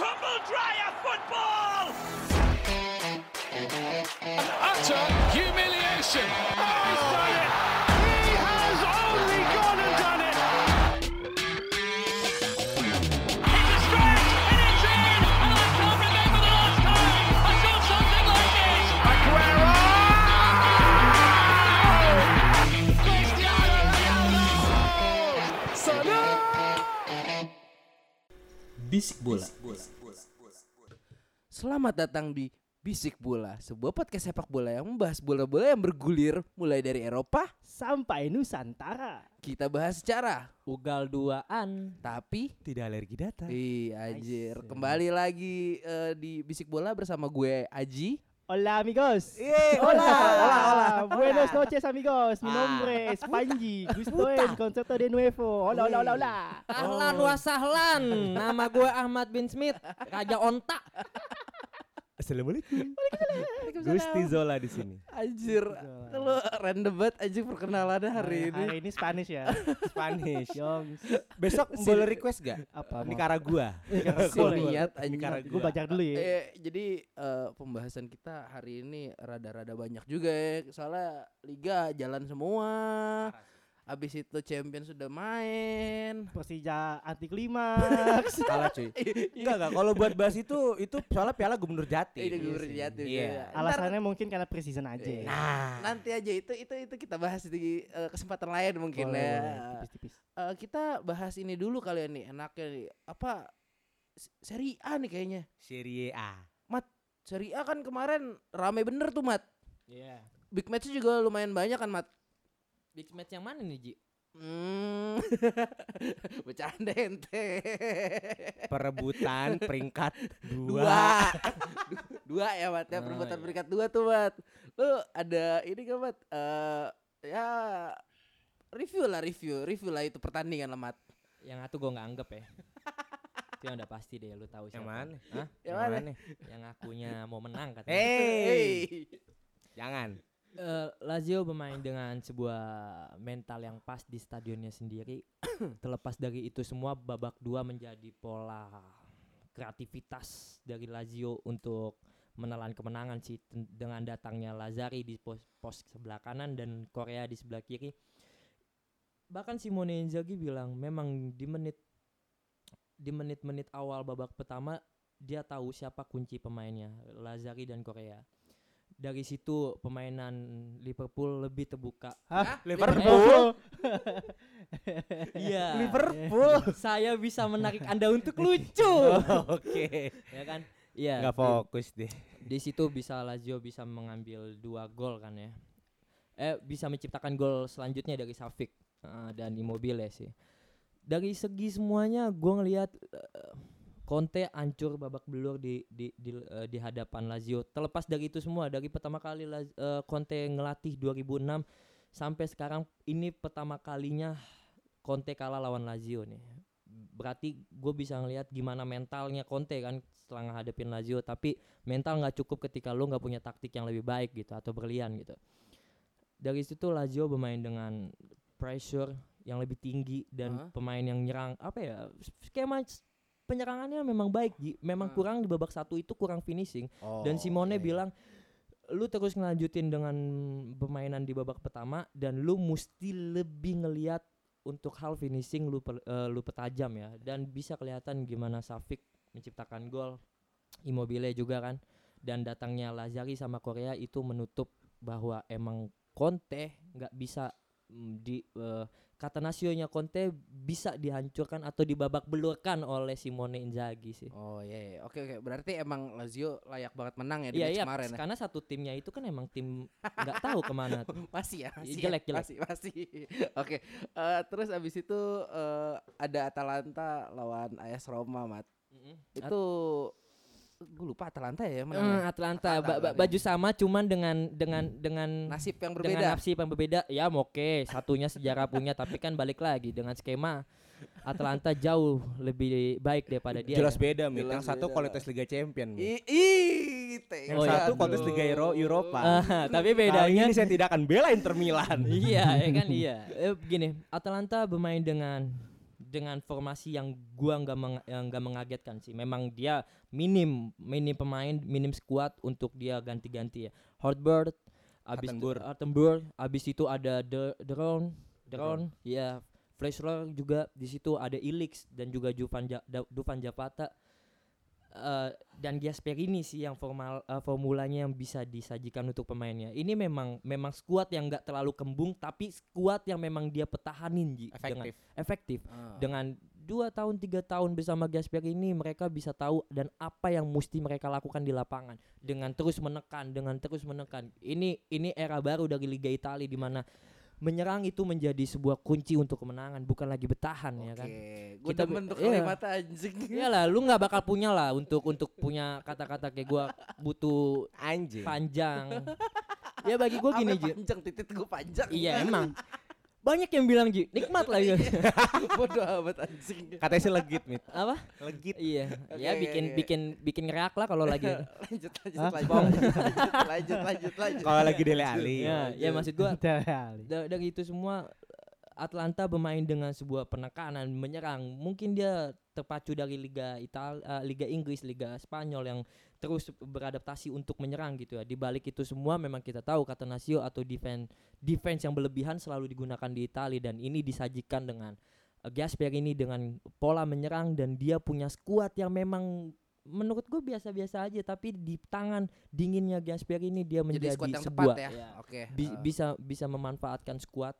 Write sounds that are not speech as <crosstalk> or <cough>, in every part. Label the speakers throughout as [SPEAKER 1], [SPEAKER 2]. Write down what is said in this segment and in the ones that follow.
[SPEAKER 1] Dryer football!
[SPEAKER 2] Utter humiliation.
[SPEAKER 3] He has only gone and done it.
[SPEAKER 1] It's a stretch, and it's in, and I can't remember the last time I saw something like this.
[SPEAKER 4] Bisik bola.
[SPEAKER 5] Selamat datang di Bisik Bola, sebuah podcast sepak bola yang membahas bola-bola yang bergulir mulai dari Eropa.
[SPEAKER 6] sampai Nusantara.
[SPEAKER 5] Kita bahas secara,
[SPEAKER 4] Ugal duaan.
[SPEAKER 5] tapi
[SPEAKER 7] Tidak alergi data.
[SPEAKER 5] Iya, anjir. Kembali lagi eh, di Bisik Bola bersama gue Aji.
[SPEAKER 6] Hola amigos.
[SPEAKER 5] hola, hola,
[SPEAKER 6] Buenos noches amigos. Mi nombre es Panji. Gusto en concepto de nuevo. Hola, hola, hola, hola.
[SPEAKER 4] Ahlan
[SPEAKER 7] Oh.
[SPEAKER 4] wasahlan. Nama gue Ahmad bin Smith, Raja Onta.
[SPEAKER 7] Assalamualaikum. Gusti Zola di sini.
[SPEAKER 5] Anjir, lu random banget anjir perkenalannya hari ini.
[SPEAKER 6] Hari ini Spanish ya.
[SPEAKER 7] Spanish.
[SPEAKER 6] Yong.
[SPEAKER 7] Besok boleh request gak?
[SPEAKER 6] Apa?
[SPEAKER 7] Nicaragua.
[SPEAKER 5] Si niat anjir.
[SPEAKER 7] Nicaragua.
[SPEAKER 6] Gue baca dulu ya.
[SPEAKER 5] Iya. Eh, jadi eh, pembahasan kita hari ini rada-rada banyak juga ya. Soalnya liga jalan semua. Habis itu champion sudah main.
[SPEAKER 6] Persija anti klimaks.
[SPEAKER 7] Salah cuy. Enggak enggak kalau buat bahas itu itu soalnya Piala Gubernur Jati.
[SPEAKER 5] Ini Eh, gue berjati.
[SPEAKER 7] Iya.
[SPEAKER 6] Alasannya mungkin karena
[SPEAKER 5] Eh,
[SPEAKER 6] preseason
[SPEAKER 5] nah,
[SPEAKER 6] aja.
[SPEAKER 5] Nanti aja itu itu itu kita bahas di eh, kesempatan lain mungkin
[SPEAKER 6] Boleh,
[SPEAKER 5] ya.
[SPEAKER 6] Tipis-tipis.
[SPEAKER 5] Eh, kita bahas ini dulu kali ya nih enaknya nih. Apa s- seri A nih kayaknya.
[SPEAKER 7] Serie A.
[SPEAKER 5] Seri A kan kemarin rame bener tuh Mat.
[SPEAKER 7] Iya.
[SPEAKER 5] Big match juga lumayan banyak kan Mat.
[SPEAKER 4] Big match yang mana nih Ji?
[SPEAKER 5] Hmm. <laughs> Bercanda ente.
[SPEAKER 7] Perebutan peringkat dua.
[SPEAKER 5] Dua. <laughs> dua ya, Mat. Ya,
[SPEAKER 7] Ah,
[SPEAKER 5] perebutan
[SPEAKER 7] iya.
[SPEAKER 5] peringkat dua tuh, Mat. Lu ada ini gak, Mat? Eh, ya review lah review, review lah itu pertandingan lah, Mat.
[SPEAKER 4] Yang aku gue nggak
[SPEAKER 7] <laughs>
[SPEAKER 4] anggap ya. Itu yang udah pasti deh, lu tahu siapa.
[SPEAKER 7] Yang mana?
[SPEAKER 4] Hah?
[SPEAKER 5] Yang mana? <laughs> Eh,
[SPEAKER 4] Yang akunya mau menang katanya.
[SPEAKER 7] Hey, jangan.
[SPEAKER 4] Eh, Lazio bermain dengan sebuah mental yang pas di stadionnya sendiri. <clears throat> Terlepas dari itu semua babak dua menjadi pola kreativitas dari Lazio untuk menelan kemenangan sih Ten- dengan datangnya Lazari di pos, pos sebelah kanan dan Korea di sebelah kiri. Bahkan Simone Inzaghi bilang memang di menit di menit-menit awal babak pertama dia tahu siapa kunci pemainnya, Lazari dan Korea. Dari situ pemainan Liverpool lebih terbuka.
[SPEAKER 7] <laughs>
[SPEAKER 6] Hah? Eh,
[SPEAKER 7] Liverpool.
[SPEAKER 4] Iya.
[SPEAKER 7] Liverpool. Oh,
[SPEAKER 4] Saya bisa menarik Anda untuk
[SPEAKER 7] <laughs>
[SPEAKER 4] lucu.
[SPEAKER 7] Oke.
[SPEAKER 4] ya kan? Iya.
[SPEAKER 7] Enggak
[SPEAKER 4] di-
[SPEAKER 7] fokus deh.
[SPEAKER 4] Di situ bisa Lazio bisa mengambil dua gol kan ya. Eh bisa menciptakan gol selanjutnya dari Safik eh, dan Immobile sih. Dari segi semuanya gua ngelihat eh, Conte hancur babak belur di di di, eh, di hadapan Lazio. Terlepas dari itu semua, dari pertama kali Laz- eh, Conte ngelatih 2006 sampai sekarang ini pertama kalinya Conte kalah lawan Lazio nih. Berarti gue bisa ngelihat gimana mentalnya Conte kan setelah ngadepin Lazio, tapi mental nggak cukup ketika lo nggak punya taktik yang lebih baik gitu atau berlian gitu. Dari situ Lazio bermain dengan pressure yang lebih tinggi dan
[SPEAKER 5] Hah?
[SPEAKER 4] pemain yang nyerang apa ya skema s- penyerangannya memang baik, Ji.
[SPEAKER 5] Ah.
[SPEAKER 4] memang kurang di babak satu itu kurang finishing
[SPEAKER 5] Oh,
[SPEAKER 4] dan
[SPEAKER 5] iya.
[SPEAKER 4] Simone bilang lu terus ngelanjutin dengan permainan di babak pertama dan lu mesti lebih ngeliat untuk hal finishing lu per- eh, lu petajam ya dan bisa kelihatan gimana Safik menciptakan gol Immobile juga kan dan datangnya Lazari sama Korea itu menutup bahwa emang Conte nggak bisa mm, di eh, kata nasionya Conte bisa dihancurkan atau dibabak belurkan oleh Simone Inzaghi sih.
[SPEAKER 5] Oh iya, iya. oke oke. Berarti emang Lazio layak banget menang ya di
[SPEAKER 4] Iya
[SPEAKER 5] match
[SPEAKER 4] iya
[SPEAKER 5] kemarin. ya?
[SPEAKER 4] karena satu timnya itu kan emang tim nggak tahu
[SPEAKER 5] <laughs>
[SPEAKER 4] kemana tuh.
[SPEAKER 5] Masih ya, masih ya,
[SPEAKER 4] jelek, jelek.
[SPEAKER 5] Masih, masih. <laughs> Oke. Eh, terus abis itu eh, ada Atalanta lawan AS Roma, Mat. Itu gue lupa Atalanta ya yang
[SPEAKER 4] Eh,
[SPEAKER 5] menangnya.
[SPEAKER 4] Atlanta ba-
[SPEAKER 5] kemarin.
[SPEAKER 4] ba- baju sama cuman dengan dengan dengan
[SPEAKER 5] Nasib yang
[SPEAKER 4] dengan
[SPEAKER 5] berbeda.
[SPEAKER 4] nafsi yang berbeda ya oke satunya sejarah punya tapi kan balik lagi dengan skema Atlanta jauh lebih baik daripada dia
[SPEAKER 7] Jelas
[SPEAKER 4] ya.
[SPEAKER 7] beda, Mit.
[SPEAKER 5] Jelas
[SPEAKER 7] Yang satu
[SPEAKER 5] beda.
[SPEAKER 7] kualitas Liga Champion, Mit.
[SPEAKER 5] I- Ih,
[SPEAKER 7] Yang
[SPEAKER 4] Oh, iya.
[SPEAKER 7] satu kontes Liga Euro Eropa.
[SPEAKER 4] Ah, <laughs> tapi
[SPEAKER 7] Kali
[SPEAKER 4] bedanya
[SPEAKER 7] ini saya
[SPEAKER 4] <laughs>
[SPEAKER 7] tidak akan bela Inter Milan.
[SPEAKER 4] iya ya kan iya Eh, gini Atlanta bermain dengan dengan formasi yang gua nggak meng- yang nggak mengagetkan sih. Memang dia minim minim pemain, minim skuad untuk dia ganti-ganti ya. Hortberg, abis itu
[SPEAKER 7] Attenborough.
[SPEAKER 4] Attenborough, abis itu ada the Drone, Drone, ya. Flashler juga di situ ada Ilix dan juga Juvan Ja- Da- Dufan Zapata. Eh, dan Gasperini sih yang formal eh, formulanya yang bisa disajikan untuk pemainnya. Ini memang memang skuad yang nggak terlalu kembung tapi skuad yang memang dia petahanin Ji, dengan
[SPEAKER 7] efektif.
[SPEAKER 4] efektif.
[SPEAKER 5] Ah.
[SPEAKER 4] Dengan dua tahun tiga tahun bersama Gasper ini mereka bisa tahu dan apa yang mesti mereka lakukan di lapangan dengan terus menekan dengan terus menekan. Ini ini era baru dari Liga Italia di mana menyerang itu menjadi sebuah kunci untuk kemenangan bukan lagi bertahan ya kan.
[SPEAKER 5] Gue
[SPEAKER 4] Kita-
[SPEAKER 5] demen tuh
[SPEAKER 4] iya.
[SPEAKER 5] kalimat anjing.
[SPEAKER 4] Iya lah, lu nggak bakal punya lah untuk untuk punya kata-kata kayak gua butuh
[SPEAKER 7] Anjing.
[SPEAKER 4] panjang. ya bagi gua gini
[SPEAKER 5] Sampai
[SPEAKER 4] Ji.
[SPEAKER 5] panjang titit gue panjang. <laughs>
[SPEAKER 4] Iya emang. Banyak yang bilang Ji, nikmat lah ya.
[SPEAKER 5] Bodoh amat anjing.
[SPEAKER 7] Katanya sih legit, Mit.
[SPEAKER 4] Apa?
[SPEAKER 7] Legit.
[SPEAKER 4] Iya.
[SPEAKER 5] Oke,
[SPEAKER 4] ya
[SPEAKER 5] oke,
[SPEAKER 4] bikin
[SPEAKER 5] oke. Iya,
[SPEAKER 4] bikin bikin ngerak lah kalau
[SPEAKER 5] <laughs>
[SPEAKER 4] lagi.
[SPEAKER 5] Lanjut lanjut
[SPEAKER 6] Hah?
[SPEAKER 5] lanjut, lanjut lanjut lanjut lanjut.
[SPEAKER 7] Kalau lagi Dele Ali.
[SPEAKER 4] Iya, ya maksud gua
[SPEAKER 6] Dele Alli.
[SPEAKER 4] da- dari itu semua eh, Atlanta bermain dengan sebuah penekanan menyerang. Mungkin dia terpacu dari Liga Ital eh, Liga Inggris, Liga Spanyol yang terus beradaptasi untuk menyerang gitu ya. Di balik itu semua memang kita tahu kata Nasio atau defense defense yang berlebihan selalu digunakan di Italia dan ini disajikan dengan eh, Gasper ini dengan pola menyerang dan dia punya skuad yang memang menurut gue biasa-biasa aja tapi di tangan dinginnya Gasper ini dia
[SPEAKER 5] Jadi
[SPEAKER 4] menjadi
[SPEAKER 5] squad yang
[SPEAKER 4] sebuah
[SPEAKER 5] tepat ya. Oke.
[SPEAKER 4] Bi-
[SPEAKER 5] ah,
[SPEAKER 4] bisa bisa memanfaatkan skuad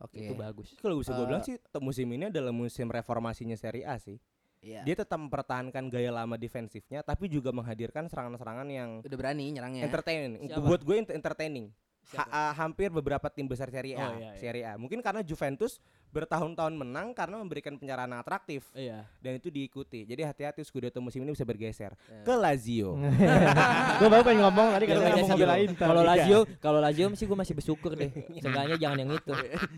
[SPEAKER 5] Oke.
[SPEAKER 4] itu bagus.
[SPEAKER 7] Kalau bisa gue
[SPEAKER 5] Eh,
[SPEAKER 7] bilang sih te- musim ini adalah musim reformasinya Serie A sih.
[SPEAKER 5] Iya.
[SPEAKER 7] Dia tetap mempertahankan gaya lama defensifnya tapi juga menghadirkan serangan-serangan yang
[SPEAKER 5] Udah berani nyerangnya.
[SPEAKER 7] entertaining.
[SPEAKER 4] Ya. Siapa?
[SPEAKER 7] Buat gue ent- entertaining. Ha- ah, hampir beberapa tim besar Serie A,
[SPEAKER 4] Oh, iya, iya.
[SPEAKER 7] Serie A. Mungkin karena Juventus bertahun-tahun menang karena memberikan penyerahan atraktif
[SPEAKER 4] Iya.
[SPEAKER 7] dan itu diikuti. Jadi hati-hati Scudetto musim ini bisa bergeser
[SPEAKER 5] Iya.
[SPEAKER 7] ke Lazio.
[SPEAKER 4] Hmm. <laughs>
[SPEAKER 6] Gue baru pengen ngomong tadi
[SPEAKER 4] Iya,
[SPEAKER 6] karena
[SPEAKER 4] iya,
[SPEAKER 6] ngomong
[SPEAKER 4] iya.
[SPEAKER 6] mobil lain.
[SPEAKER 4] Kalau Lazio, kalau Lazio sih gue masih bersyukur
[SPEAKER 7] <laughs>
[SPEAKER 4] deh.
[SPEAKER 7] Iya.
[SPEAKER 4] Seenggaknya jangan yang itu.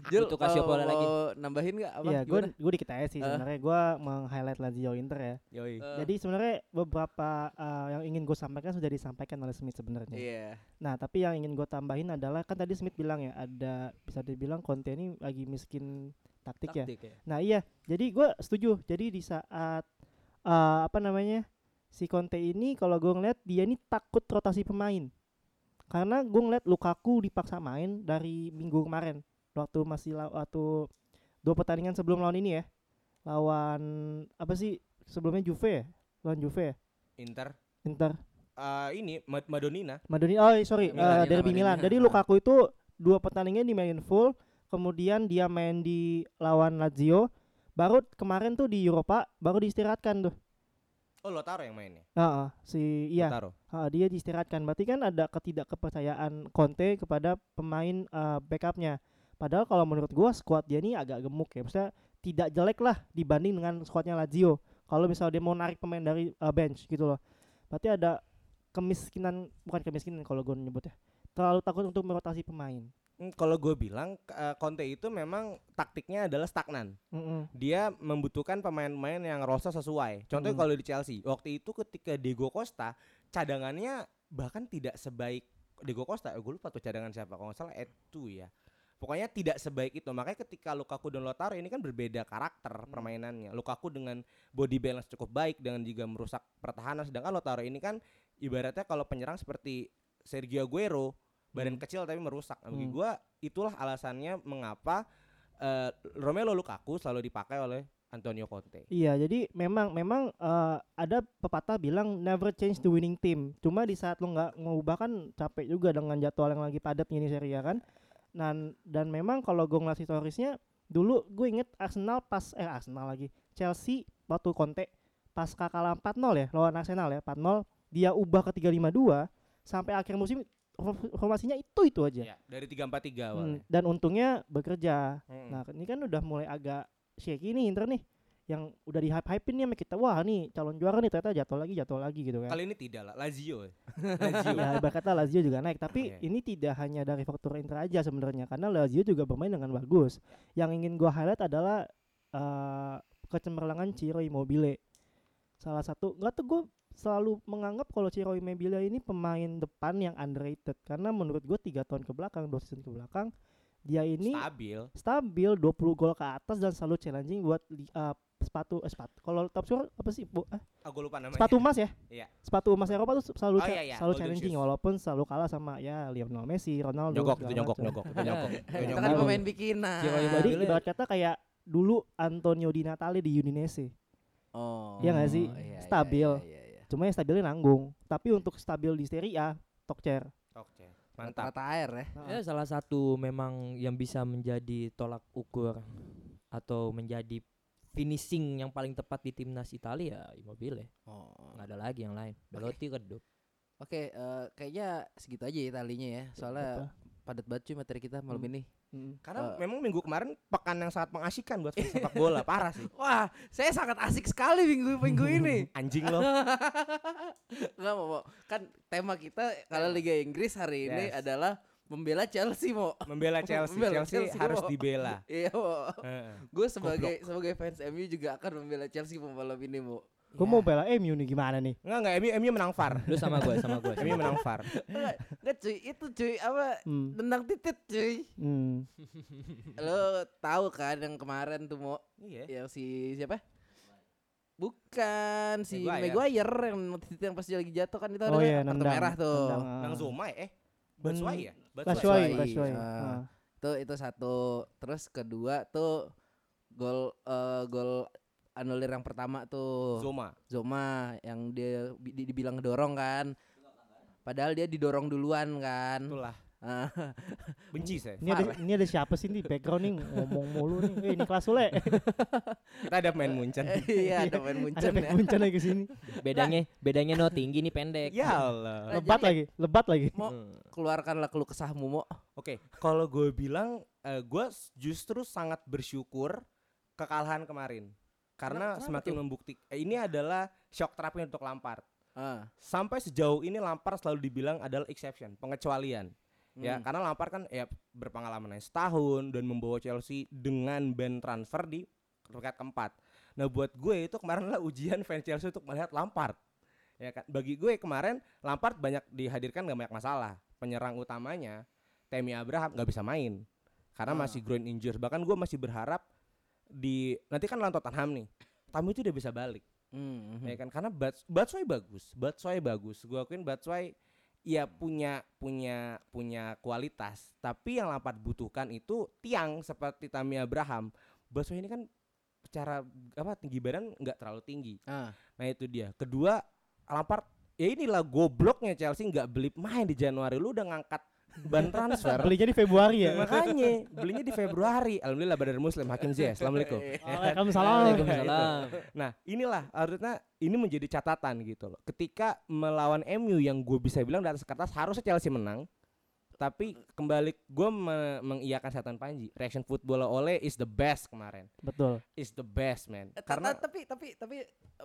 [SPEAKER 5] Jul,
[SPEAKER 4] Butuh Casio
[SPEAKER 5] kalau
[SPEAKER 4] bola lagi.
[SPEAKER 5] mau Nambahin nggak apa?
[SPEAKER 6] Iya, gue
[SPEAKER 5] Gimana?
[SPEAKER 6] gue dikit aja sih
[SPEAKER 5] Eh.
[SPEAKER 6] sebenarnya. Gue meng-highlight Lazio Inter ya.
[SPEAKER 7] Yoi.
[SPEAKER 5] Eh,
[SPEAKER 6] Jadi sebenarnya beberapa eh, yang ingin gue sampaikan sudah disampaikan oleh Smith sebenarnya.
[SPEAKER 5] Iya.
[SPEAKER 6] Nah, tapi yang ingin gue tambahin adalah kan tadi Smith bilang ya ada bisa dibilang konten ini lagi miskin taktik, ya.
[SPEAKER 4] Taktik ya.
[SPEAKER 6] Nah, iya. Jadi gue setuju. Jadi di saat eh, apa namanya? Si Conte ini kalau gue ngeliat dia ini takut rotasi pemain. Karena gue ngeliat Lukaku dipaksa main dari minggu kemarin waktu masih law- waktu dua pertandingan sebelum lawan ini ya. Lawan apa sih? Sebelumnya Juve ya? Lawan Juve ya?
[SPEAKER 7] Inter
[SPEAKER 6] Inter
[SPEAKER 7] Eh, ini Ma- Madonina
[SPEAKER 6] Madoni oh sorry
[SPEAKER 5] Milan,
[SPEAKER 6] eh,
[SPEAKER 5] Milan,
[SPEAKER 6] derby
[SPEAKER 5] Milan.
[SPEAKER 6] Milan. Jadi
[SPEAKER 5] Ah.
[SPEAKER 6] Lukaku itu dua pertandingan dimainin full, kemudian dia main di lawan Lazio, baru kemarin tuh di Eropa baru diistirahatkan tuh.
[SPEAKER 7] Oh Lotaro yang mainnya.
[SPEAKER 6] Heeh, si iya,
[SPEAKER 7] Lautaro.
[SPEAKER 6] heeh, dia diistirahatkan. Berarti kan ada ketidakkepercayaan Conte kepada pemain eh, backupnya. Padahal kalau menurut gua squad dia ini agak gemuk ya. Maksudnya tidak jelek lah dibanding dengan squadnya Lazio. Kalau misalnya dia mau narik pemain dari eh, bench gitu loh. Berarti ada kemiskinan bukan kemiskinan kalau gue nyebut ya. Terlalu takut untuk merotasi pemain.
[SPEAKER 7] Hmm, Kalau gue bilang k- eh, Conte itu memang taktiknya adalah stagnan.
[SPEAKER 6] Mm-mm.
[SPEAKER 7] Dia membutuhkan pemain-pemain yang rasa sesuai. Contohnya
[SPEAKER 6] Hmm.
[SPEAKER 7] kalau di Chelsea waktu itu ketika Diego Costa cadangannya bahkan tidak sebaik Diego Costa. Eh, gue lupa tuh cadangan siapa. Kalau nggak salah Etu ya. Pokoknya tidak sebaik itu. Makanya ketika Lukaku dan Lautaro ini kan berbeda karakter
[SPEAKER 6] Hmm.
[SPEAKER 7] permainannya. Lukaku dengan body balance cukup baik dengan juga merusak pertahanan. Sedangkan Lautaro ini kan ibaratnya kalau penyerang seperti Sergio Aguero badan kecil tapi merusak. Nah, Bagi
[SPEAKER 6] Hmm.
[SPEAKER 7] gua itulah alasannya mengapa eh, Romelu Lukaku selalu dipakai oleh Antonio Conte.
[SPEAKER 6] Iya, jadi memang memang eh, ada pepatah bilang never change the winning team. Cuma di saat lo nggak ngubah kan capek juga dengan jadwal yang lagi padat gini Serie A kan. Dan dan memang kalau gue ngeliat historisnya dulu gue inget Arsenal pas eh Arsenal lagi Chelsea waktu Conte pas kalah 4-0 ya lawan Arsenal ya 4-0 dia ubah ke 3-5-2 sampai akhir musim for- formasinya itu itu aja.
[SPEAKER 7] Ya, dari 343
[SPEAKER 6] Hmm,
[SPEAKER 7] awalnya.
[SPEAKER 6] dan untungnya bekerja.
[SPEAKER 7] Mm.
[SPEAKER 6] Nah, ini kan udah mulai agak shaky nih Inter nih yang udah di hype hypein nih sama kita wah nih calon juara nih ternyata jatuh lagi jatuh lagi gitu kan
[SPEAKER 7] Kali ini tidak lah, Lazio. ya. Lazio. Iya.
[SPEAKER 6] ya ibarat kata Lazio juga naik tapi
[SPEAKER 7] Oke.
[SPEAKER 6] ini tidak hanya dari faktor Inter aja sebenarnya karena Lazio juga bermain dengan bagus yang ingin gua highlight adalah eh, kecemerlangan Ciro Immobile salah satu nggak tuh gue selalu menganggap kalau Ciro Immobile ini pemain depan yang underrated karena menurut gue tiga tahun ke belakang dua season ke belakang dia ini
[SPEAKER 7] stabil.
[SPEAKER 6] stabil 20 gol ke atas dan selalu challenging buat li- eh, sepatu eh, sepatu kalau top scorer apa sih bu eh,
[SPEAKER 7] Aku Ah, lupa namanya.
[SPEAKER 6] sepatu emas ya
[SPEAKER 7] Iya.
[SPEAKER 6] sepatu emas Eropa tuh selalu
[SPEAKER 7] Oh,
[SPEAKER 6] cha-
[SPEAKER 7] iya, iya,
[SPEAKER 6] selalu
[SPEAKER 7] golden
[SPEAKER 6] challenging
[SPEAKER 7] shoes.
[SPEAKER 6] walaupun selalu kalah sama ya Lionel Messi Ronaldo
[SPEAKER 7] Nyogok
[SPEAKER 6] segala
[SPEAKER 7] itu nyogok
[SPEAKER 6] macam.
[SPEAKER 7] nyogok itu nyogok. Itu
[SPEAKER 5] Kita
[SPEAKER 7] nyogok.
[SPEAKER 5] kan
[SPEAKER 6] Nyambung.
[SPEAKER 5] pemain bikinan.
[SPEAKER 4] Jiwa yang
[SPEAKER 6] jadi
[SPEAKER 4] Mobilnya-
[SPEAKER 6] ibarat kata kayak dulu Antonio Di Natale di Udinese
[SPEAKER 5] Oh.
[SPEAKER 6] Iya nggak sih?
[SPEAKER 5] iya, iya,
[SPEAKER 6] Stabil.
[SPEAKER 5] Iya, iya, iya.
[SPEAKER 6] cuma yang stabilnya nanggung tapi untuk stabil di Serie A top chair
[SPEAKER 7] <laughs> Oke. Mantap.
[SPEAKER 5] Rata air ya.
[SPEAKER 4] Ya salah satu memang yang bisa menjadi tolak ukur atau menjadi finishing yang paling tepat di timnas Italia ya Immobile.
[SPEAKER 5] Oh.
[SPEAKER 4] Nggak ada lagi yang lain. Belotti redup.
[SPEAKER 5] Oke, eh, kayaknya segitu aja ya talinya ya.
[SPEAKER 6] Gitu.
[SPEAKER 5] Soalnya
[SPEAKER 7] iya.
[SPEAKER 5] padat banget cuy materi kita malam
[SPEAKER 6] Hmm.
[SPEAKER 5] ini.
[SPEAKER 6] Mm.
[SPEAKER 7] Karena
[SPEAKER 5] Eh.
[SPEAKER 7] memang minggu kemarin pekan yang sangat mengasihkan buat fans sepak <laughs> bola, parah sih.
[SPEAKER 5] Wah, saya sangat asik sekali minggu minggu ini.
[SPEAKER 7] Anjing
[SPEAKER 5] <laughs>
[SPEAKER 7] loh.
[SPEAKER 5] Enggak mau, Mo. kan tema kita kalau Liga Inggris hari ini
[SPEAKER 7] Yes.
[SPEAKER 5] adalah membela Chelsea mau.
[SPEAKER 7] Membela <laughs> Chelsea,
[SPEAKER 5] Membela
[SPEAKER 7] Chelsea,
[SPEAKER 5] Chelsea
[SPEAKER 7] harus
[SPEAKER 5] loh. <laughs>
[SPEAKER 7] dibela.
[SPEAKER 5] Iya, Mo.
[SPEAKER 7] Heeh.
[SPEAKER 5] Gue sebagai sebagai fans MU juga akan membela Chelsea malam ini, Mo.
[SPEAKER 6] gue mau bela MU nih gimana nih
[SPEAKER 7] Enggak enggak, MU MU menang VAR.
[SPEAKER 4] Lu sama gue, sama gue.
[SPEAKER 7] MU menang <laughs> VAR.
[SPEAKER 5] Enggak, enggak, cuy, itu cuy apa
[SPEAKER 6] Hmm.
[SPEAKER 5] tendang titit cuy.
[SPEAKER 6] Hmm.
[SPEAKER 5] Lo tahu kan yang kemarin tuh Mo
[SPEAKER 7] Iya.
[SPEAKER 5] yang si siapa? Bukan si
[SPEAKER 7] Maguire.
[SPEAKER 5] Maguire yang titit yang pas dia lagi jatuh kan itu
[SPEAKER 6] oh
[SPEAKER 5] ada
[SPEAKER 6] iya
[SPEAKER 5] kartu
[SPEAKER 6] nendang
[SPEAKER 5] merah tuh.
[SPEAKER 6] Nendang, ah.
[SPEAKER 7] Nang Zomai eh Batshuayi ya?
[SPEAKER 6] Batshuayi,
[SPEAKER 5] Batshuayi,
[SPEAKER 6] Batshuayi.
[SPEAKER 5] ah.
[SPEAKER 6] Ah.
[SPEAKER 5] Itu itu satu. Terus kedua tuh gol eh, gol anulir yang pertama tuh
[SPEAKER 7] Zoma.
[SPEAKER 5] Zoma yang dia bi- di- dibilang dorong kan. Padahal dia didorong duluan kan.
[SPEAKER 7] Itulah.
[SPEAKER 5] <laughs> Ah,
[SPEAKER 7] Benci saya.
[SPEAKER 6] Ini ada, ini ada siapa sih nih background nih ngomong mulu nih. Eh ini kelas
[SPEAKER 7] <laughs>
[SPEAKER 6] Sule.
[SPEAKER 7] Kita ada main Munchen.
[SPEAKER 5] iya, ada main
[SPEAKER 6] ada
[SPEAKER 5] Munchen
[SPEAKER 6] back
[SPEAKER 5] ya.
[SPEAKER 6] Munchen lagi sini.
[SPEAKER 4] Bedanya bedanya no tinggi nih pendek.
[SPEAKER 7] ya
[SPEAKER 5] Raja
[SPEAKER 7] Allah.
[SPEAKER 6] Lebat
[SPEAKER 5] Lia.
[SPEAKER 6] lagi, lebat lagi.
[SPEAKER 5] Mo, keluarkanlah keluh kesahmu, Mo.
[SPEAKER 7] Oke, kalau gue bilang gue justru sangat bersyukur kekalahan kemarin karena semakin membuktikan ini adalah shock terapi untuk Lampard.
[SPEAKER 5] Ah,
[SPEAKER 7] Sampai sejauh ini Lampard selalu dibilang adalah exception, pengecualian. Ya,
[SPEAKER 5] hmm.
[SPEAKER 7] karena Lampard kan ya berpengalaman setahun dan membawa Chelsea dengan band transfer di peringkat keempat. Nah, buat gue itu kemarin adalah ujian fans Chelsea untuk melihat Lampard. Ya kan, bagi gue kemarin Lampard banyak dihadirkan gak banyak masalah. Penyerang utamanya Temi Abraham nggak bisa main karena
[SPEAKER 5] Ah.
[SPEAKER 7] masih groin injured. Bahkan gue masih berharap di nanti kan lawan Tottenham nih. Tamu itu udah bisa balik
[SPEAKER 5] Hmm, hmm.
[SPEAKER 7] ya kan karena Bats Batshuayi bagus Batshuayi bagus gue akuin Batshuayi ya punya punya punya kualitas tapi yang Lampard butuhkan itu tiang seperti Tammy Abraham Batshuayi ini kan secara apa tinggi badan nggak terlalu tinggi
[SPEAKER 5] Ah,
[SPEAKER 7] nah itu dia kedua Lampard ya inilah gobloknya Chelsea nggak beli main di Januari lu udah ngangkat ban transfer
[SPEAKER 6] <laughs> Belinya di Februari ya.
[SPEAKER 7] makanya belinya di Februari alhamdulillah badar muslim Hakim Zia assalamualaikum
[SPEAKER 6] iya. Waalaikumsalam.
[SPEAKER 4] Waalaikumsalam.
[SPEAKER 7] Nah inilah artinya ini menjadi catatan gitu loh. Ketika melawan MU yang gue bisa bilang di atas kertas harusnya Chelsea menang, tapi kembali gue mengiyakan setan Panji. Reaction football oleh is the best kemarin,
[SPEAKER 6] Betul.
[SPEAKER 7] is the best man.
[SPEAKER 5] Eh, ta-
[SPEAKER 7] Karena
[SPEAKER 5] ta- tapi tapi tapi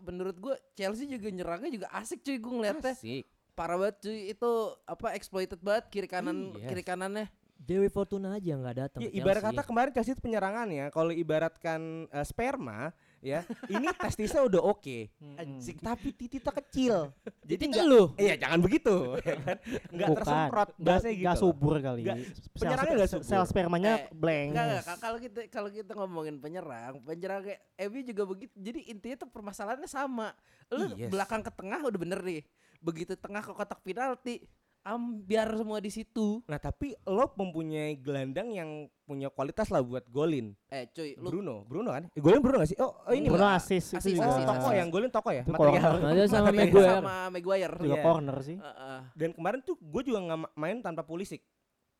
[SPEAKER 5] menurut gue Chelsea juga nyerangnya juga asik cuy gue ngeliatnya
[SPEAKER 7] asik.
[SPEAKER 5] parah banget cuy itu apa exploited banget kiri kanan
[SPEAKER 4] Yes.
[SPEAKER 5] kiri kanannya
[SPEAKER 4] Dewi Fortuna aja nggak datang.
[SPEAKER 7] Ya,
[SPEAKER 4] ke
[SPEAKER 7] ibarat
[SPEAKER 4] Chelsea.
[SPEAKER 7] kata kemarin Chelsea itu penyerangannya, kalau ibaratkan eh, sperma <laughs> ya, ini testisnya udah oke. Anjing, tapi titita kecil. Jadi
[SPEAKER 4] Tititnya
[SPEAKER 7] enggak
[SPEAKER 4] lu.
[SPEAKER 7] Iya, jangan begitu. ya kan? Enggak
[SPEAKER 6] Bukan.
[SPEAKER 7] tersemprot bahasanya
[SPEAKER 6] Nggak-
[SPEAKER 7] gitu.
[SPEAKER 6] nggak
[SPEAKER 7] loh.
[SPEAKER 6] subur kali.
[SPEAKER 7] Nggak-
[SPEAKER 6] Sel-
[SPEAKER 7] penyerangnya nggak subur.
[SPEAKER 6] Sel spermanya
[SPEAKER 5] Eh,
[SPEAKER 6] blank.
[SPEAKER 5] enggak enggak Kak. kalau kita kalau kita ngomongin penyerang penyerang kayak Ebi juga begitu jadi intinya tuh permasalahannya sama lu
[SPEAKER 7] Yes.
[SPEAKER 5] belakang ke tengah udah bener nih begitu tengah ke kotak penalti ambiar semua di situ
[SPEAKER 7] Nah tapi lo mempunyai gelandang yang punya kualitas lah buat golin
[SPEAKER 5] eh cuy lu
[SPEAKER 7] Bruno, Bruno kan? Eh, golin Bruno gak sih? Oh, oh ini
[SPEAKER 6] Bruno
[SPEAKER 7] mah.
[SPEAKER 5] nggak-
[SPEAKER 6] asis itu
[SPEAKER 5] asis,
[SPEAKER 7] Oh,
[SPEAKER 6] juga.
[SPEAKER 5] asis,
[SPEAKER 7] toko yang golin toko ya?
[SPEAKER 6] Itu
[SPEAKER 7] Material.
[SPEAKER 6] corner.
[SPEAKER 4] Aja sama
[SPEAKER 5] Mateo
[SPEAKER 4] Maguire.
[SPEAKER 5] sama Maguire
[SPEAKER 6] Juga
[SPEAKER 7] Iya.
[SPEAKER 6] corner sih.
[SPEAKER 5] Heeh.
[SPEAKER 7] Dan kemarin tuh gue juga nggak ma- main tanpa Pulisic.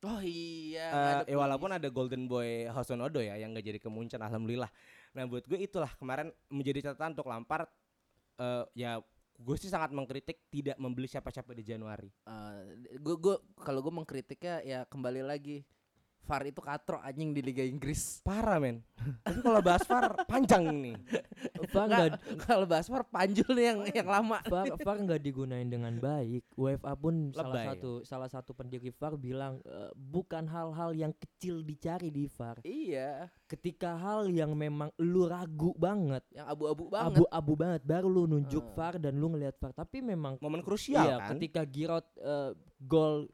[SPEAKER 5] oh iya
[SPEAKER 7] Eh,
[SPEAKER 5] nggak ada
[SPEAKER 7] ya
[SPEAKER 5] Pulis.
[SPEAKER 7] walaupun ada Golden Boy Hoson Odo ya yang gak jadi ke Munchen, alhamdulillah. Nah buat gue itulah kemarin menjadi catatan untuk Lampard. Eh, ya gue sih sangat mengkritik tidak membeli siapa-siapa di Januari.
[SPEAKER 5] gue gue Eh, kalau gue mengkritiknya ya kembali lagi VAR itu katro anjing di Liga Inggris.
[SPEAKER 7] Parah men. <laughs> Tapi kalau bahas VAR panjang nih.
[SPEAKER 4] Far nggak
[SPEAKER 5] Nggak, kalau bahas VAR panjul nih yang yang lama.
[SPEAKER 4] Far, Far nggak digunain dengan baik. UEFA pun salah
[SPEAKER 7] Lebay.
[SPEAKER 4] satu salah satu pendiri Far bilang "Eh, bukan hal-hal yang kecil dicari di Far.
[SPEAKER 5] Iya,
[SPEAKER 4] Ketika hal yang memang lu ragu banget,
[SPEAKER 5] yang abu-abu banget.
[SPEAKER 4] abu-abu banget baru lu nunjuk
[SPEAKER 5] Ah.
[SPEAKER 4] Far dan lu ngelihat Far. Tapi memang
[SPEAKER 7] Momen krusial
[SPEAKER 4] iya,
[SPEAKER 7] kan.
[SPEAKER 4] ketika Giroud eh, gol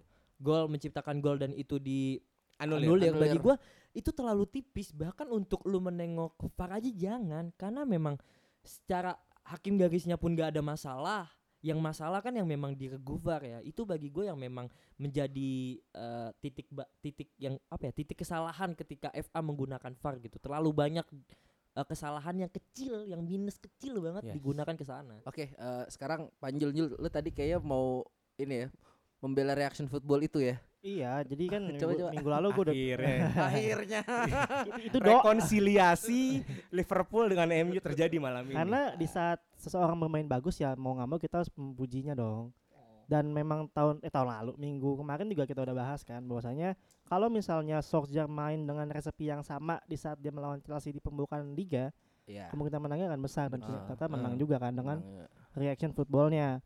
[SPEAKER 4] gol menciptakan gol dan itu di
[SPEAKER 7] Anulir.
[SPEAKER 4] Anulir bagi
[SPEAKER 5] Anulir.
[SPEAKER 4] gua itu terlalu tipis bahkan untuk lu menengok VAR aja jangan karena memang secara hakim garisnya pun gak ada masalah yang masalah kan yang memang diregu VAR ya itu bagi gue yang memang menjadi eh, titik ba- titik yang apa ya titik kesalahan ketika FA menggunakan VAR gitu terlalu banyak eh, kesalahan yang kecil yang minus kecil banget
[SPEAKER 7] Yes.
[SPEAKER 4] digunakan ke sana
[SPEAKER 5] Oke, eh, sekarang Panjul Jul, lu tadi kayaknya mau ini ya, membela reaction football itu
[SPEAKER 4] <laughs>
[SPEAKER 5] ya.
[SPEAKER 6] Iya, jadi kan minggu,
[SPEAKER 5] Coba, coba.
[SPEAKER 6] minggu lalu gue udah
[SPEAKER 7] Akhirnya.
[SPEAKER 5] Akhirnya.
[SPEAKER 6] itu doa
[SPEAKER 7] rekonsiliasi Liverpool dengan MU terjadi malam ini.
[SPEAKER 6] karena di saat seseorang bermain bagus ya mau nggak mau kita harus memujinya dong. Dan memang tahun eh tahun lalu minggu kemarin juga kita udah bahas kan bahwasanya kalau misalnya Solskjaer main dengan resepi yang sama di saat dia melawan Chelsea di pembukaan liga,
[SPEAKER 5] Iya.
[SPEAKER 6] kemungkinan menangnya akan besar dan
[SPEAKER 5] Benar.
[SPEAKER 6] ternyata menang
[SPEAKER 5] Ah.
[SPEAKER 6] juga kan dengan reaction footballnya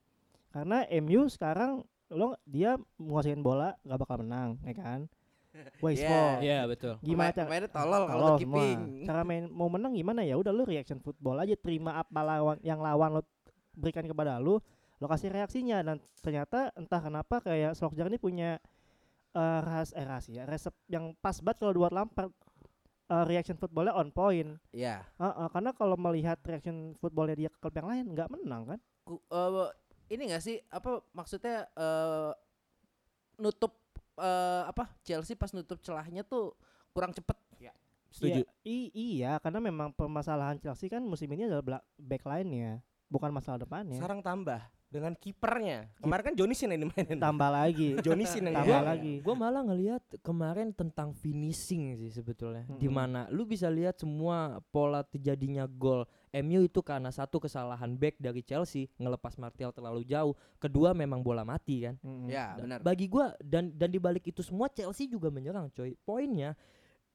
[SPEAKER 6] karena MU sekarang lo dia nguasain bola gak bakal menang ya kan waste
[SPEAKER 5] Yeah.
[SPEAKER 6] ball
[SPEAKER 4] Iya betul
[SPEAKER 6] gimana
[SPEAKER 5] Pemain-
[SPEAKER 6] cara
[SPEAKER 5] pemainnya tolol kalau
[SPEAKER 6] Tolol semua.
[SPEAKER 5] keeping.
[SPEAKER 6] cara main mau menang gimana ya udah lo reaction football aja terima apa lawan yang lawan lo berikan kepada lo lo kasih reaksinya dan ternyata entah kenapa kayak Solskjaer ini punya eh rahas eh rahasia resep yang pas banget kalau buat Lampard Eh, reaction footballnya on point
[SPEAKER 5] Iya.
[SPEAKER 6] Heeh, karena kalau melihat reaction footballnya dia ke klub yang lain nggak menang kan
[SPEAKER 5] Ku- eh, ini gak sih apa maksudnya eh nutup eh, apa Chelsea pas nutup celahnya tuh kurang cepet
[SPEAKER 7] Setuju.
[SPEAKER 6] Iya, i- iya, karena memang permasalahan Chelsea kan musim ini adalah bela- backline-nya, bukan masalah depannya.
[SPEAKER 7] Sarang tambah dengan kipernya. Kemarin kan Johnny Sin yang dimainin.
[SPEAKER 6] Tambah lagi,
[SPEAKER 7] Johnny Sin yang
[SPEAKER 6] tambah
[SPEAKER 7] dimainin.
[SPEAKER 6] lagi.
[SPEAKER 4] <laughs> Gue malah ngelihat kemarin tentang finishing sih sebetulnya.
[SPEAKER 6] Mm-mm.
[SPEAKER 4] Dimana lu bisa lihat semua pola terjadinya gol. MU itu karena satu kesalahan back dari Chelsea ngelepas Martial terlalu jauh. Kedua memang bola mati kan.
[SPEAKER 7] Iya.
[SPEAKER 6] Mm-mm.
[SPEAKER 5] ya
[SPEAKER 4] Dan
[SPEAKER 5] benar
[SPEAKER 4] Bagi gua dan dan dibalik itu semua Chelsea juga menyerang coy. Poinnya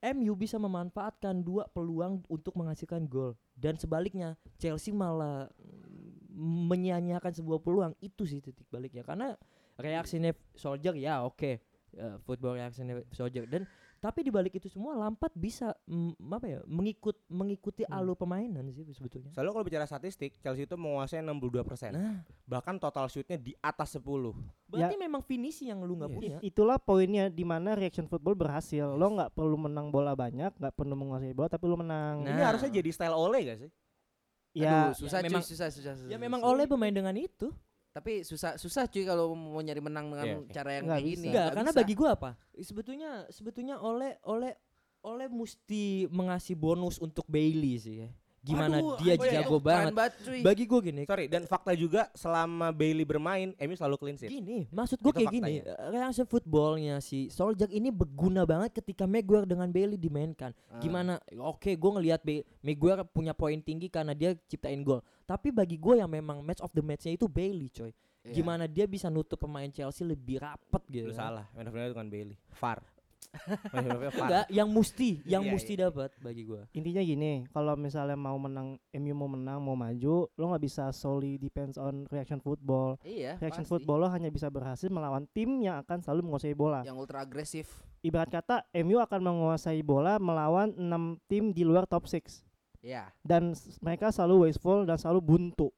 [SPEAKER 4] MU bisa memanfaatkan dua peluang untuk menghasilkan gol dan sebaliknya Chelsea malah mm, menyia-nyiakan sebuah peluang itu sih titik baliknya karena reaksinya Soldier ya oke eh, football reaksinya Soldier dan tapi dibalik itu semua Lampard bisa mm, apa ya mengikut mengikuti
[SPEAKER 6] Hmm.
[SPEAKER 4] alur permainan sih sebetulnya.
[SPEAKER 7] Selalu kalau bicara statistik, Chelsea itu menguasai 62%.
[SPEAKER 4] Nah,
[SPEAKER 7] Bahkan total shootnya di atas 10.
[SPEAKER 4] berarti memang finishing yang lu nggak
[SPEAKER 5] Iya.
[SPEAKER 7] Yes.
[SPEAKER 4] punya.
[SPEAKER 6] I- Itulah poinnya di mana reaction football berhasil. Lo nggak perlu menang bola banyak, nggak perlu menguasai bola, tapi lo menang.
[SPEAKER 4] Nah.
[SPEAKER 7] Ini harusnya jadi style Ole gak sih?
[SPEAKER 6] ya,
[SPEAKER 5] Aduh, susah
[SPEAKER 4] ya
[SPEAKER 5] cuy,
[SPEAKER 4] memang-
[SPEAKER 5] susah susah susah
[SPEAKER 4] Ya memang
[SPEAKER 5] susah.
[SPEAKER 4] oleh pemain dengan itu.
[SPEAKER 5] tapi susah susah cuy kalau mau nyari menang dengan
[SPEAKER 7] Iya, oke.
[SPEAKER 5] cara yang
[SPEAKER 6] Nggak
[SPEAKER 5] kayak
[SPEAKER 6] bisa.
[SPEAKER 5] gini
[SPEAKER 4] Enggak,
[SPEAKER 5] Nggak
[SPEAKER 4] karena
[SPEAKER 5] bisa.
[SPEAKER 4] bagi gua apa? Sebetulnya sebetulnya oleh oleh oleh mesti mengasih bonus untuk Bailey sih ya. Gimana
[SPEAKER 5] Waduh,
[SPEAKER 4] dia
[SPEAKER 5] anjay,
[SPEAKER 4] jago
[SPEAKER 5] keren
[SPEAKER 4] banget.
[SPEAKER 5] cuy.
[SPEAKER 4] Bagi gua gini,
[SPEAKER 7] Sorry, dan fakta juga selama Bailey bermain, MU selalu clean sheet.
[SPEAKER 4] gini, maksud gua
[SPEAKER 7] Itu
[SPEAKER 4] kayak gini, eh, reaksi footballnya si Solskjaer ini berguna banget ketika Maguire dengan Bailey dimainkan.
[SPEAKER 5] Ah.
[SPEAKER 4] Gimana? Oke, gua ngelihat Ba- Maguire punya poin tinggi karena dia ciptain gol. Tapi bagi gua yang memang match of the match-nya itu Bailey, coy.
[SPEAKER 5] Iya.
[SPEAKER 4] Gimana dia bisa nutup pemain Chelsea lebih rapet gitu.
[SPEAKER 7] Lu
[SPEAKER 4] kan.
[SPEAKER 7] salah, man of the match bukan Bailey. Far. Man of the match Far.
[SPEAKER 4] Enggak, yang mesti, yang
[SPEAKER 7] Iya,
[SPEAKER 4] mesti
[SPEAKER 7] iya.
[SPEAKER 4] dapat bagi gua.
[SPEAKER 6] intinya gini, kalau misalnya mau menang, MU mau menang, mau maju, lo nggak bisa solely depends on reaction football.
[SPEAKER 5] iya
[SPEAKER 6] Reaction
[SPEAKER 5] pasti.
[SPEAKER 6] football lo hanya bisa berhasil melawan tim yang akan selalu menguasai bola.
[SPEAKER 5] yang ultra agresif
[SPEAKER 6] ibarat kata MU akan menguasai bola melawan 6 tim di luar top 6
[SPEAKER 5] ya
[SPEAKER 6] dan s- mereka selalu wasteful dan selalu buntu.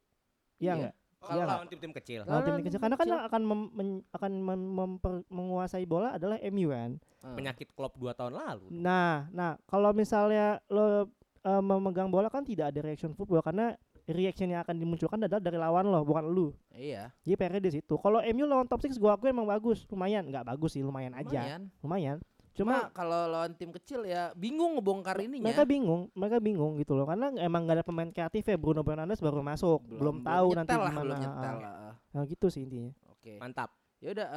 [SPEAKER 5] Iya.
[SPEAKER 6] Iya enggak?
[SPEAKER 7] Kalau
[SPEAKER 6] Iya.
[SPEAKER 7] lawan tim-tim kecil.
[SPEAKER 6] Lawan tim
[SPEAKER 5] Lawan
[SPEAKER 6] kecil
[SPEAKER 5] tim
[SPEAKER 6] karena kan
[SPEAKER 5] kecil.
[SPEAKER 6] yang akan mem- men- akan mem- memper- menguasai bola adalah MU kan.
[SPEAKER 7] Hmm. Penyakit Klopp 2 tahun lalu.
[SPEAKER 6] Nah, nah kalau misalnya lo eh, memegang bola kan tidak ada reaction football karena reaction yang akan dimunculkan adalah dari lawan lo bukan lu.
[SPEAKER 5] iya
[SPEAKER 6] Jadi PR di situ. Kalau MU lawan top 6 gua aku emang bagus, lumayan, nggak bagus sih, lumayan aja.
[SPEAKER 5] lumayan. Nah, iya.
[SPEAKER 6] Lumayan. Cuma
[SPEAKER 5] cuma kalau lawan tim kecil ya bingung ngebongkar ininya
[SPEAKER 6] mereka bingung mereka bingung gitu loh karena emang gak ada pemain kreatif ya Bruno Fernandes baru masuk belum, tahu nanti
[SPEAKER 5] nyetel lah,
[SPEAKER 6] gimana
[SPEAKER 5] belum nyetel
[SPEAKER 6] Ah,
[SPEAKER 5] lah.
[SPEAKER 6] nah, gitu sih intinya
[SPEAKER 5] oke
[SPEAKER 7] Mantap.
[SPEAKER 5] ya udah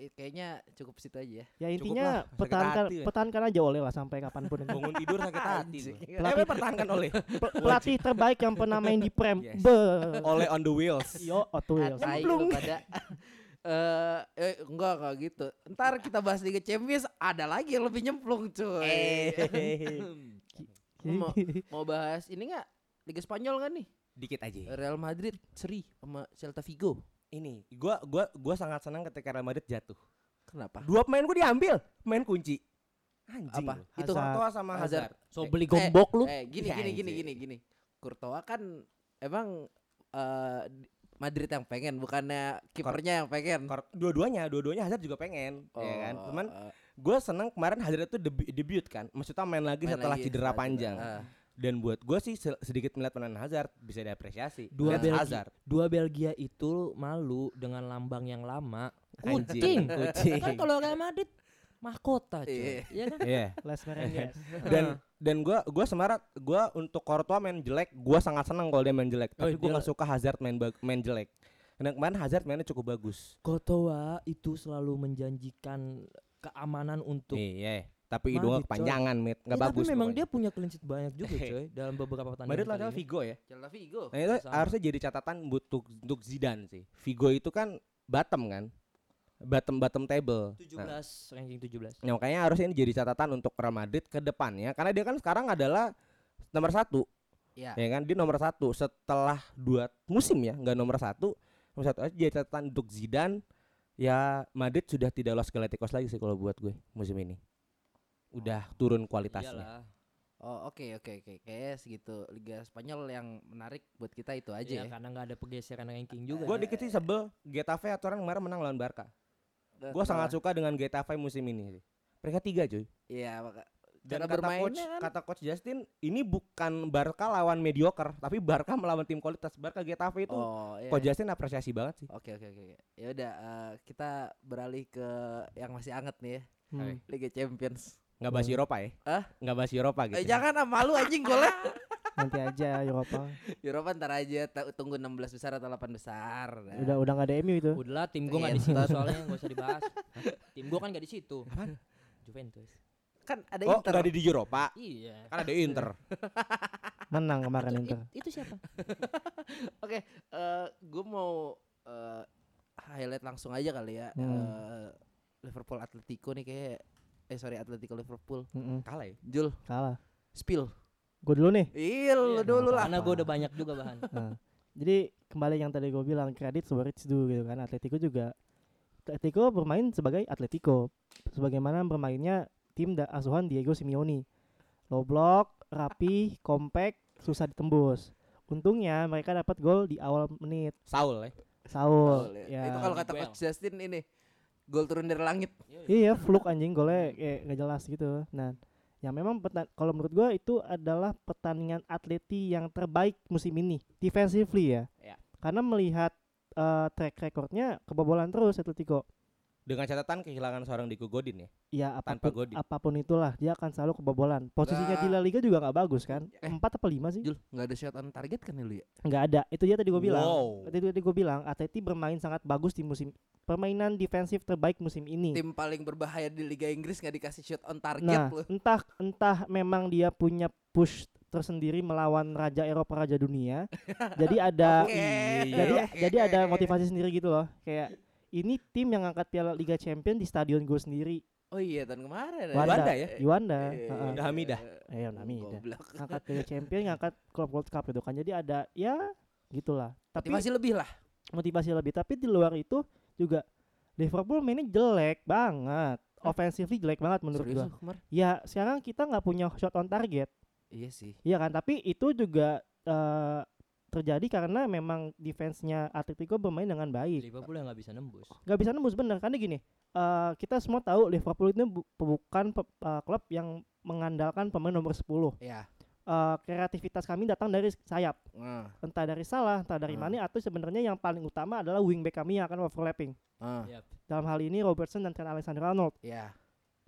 [SPEAKER 5] eh, kayaknya cukup situ aja ya
[SPEAKER 6] ya intinya
[SPEAKER 7] lah, sakit
[SPEAKER 6] pertahankan
[SPEAKER 7] hati ya.
[SPEAKER 6] pertahankan aja oleh lah sampai
[SPEAKER 5] <laughs>
[SPEAKER 6] kapanpun itu.
[SPEAKER 7] Bangun tidur sakit hati.
[SPEAKER 5] Anjing.
[SPEAKER 7] gua. Eh, apa pertahankan Ole.
[SPEAKER 6] Pe- pelatih terbaik yang pernah main di prem
[SPEAKER 7] Yes.
[SPEAKER 6] be
[SPEAKER 7] Ole on the wheels.
[SPEAKER 6] yo Otuil
[SPEAKER 5] Tai lu pada <laughs> Eh, eh, enggak kalau gitu. Ntar kita bahas Liga Champions ada lagi yang lebih nyemplung cuy.
[SPEAKER 6] Eh. Iya.
[SPEAKER 5] Mau- <laughs> Mau bahas ini enggak? Liga Spanyol enggak nih?
[SPEAKER 7] Dikit
[SPEAKER 6] Iya.
[SPEAKER 7] aja.
[SPEAKER 5] Real Madrid seri sama Celta Vigo.
[SPEAKER 7] Ini, gua gua gua sangat senang ketika Real Madrid jatuh.
[SPEAKER 5] Kenapa?
[SPEAKER 7] Dua pemain gua diambil, main kunci. Anjing.
[SPEAKER 5] Apa?
[SPEAKER 7] lu. Itu
[SPEAKER 6] Hazard.
[SPEAKER 7] Courtois sama
[SPEAKER 5] Hazard.
[SPEAKER 7] Hazard.
[SPEAKER 4] <laughs> So
[SPEAKER 5] Eh, eh,
[SPEAKER 4] beli gombok lu.
[SPEAKER 5] Eh, gini
[SPEAKER 7] Ya,
[SPEAKER 5] gini gini
[SPEAKER 7] anjing.
[SPEAKER 5] gini gini. Courtois kan emang eh, di- Madrid yang pengen, bukannya kipernya yang pengen.
[SPEAKER 7] Kor- dua-duanya dua-duanya Hazard juga pengen ya kan
[SPEAKER 5] Oh,
[SPEAKER 7] cuman
[SPEAKER 5] eh,
[SPEAKER 7] gue seneng kemarin Hazard itu debu- debut kan maksudnya main lagi
[SPEAKER 5] main
[SPEAKER 7] setelah
[SPEAKER 5] lagi,
[SPEAKER 7] cedera
[SPEAKER 5] setelah
[SPEAKER 7] panjang
[SPEAKER 5] eh.
[SPEAKER 7] dan buat gue sih se- sedikit melihat peranan Hazard bisa diapresiasi
[SPEAKER 4] Dua
[SPEAKER 7] Lihat
[SPEAKER 4] Belgia.
[SPEAKER 7] Hazard
[SPEAKER 4] Dua Belgia itu malu dengan lambang yang lama.
[SPEAKER 7] Anjing.
[SPEAKER 4] Kucing, kucing. kan kalau Real Madrid mahkota, cuy. Iya kan?
[SPEAKER 7] <laughs> Iya.
[SPEAKER 6] Lesnar and yes.
[SPEAKER 7] dan dan gue gue semarat gue untuk Courtois main jelek gue sangat seneng kalau dia main jelek
[SPEAKER 4] Oh,
[SPEAKER 7] tapi gue
[SPEAKER 4] dia-
[SPEAKER 7] gak suka Hazard main bag- main jelek dan kemarin Hazard mainnya cukup bagus
[SPEAKER 4] Kotoa itu selalu menjanjikan keamanan untuk
[SPEAKER 7] iya tapi
[SPEAKER 4] Madrid,
[SPEAKER 7] hidungnya
[SPEAKER 4] coy.
[SPEAKER 7] kepanjangan mit nggak
[SPEAKER 4] Iya,
[SPEAKER 7] bagus
[SPEAKER 4] Tapi memang
[SPEAKER 7] pokoknya.
[SPEAKER 4] dia Iya, punya clean sheet banyak juga coy dalam beberapa pertandingan.
[SPEAKER 7] Madrid
[SPEAKER 4] kali
[SPEAKER 7] lawan
[SPEAKER 4] ini.
[SPEAKER 7] Vigo ya
[SPEAKER 5] Celta Vigo.
[SPEAKER 7] Nah itu
[SPEAKER 4] Sama.
[SPEAKER 7] harusnya jadi catatan untuk untuk Zidane sih. Vigo itu kan bottom kan, bottom bottom table.
[SPEAKER 4] 17
[SPEAKER 7] Nah,
[SPEAKER 4] ranking 17.
[SPEAKER 7] ya makanya harusnya ini jadi catatan untuk Real Madrid ke depannya, karena dia kan sekarang adalah nomor satu,
[SPEAKER 5] Iya.
[SPEAKER 7] ya kan? Dia nomor satu setelah dua musim ya, nggak nomor satu, nomor satu aja jadi catatan untuk Zidane. Ya Madrid sudah tidak lolos Galacticos lagi sih kalau buat gue musim ini. Udah turun kualitasnya.
[SPEAKER 4] Iyalah.
[SPEAKER 5] Oh oke oke oke kayaknya segitu Liga Spanyol yang menarik buat kita itu aja ya.
[SPEAKER 4] Iya, karena nggak ada pergeseran ranking juga.
[SPEAKER 7] Gue dikit sih sebel Getafe aturan kemarin menang lawan Barca.
[SPEAKER 5] Eh,
[SPEAKER 7] Gue sangat
[SPEAKER 5] kenapa?
[SPEAKER 7] suka dengan Getafe musim ini sih. Mereka tiga cuy.
[SPEAKER 5] Iya maka cara
[SPEAKER 7] Dan kata coach,
[SPEAKER 5] bermainnya kan.
[SPEAKER 7] kata coach Justin, ini bukan Barca lawan mediocre, tapi Barca <laughs> melawan tim kualitas. Barca Getafe itu
[SPEAKER 5] oh iya.
[SPEAKER 7] coach Justin apresiasi banget sih.
[SPEAKER 5] Oke oke oke. Ya udah eh, kita beralih ke yang masih anget nih ya
[SPEAKER 6] Hmm.
[SPEAKER 5] Liga Champions.
[SPEAKER 7] Nggak bahas
[SPEAKER 6] Hmm.
[SPEAKER 7] Eropa ya?
[SPEAKER 5] Hah?
[SPEAKER 7] Nggak bahas Eropa gitu.
[SPEAKER 5] Eh jangan ah, malu anjing golnya.
[SPEAKER 6] Nanti aja Eropa.
[SPEAKER 5] Eropa ntar aja ta- tunggu 16 besar atau 8 besar. Nah.
[SPEAKER 6] Udah udah nggak ada MU itu.
[SPEAKER 4] Udahlah tim gue nggak di situ soalnya nggak usah dibahas. tim gue kan nggak di situ. Juventus.
[SPEAKER 5] Kan ada
[SPEAKER 7] Oh,
[SPEAKER 5] Inter.
[SPEAKER 7] nggak ada di Eropa.
[SPEAKER 4] Iya.
[SPEAKER 7] Kan ada Inter.
[SPEAKER 6] Menang kemarin
[SPEAKER 4] Itu-
[SPEAKER 6] Inter.
[SPEAKER 4] it- itu siapa?
[SPEAKER 5] Oke, gue mau eh, highlight langsung aja kali ya.
[SPEAKER 6] Hmm.
[SPEAKER 5] Eh, Liverpool Atletico nih kayak eh sorry Atletico Liverpool.
[SPEAKER 6] Mm-mm.
[SPEAKER 7] Kalah ya?
[SPEAKER 5] Jul,
[SPEAKER 6] Kalah.
[SPEAKER 5] spill.
[SPEAKER 6] Gue dulu nih.
[SPEAKER 5] Iya, lu dulu lah.
[SPEAKER 4] Karena gue udah banyak juga bahan.
[SPEAKER 6] Nah, jadi kembali yang tadi gue bilang kredit sebagai dulu gitu kan Atletico juga Atletico bermain sebagai Atletico sebagaimana bermainnya tim da- asuhan Diego Simeone low block rapi compact susah ditembus untungnya mereka dapat gol di awal menit
[SPEAKER 7] Saul ya?
[SPEAKER 6] Saul
[SPEAKER 5] Ya. Itu
[SPEAKER 6] ya
[SPEAKER 5] kalau kata Coach Justin ini gol turun dari langit.
[SPEAKER 6] iya fluk anjing golnya kayak gak jelas gitu nah yang memang pertan- kalau menurut gue itu adalah pertandingan Atleti yang terbaik musim ini defensively ya
[SPEAKER 7] Iya.
[SPEAKER 6] karena melihat eh, track recordnya kebobolan terus Atletico
[SPEAKER 7] Dengan catatan kehilangan seorang Diego Godin ya.
[SPEAKER 6] ya
[SPEAKER 7] Tanpa
[SPEAKER 6] apapun
[SPEAKER 7] Godin.
[SPEAKER 6] apapun itulah dia akan selalu kebobolan posisinya di La Liga juga nggak bagus kan
[SPEAKER 5] Eh.
[SPEAKER 6] empat apa lima sih
[SPEAKER 5] Jul, nggak ada shot on target kan ya lu ya?
[SPEAKER 6] nggak ada itu dia tadi gue bilang
[SPEAKER 7] Wow.
[SPEAKER 6] itu tadi gue bilang Atleti bermain sangat bagus di musim permainan defensif terbaik musim ini
[SPEAKER 5] Tim paling berbahaya di Liga Inggris nggak dikasih shot on target
[SPEAKER 6] Nah,
[SPEAKER 5] lu.
[SPEAKER 6] entah entah memang dia punya push tersendiri melawan raja Eropa raja dunia.
[SPEAKER 5] <laughs>
[SPEAKER 6] jadi ada
[SPEAKER 5] Oke.
[SPEAKER 6] iya. jadi
[SPEAKER 5] iya,
[SPEAKER 6] jadi ada motivasi sendiri gitu loh. Kayak ini tim yang angkat piala Liga Champion di stadion gue sendiri
[SPEAKER 5] Oh iya tahun kemarin. ada.
[SPEAKER 6] Wanda.
[SPEAKER 7] Wanda ya?
[SPEAKER 6] di Wanda.
[SPEAKER 5] Eh,
[SPEAKER 6] Heeh.
[SPEAKER 7] Wanda Hamidah.
[SPEAKER 6] Eh, Wanda Hamidah.
[SPEAKER 5] Goblok.
[SPEAKER 6] Angkat Piala Champion, ngangkat Club World Cup gitu kan. Jadi ada ya gitulah. Tapi
[SPEAKER 5] Motivasi lebih lah.
[SPEAKER 6] motivasi lebih tapi di luar itu juga Liverpool mainnya jelek banget. Offensively jelek banget menurut
[SPEAKER 5] Serius
[SPEAKER 6] gua.
[SPEAKER 5] lu kemarin?
[SPEAKER 6] Ya sekarang kita nggak punya shot on target.
[SPEAKER 5] Iya sih.
[SPEAKER 6] Iya kan, tapi itu juga eh, terjadi karena memang defense-nya Atletico bermain dengan baik.
[SPEAKER 4] Liverpool yang nggak bisa nembus.
[SPEAKER 6] Gak bisa nembus bener karena gini, eh, kita semua tahu Liverpool itu bu- bukan pe- eh, klub yang mengandalkan pemain nomor 10.
[SPEAKER 5] Ya.
[SPEAKER 6] Eh, kreativitas kami datang dari sayap,
[SPEAKER 5] Heeh.
[SPEAKER 6] entah dari Salah, entah dari
[SPEAKER 5] Hmm.
[SPEAKER 6] Mane atau sebenarnya yang paling utama adalah wingback kami yang akan overlapping.
[SPEAKER 5] Heeh.
[SPEAKER 4] Yap.
[SPEAKER 6] Dalam hal ini Robertson dan Trent Alexander-Arnold.
[SPEAKER 5] Ya.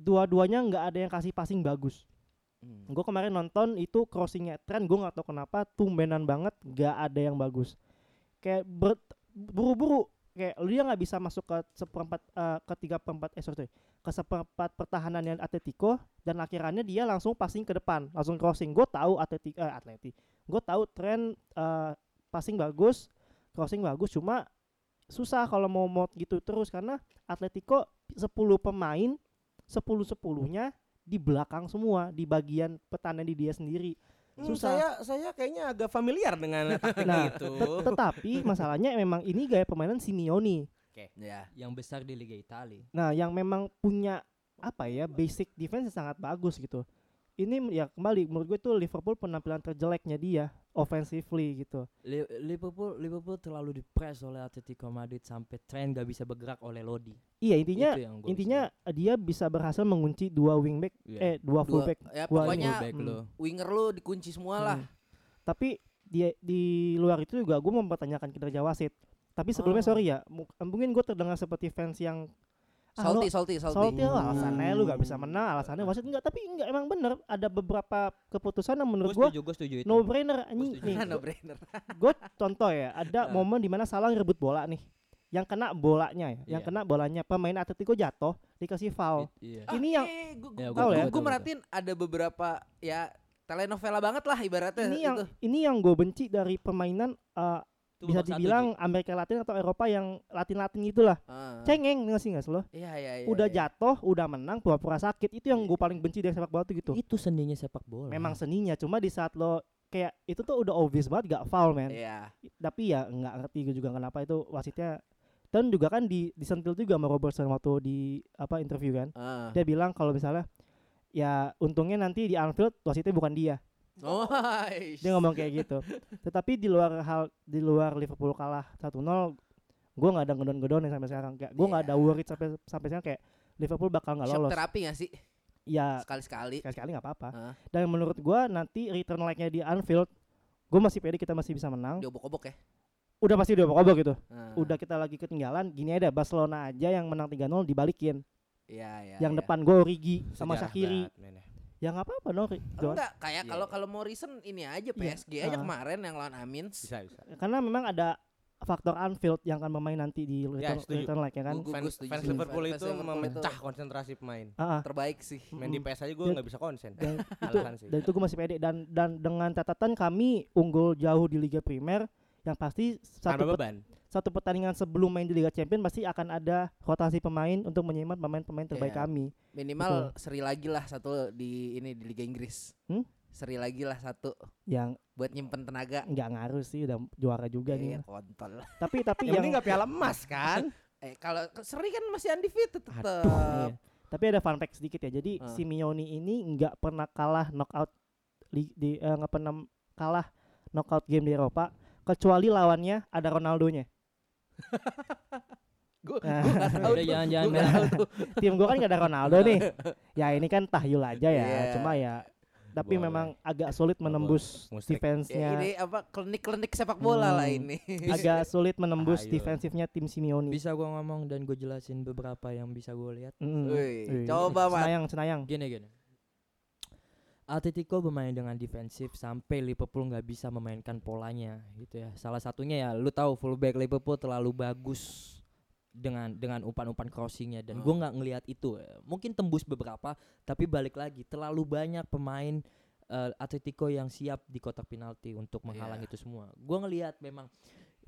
[SPEAKER 6] Dua-duanya nggak ada yang kasih passing bagus.
[SPEAKER 5] Hmm.
[SPEAKER 6] gue kemarin nonton itu crossingnya tren gue nggak tahu kenapa tumbenan banget nggak ada yang bagus kayak ber- buru-buru kayak lu dia nggak bisa masuk ke seperempat eh, ke tiga perempat eh sorry sorry, ke seperempat pertahanan yang Atletico dan akhirnya dia langsung passing ke depan langsung crossing gue tahu Atleti eh, Atleti gue tahu tren eh, passing bagus crossing bagus cuma susah kalau mau mod gitu terus karena Atletico 10 pemain 10-10-nya di belakang semua di bagian pertahanan di dia sendiri
[SPEAKER 7] Hmm,
[SPEAKER 6] Susah.
[SPEAKER 7] saya saya kayaknya agak familiar dengan taktik
[SPEAKER 6] Nah,
[SPEAKER 7] itu.
[SPEAKER 6] Tet- tetapi masalahnya memang ini gaya permainan Simeone
[SPEAKER 5] Ya.
[SPEAKER 4] Yang besar di Liga Italia.
[SPEAKER 6] nah yang memang punya apa ya basic defense yang sangat bagus gitu ini ya kembali menurut gue tuh Liverpool penampilan terjeleknya dia offensively gitu.
[SPEAKER 4] Li- Liverpool Liverpool terlalu dipres oleh Atletico Madrid sampai tren gak bisa bergerak oleh Lodi.
[SPEAKER 6] Iya intinya
[SPEAKER 4] Itu yang gua
[SPEAKER 6] intinya dia bisa berhasil mengunci dua wingback
[SPEAKER 4] Iya.
[SPEAKER 6] eh dua
[SPEAKER 5] Dua,
[SPEAKER 6] fullback.
[SPEAKER 5] ya
[SPEAKER 6] gua
[SPEAKER 5] pokoknya
[SPEAKER 4] Fullback
[SPEAKER 6] hmm.
[SPEAKER 4] lo.
[SPEAKER 5] winger lu dikunci semua lah.
[SPEAKER 6] Hmm. Tapi dia di luar itu juga gue mempertanyakan kinerja wasit. Tapi sebelumnya
[SPEAKER 5] Oh.
[SPEAKER 6] sorry ya, mu- mungkin gue terdengar seperti fans yang "Ah, lo-
[SPEAKER 5] Salty, salty, salty. Hmm.
[SPEAKER 6] Salty
[SPEAKER 4] Hmm.
[SPEAKER 6] lah
[SPEAKER 5] <laughs>
[SPEAKER 6] alasannya lu gak bisa menang alasannya wasit enggak tapi enggak emang bener ada beberapa keputusan yang menurut
[SPEAKER 4] Gua
[SPEAKER 6] gua
[SPEAKER 4] setuju, gua setuju itu.
[SPEAKER 6] no brainer anjing
[SPEAKER 4] setuju.
[SPEAKER 6] nih
[SPEAKER 5] Nah, no brainer.
[SPEAKER 6] gue contoh ya ada
[SPEAKER 5] Nah.
[SPEAKER 6] momen dimana salah ngerebut bola nih yang kena bolanya ya yang
[SPEAKER 4] Iya.
[SPEAKER 6] kena bolanya pemain Atletico jatuh dikasih foul
[SPEAKER 4] Iya.
[SPEAKER 6] <laughs> ini yang
[SPEAKER 5] Eh,
[SPEAKER 4] Ya,
[SPEAKER 5] gue
[SPEAKER 6] gua tahu ya.
[SPEAKER 5] gue merhatiin ada beberapa ya telenovela banget lah ibaratnya
[SPEAKER 6] ini yang
[SPEAKER 5] Nah,
[SPEAKER 6] <laughs>
[SPEAKER 5] itu.
[SPEAKER 6] ini yang gue benci dari permainan eh,
[SPEAKER 4] Itu
[SPEAKER 6] bisa
[SPEAKER 4] babak satu,
[SPEAKER 6] dibilang Amerika Latin atau Eropa yang Latin-Latin gitulah
[SPEAKER 5] Ah.
[SPEAKER 6] cengeng nggak sih nggak sih lo
[SPEAKER 5] Iya, iya, iya.
[SPEAKER 6] udah
[SPEAKER 5] iya.
[SPEAKER 6] jatuh udah menang pura-pura sakit itu yang gue paling benci dari sepak bola tuh
[SPEAKER 5] Iya.
[SPEAKER 6] gitu
[SPEAKER 4] Ji. Itu seninya sepak bola.
[SPEAKER 6] memang seninya cuma di saat lo kayak itu tuh udah obvious banget gak foul man
[SPEAKER 5] Iya.
[SPEAKER 6] tapi ya nggak ngerti gue juga kenapa itu wasitnya dan juga kan di disentil juga sama Robertson waktu di apa interview kan
[SPEAKER 5] Ah.
[SPEAKER 6] dia bilang kalau misalnya ya untungnya nanti di Anfield wasitnya bukan dia
[SPEAKER 5] Oh,
[SPEAKER 6] dia ngomong kayak gitu tetapi di luar hal di luar Liverpool kalah 1-0 gue nggak ada gedon-gedon sampai sekarang kayak gue nggak ada
[SPEAKER 7] Iya.
[SPEAKER 6] worried sampai sampai sekarang kayak Liverpool bakal nggak
[SPEAKER 5] Shock
[SPEAKER 6] lolos
[SPEAKER 5] terapi gak sih?
[SPEAKER 6] ya
[SPEAKER 5] Sekali-sekali. Ah,
[SPEAKER 6] sekali-sekali nggak apa-apa.
[SPEAKER 5] Hah?
[SPEAKER 6] Dan menurut gua nanti return like-nya di Anfield, gua masih pede kita masih bisa menang.
[SPEAKER 5] Diobok-obok ya.
[SPEAKER 6] Udah pasti udah obok gitu.
[SPEAKER 7] Nah.
[SPEAKER 5] Ah.
[SPEAKER 6] Udah kita lagi ketinggalan, gini aja Barcelona aja yang menang 3-0 dibalikin.
[SPEAKER 5] Iya, iya. iya.
[SPEAKER 6] yang depan gua Origi sama
[SPEAKER 7] Sejarah
[SPEAKER 6] Shakiri.
[SPEAKER 7] Ya, banget, men, ya.
[SPEAKER 6] Ya nggak apa-apa dong. Ri- Don.
[SPEAKER 5] Enggak, kayak
[SPEAKER 7] Iya,
[SPEAKER 5] kalau
[SPEAKER 7] iya.
[SPEAKER 5] kalau mau recent ini aja PSG aja
[SPEAKER 6] Ah.
[SPEAKER 5] kemarin yang lawan Amins.
[SPEAKER 7] Bisa bisa.
[SPEAKER 6] Karena memang ada faktor Anfield yang akan bermain nanti di return,
[SPEAKER 7] setuju.
[SPEAKER 6] return like ya kan.
[SPEAKER 5] Gua- gua
[SPEAKER 7] Fans,
[SPEAKER 5] setuju
[SPEAKER 7] fans
[SPEAKER 5] sih.
[SPEAKER 7] Liverpool
[SPEAKER 5] Fans
[SPEAKER 7] itu
[SPEAKER 5] Liverpool itu
[SPEAKER 7] memecah konsentrasi pemain.
[SPEAKER 6] Ah, ah.
[SPEAKER 5] terbaik sih.
[SPEAKER 7] Main di
[SPEAKER 6] Mm-mm.
[SPEAKER 7] PS aja gue
[SPEAKER 6] Dan-
[SPEAKER 7] nggak bisa konsen.
[SPEAKER 6] Dan itu
[SPEAKER 7] Alasan sih.
[SPEAKER 6] dan itu gua masih pede dan dan dengan catatan kami unggul jauh di Liga Primer yang pasti
[SPEAKER 7] Tanpa
[SPEAKER 6] satu pet-
[SPEAKER 7] beban.
[SPEAKER 6] satu pertandingan sebelum main di Liga Champions pasti akan ada rotasi pemain untuk menyemat pemain-pemain terbaik
[SPEAKER 5] Iya.
[SPEAKER 6] kami.
[SPEAKER 5] Minimal seri lagi lah satu di ini di Liga Inggris.
[SPEAKER 6] Hmm?
[SPEAKER 5] Seri lagi lah satu
[SPEAKER 6] Yang
[SPEAKER 5] buat nyimpen tenaga.
[SPEAKER 6] nggak ngaruh sih udah juara juga
[SPEAKER 5] Iya,
[SPEAKER 6] nih.
[SPEAKER 5] kontol.
[SPEAKER 6] Tapi tapi
[SPEAKER 7] Yang
[SPEAKER 6] yang,
[SPEAKER 7] penting nggak piala emas kan?
[SPEAKER 5] Eh kalau ke- seri kan masih undefeated tetap.
[SPEAKER 6] Iya. tapi ada fun fact sedikit ya. Jadi
[SPEAKER 5] Ah.
[SPEAKER 6] Simeone ini nggak pernah kalah knockout li, di eh, nggak pernah kalah knockout game di Eropa kecuali lawannya ada Ronaldonya.
[SPEAKER 5] Gue
[SPEAKER 6] Nah,
[SPEAKER 5] tahu.
[SPEAKER 4] Udah,
[SPEAKER 5] tuh,
[SPEAKER 4] jangan-jangan.
[SPEAKER 5] gua nggak tahu tuh.
[SPEAKER 6] tim gua kan nggak ada Ronaldo nih. Ya ini kan tahyul aja ya.
[SPEAKER 5] Iya.
[SPEAKER 6] Cuma ya tapi
[SPEAKER 7] Boleh.
[SPEAKER 6] memang agak sulit menembus
[SPEAKER 7] Boleh.
[SPEAKER 5] Ya,
[SPEAKER 7] Musrik.
[SPEAKER 6] defense-nya.
[SPEAKER 5] ini apa klinik-klinik sepak bola lah
[SPEAKER 6] Hmm.
[SPEAKER 5] ini.
[SPEAKER 6] <laughs> agak sulit menembus
[SPEAKER 7] Ayo.
[SPEAKER 6] defensifnya tim Simeone.
[SPEAKER 4] Bisa gua ngomong dan gue jelasin beberapa yang bisa gue lihat.
[SPEAKER 6] Mm.
[SPEAKER 5] Wih,
[SPEAKER 6] Wih.
[SPEAKER 5] coba, Mat.
[SPEAKER 6] Cenayang, Cenayang.
[SPEAKER 4] Gini gini. Atletico bermain dengan defensif sampai Liverpool nggak bisa memainkan polanya gitu ya. Salah satunya ya lu tahu fullback Liverpool terlalu bagus dengan dengan umpan-umpan crossingnya dan gua nggak ngelihat itu. Mungkin tembus beberapa tapi balik lagi terlalu banyak pemain eh, Atletico yang siap di kotak penalti untuk menghalang
[SPEAKER 5] Iya.
[SPEAKER 4] itu semua. Gua ngelihat memang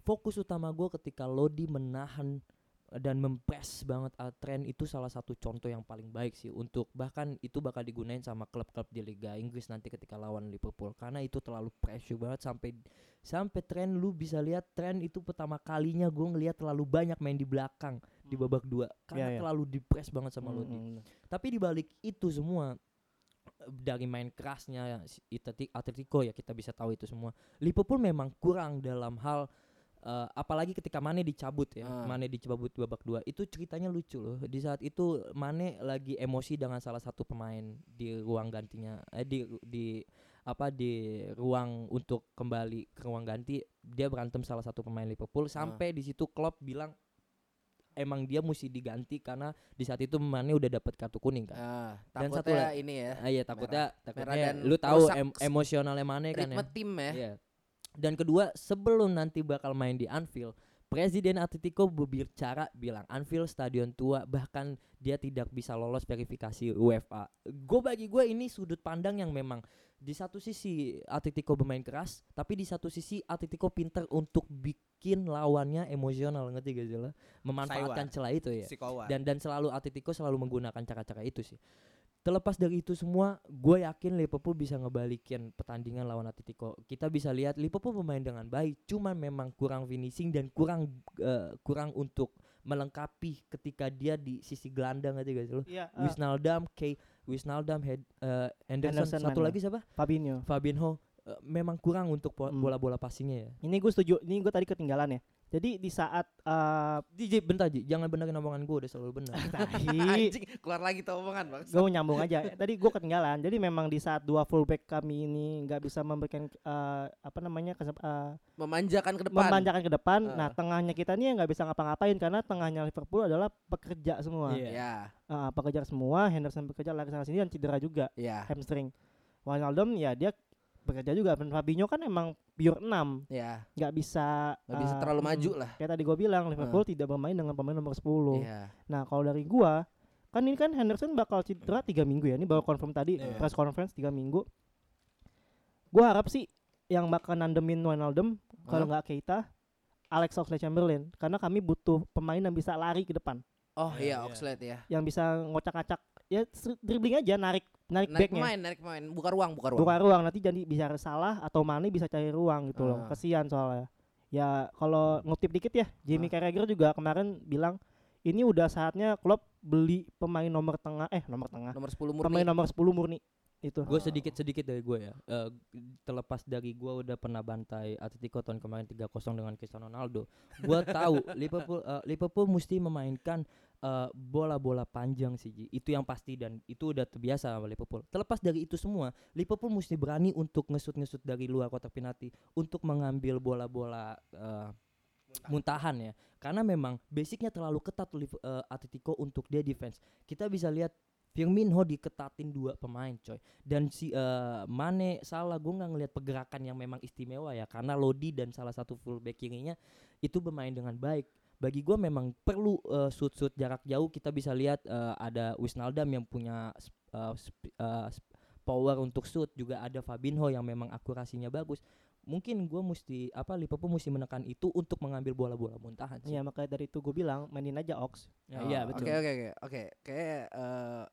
[SPEAKER 4] fokus utama gua ketika Lodi menahan eh, dan mempres banget uh, tren itu salah satu contoh yang paling baik sih untuk bahkan itu bakal digunain sama klub-klub di Liga Inggris nanti ketika lawan Liverpool karena itu terlalu pressure banget sampai sampai tren lu bisa lihat tren itu pertama kalinya gue ngelihat terlalu banyak main di belakang di babak dua karena
[SPEAKER 6] Hmm. iya.
[SPEAKER 4] terlalu dipres banget sama Lodi
[SPEAKER 6] Mm, mm.
[SPEAKER 4] tapi di balik itu semua eh, dari main kerasnya si Atleti- Atletico ya kita bisa tahu itu semua. Liverpool memang kurang dalam hal eh, apalagi ketika Mane dicabut ya.
[SPEAKER 5] Ah.
[SPEAKER 4] Mane dicabut di babak dua. Itu ceritanya lucu loh. Di saat itu Mane lagi emosi dengan salah satu pemain di ruang gantinya eh di di apa di ruang untuk kembali ke ruang ganti dia berantem salah satu pemain Liverpool sampai di situ Klopp bilang emang dia mesti diganti karena di saat itu Mane udah dapat kartu kuning kan.
[SPEAKER 5] Ah,
[SPEAKER 4] Dan satu
[SPEAKER 5] takutnya
[SPEAKER 4] lagi.
[SPEAKER 5] ini ya.
[SPEAKER 4] Ah iya takutnya takutnya
[SPEAKER 5] Merah dan
[SPEAKER 4] lu tahu
[SPEAKER 5] rusak
[SPEAKER 4] em
[SPEAKER 5] s-
[SPEAKER 4] emosionalnya Mane kan
[SPEAKER 5] Ritme
[SPEAKER 4] ya.
[SPEAKER 5] tim ya.
[SPEAKER 4] Iya. Dan kedua, sebelum nanti bakal main di Anfield, Presiden Atletico berbicara bilang Anfield stadion tua bahkan dia tidak bisa lolos verifikasi UEFA. Gue bagi gue ini sudut pandang yang memang di satu sisi Atletico bermain keras, tapi di satu sisi Atletico pinter untuk bikin lawannya emosional ngerti gak sih lo? Memanfaatkan celah itu ya
[SPEAKER 7] Si Kowa.
[SPEAKER 4] dan dan selalu Atletico selalu menggunakan cara-cara itu sih. Terlepas dari itu semua, gue yakin Liverpool bisa ngebalikin pertandingan lawan Atletico. Kita bisa lihat Liverpool bermain dengan baik, cuman memang kurang finishing dan kurang eh, kurang untuk melengkapi ketika dia di sisi gelandang aja guys lu.
[SPEAKER 6] Iya, eh,
[SPEAKER 4] Wisnaldam, Kay, Wisnaldam, Hed, eh, Anderson,
[SPEAKER 6] Anderson
[SPEAKER 4] satu
[SPEAKER 6] memang.
[SPEAKER 4] lagi siapa?
[SPEAKER 6] Fabinho.
[SPEAKER 4] Fabinho. Eh, memang kurang untuk po-
[SPEAKER 6] Hmm.
[SPEAKER 4] bola-bola passingnya ya.
[SPEAKER 6] Ini gue setuju. Ini gue tadi ketinggalan ya. Jadi di saat eh
[SPEAKER 4] DJ bentar Ji, jangan benerin omongan gue udah selalu benar.
[SPEAKER 6] tadi
[SPEAKER 5] Ah, Anjing, keluar lagi tuh omongan bang.
[SPEAKER 6] gue mau nyambung aja. Tadi gue ketinggalan. Jadi memang di saat dua fullback kami ini nggak bisa memberikan eh, apa namanya kesep- eh,
[SPEAKER 5] Memanjakan ke depan.
[SPEAKER 6] memanjakan ke depan.
[SPEAKER 5] Heeh.
[SPEAKER 6] Nah tengahnya kita nih yang nggak bisa ngapa-ngapain karena tengahnya Liverpool adalah pekerja semua,
[SPEAKER 4] Iya.
[SPEAKER 5] Ya,
[SPEAKER 6] Eh, pekerja semua. Henderson bekerja lari sana sini dan cedera juga
[SPEAKER 5] ya,
[SPEAKER 6] hamstring. Wijnaldum ya dia bekerja juga. Dan Fabinho kan emang pure 6
[SPEAKER 5] ya.
[SPEAKER 6] nggak bisa
[SPEAKER 5] Gak bisa
[SPEAKER 6] eh,
[SPEAKER 5] terlalu
[SPEAKER 6] mm,
[SPEAKER 5] maju lah.
[SPEAKER 6] Kayak tadi gue bilang Liverpool tidak bermain dengan pemain nomor 10
[SPEAKER 5] Iya.
[SPEAKER 6] Nah kalau dari gua kan ini kan Henderson bakal cedera tiga minggu ya. Ini baru confirm tadi
[SPEAKER 7] Iya.
[SPEAKER 6] press conference tiga minggu. Gua harap sih yang bakal nandemin Wijnaldum
[SPEAKER 5] Oh,
[SPEAKER 6] kalau nggak Keita, Alex Oxlade-Chamberlain karena kami butuh pemain yang bisa lari ke depan,
[SPEAKER 5] Oh
[SPEAKER 7] Iya,
[SPEAKER 5] iya,
[SPEAKER 7] iya.
[SPEAKER 5] Oxlade ya.
[SPEAKER 6] yang bisa ngocak-ngacak ya stri- dribbling aja narik narik,
[SPEAKER 5] Narik
[SPEAKER 6] backnya.
[SPEAKER 5] main, narik main. Buka ruang, buka ruang.
[SPEAKER 6] Buka ruang nanti jadi bisa salah atau Mane bisa cari ruang gitu loh.
[SPEAKER 5] Ah.
[SPEAKER 6] Kesian soalnya. Ya kalau ngutip dikit ya,
[SPEAKER 5] Ah.
[SPEAKER 6] Jamie Carragher juga kemarin bilang ini udah saatnya Klopp beli pemain nomor tengah eh nomor tengah.
[SPEAKER 5] Nomor 10 murni.
[SPEAKER 6] Pemain nomor 10 murni itu.
[SPEAKER 4] Gue sedikit sedikit dari gue ya. Eh, terlepas dari gue udah pernah bantai Atletico tahun kemarin 3-0 dengan Cristiano Ronaldo. Gue tahu Liverpool eh, Liverpool mesti memainkan eh, bola-bola panjang sih. Ji. Itu yang pasti dan itu udah terbiasa sama Liverpool. Terlepas dari itu semua, Liverpool mesti berani untuk ngesut-ngesut dari luar kotak penalti untuk mengambil bola-bola eh, muntahan ya. Karena memang basicnya terlalu ketat Liv- eh, Atletico untuk dia defense. Kita bisa lihat Firmino diketatin dua pemain coy dan si eh, Mane salah gue nggak ngelihat pergerakan yang memang istimewa ya karena Lodi dan salah satu fullback kirinya itu bermain dengan baik bagi gue memang perlu eh, shoot-shoot jarak jauh kita bisa lihat eh, ada Wisnaldam yang punya sp- eh, sp- eh, sp- power untuk shoot juga ada Fabinho yang memang akurasinya bagus mungkin gue mesti apa Liverpool mesti menekan itu untuk mengambil bola-bola muntahan sih.
[SPEAKER 6] Iya makanya dari itu gue bilang mainin aja Ox.
[SPEAKER 4] Ya, iya
[SPEAKER 5] Oh,
[SPEAKER 4] betul
[SPEAKER 5] Oke, oke, oke. Oke, kayak eh,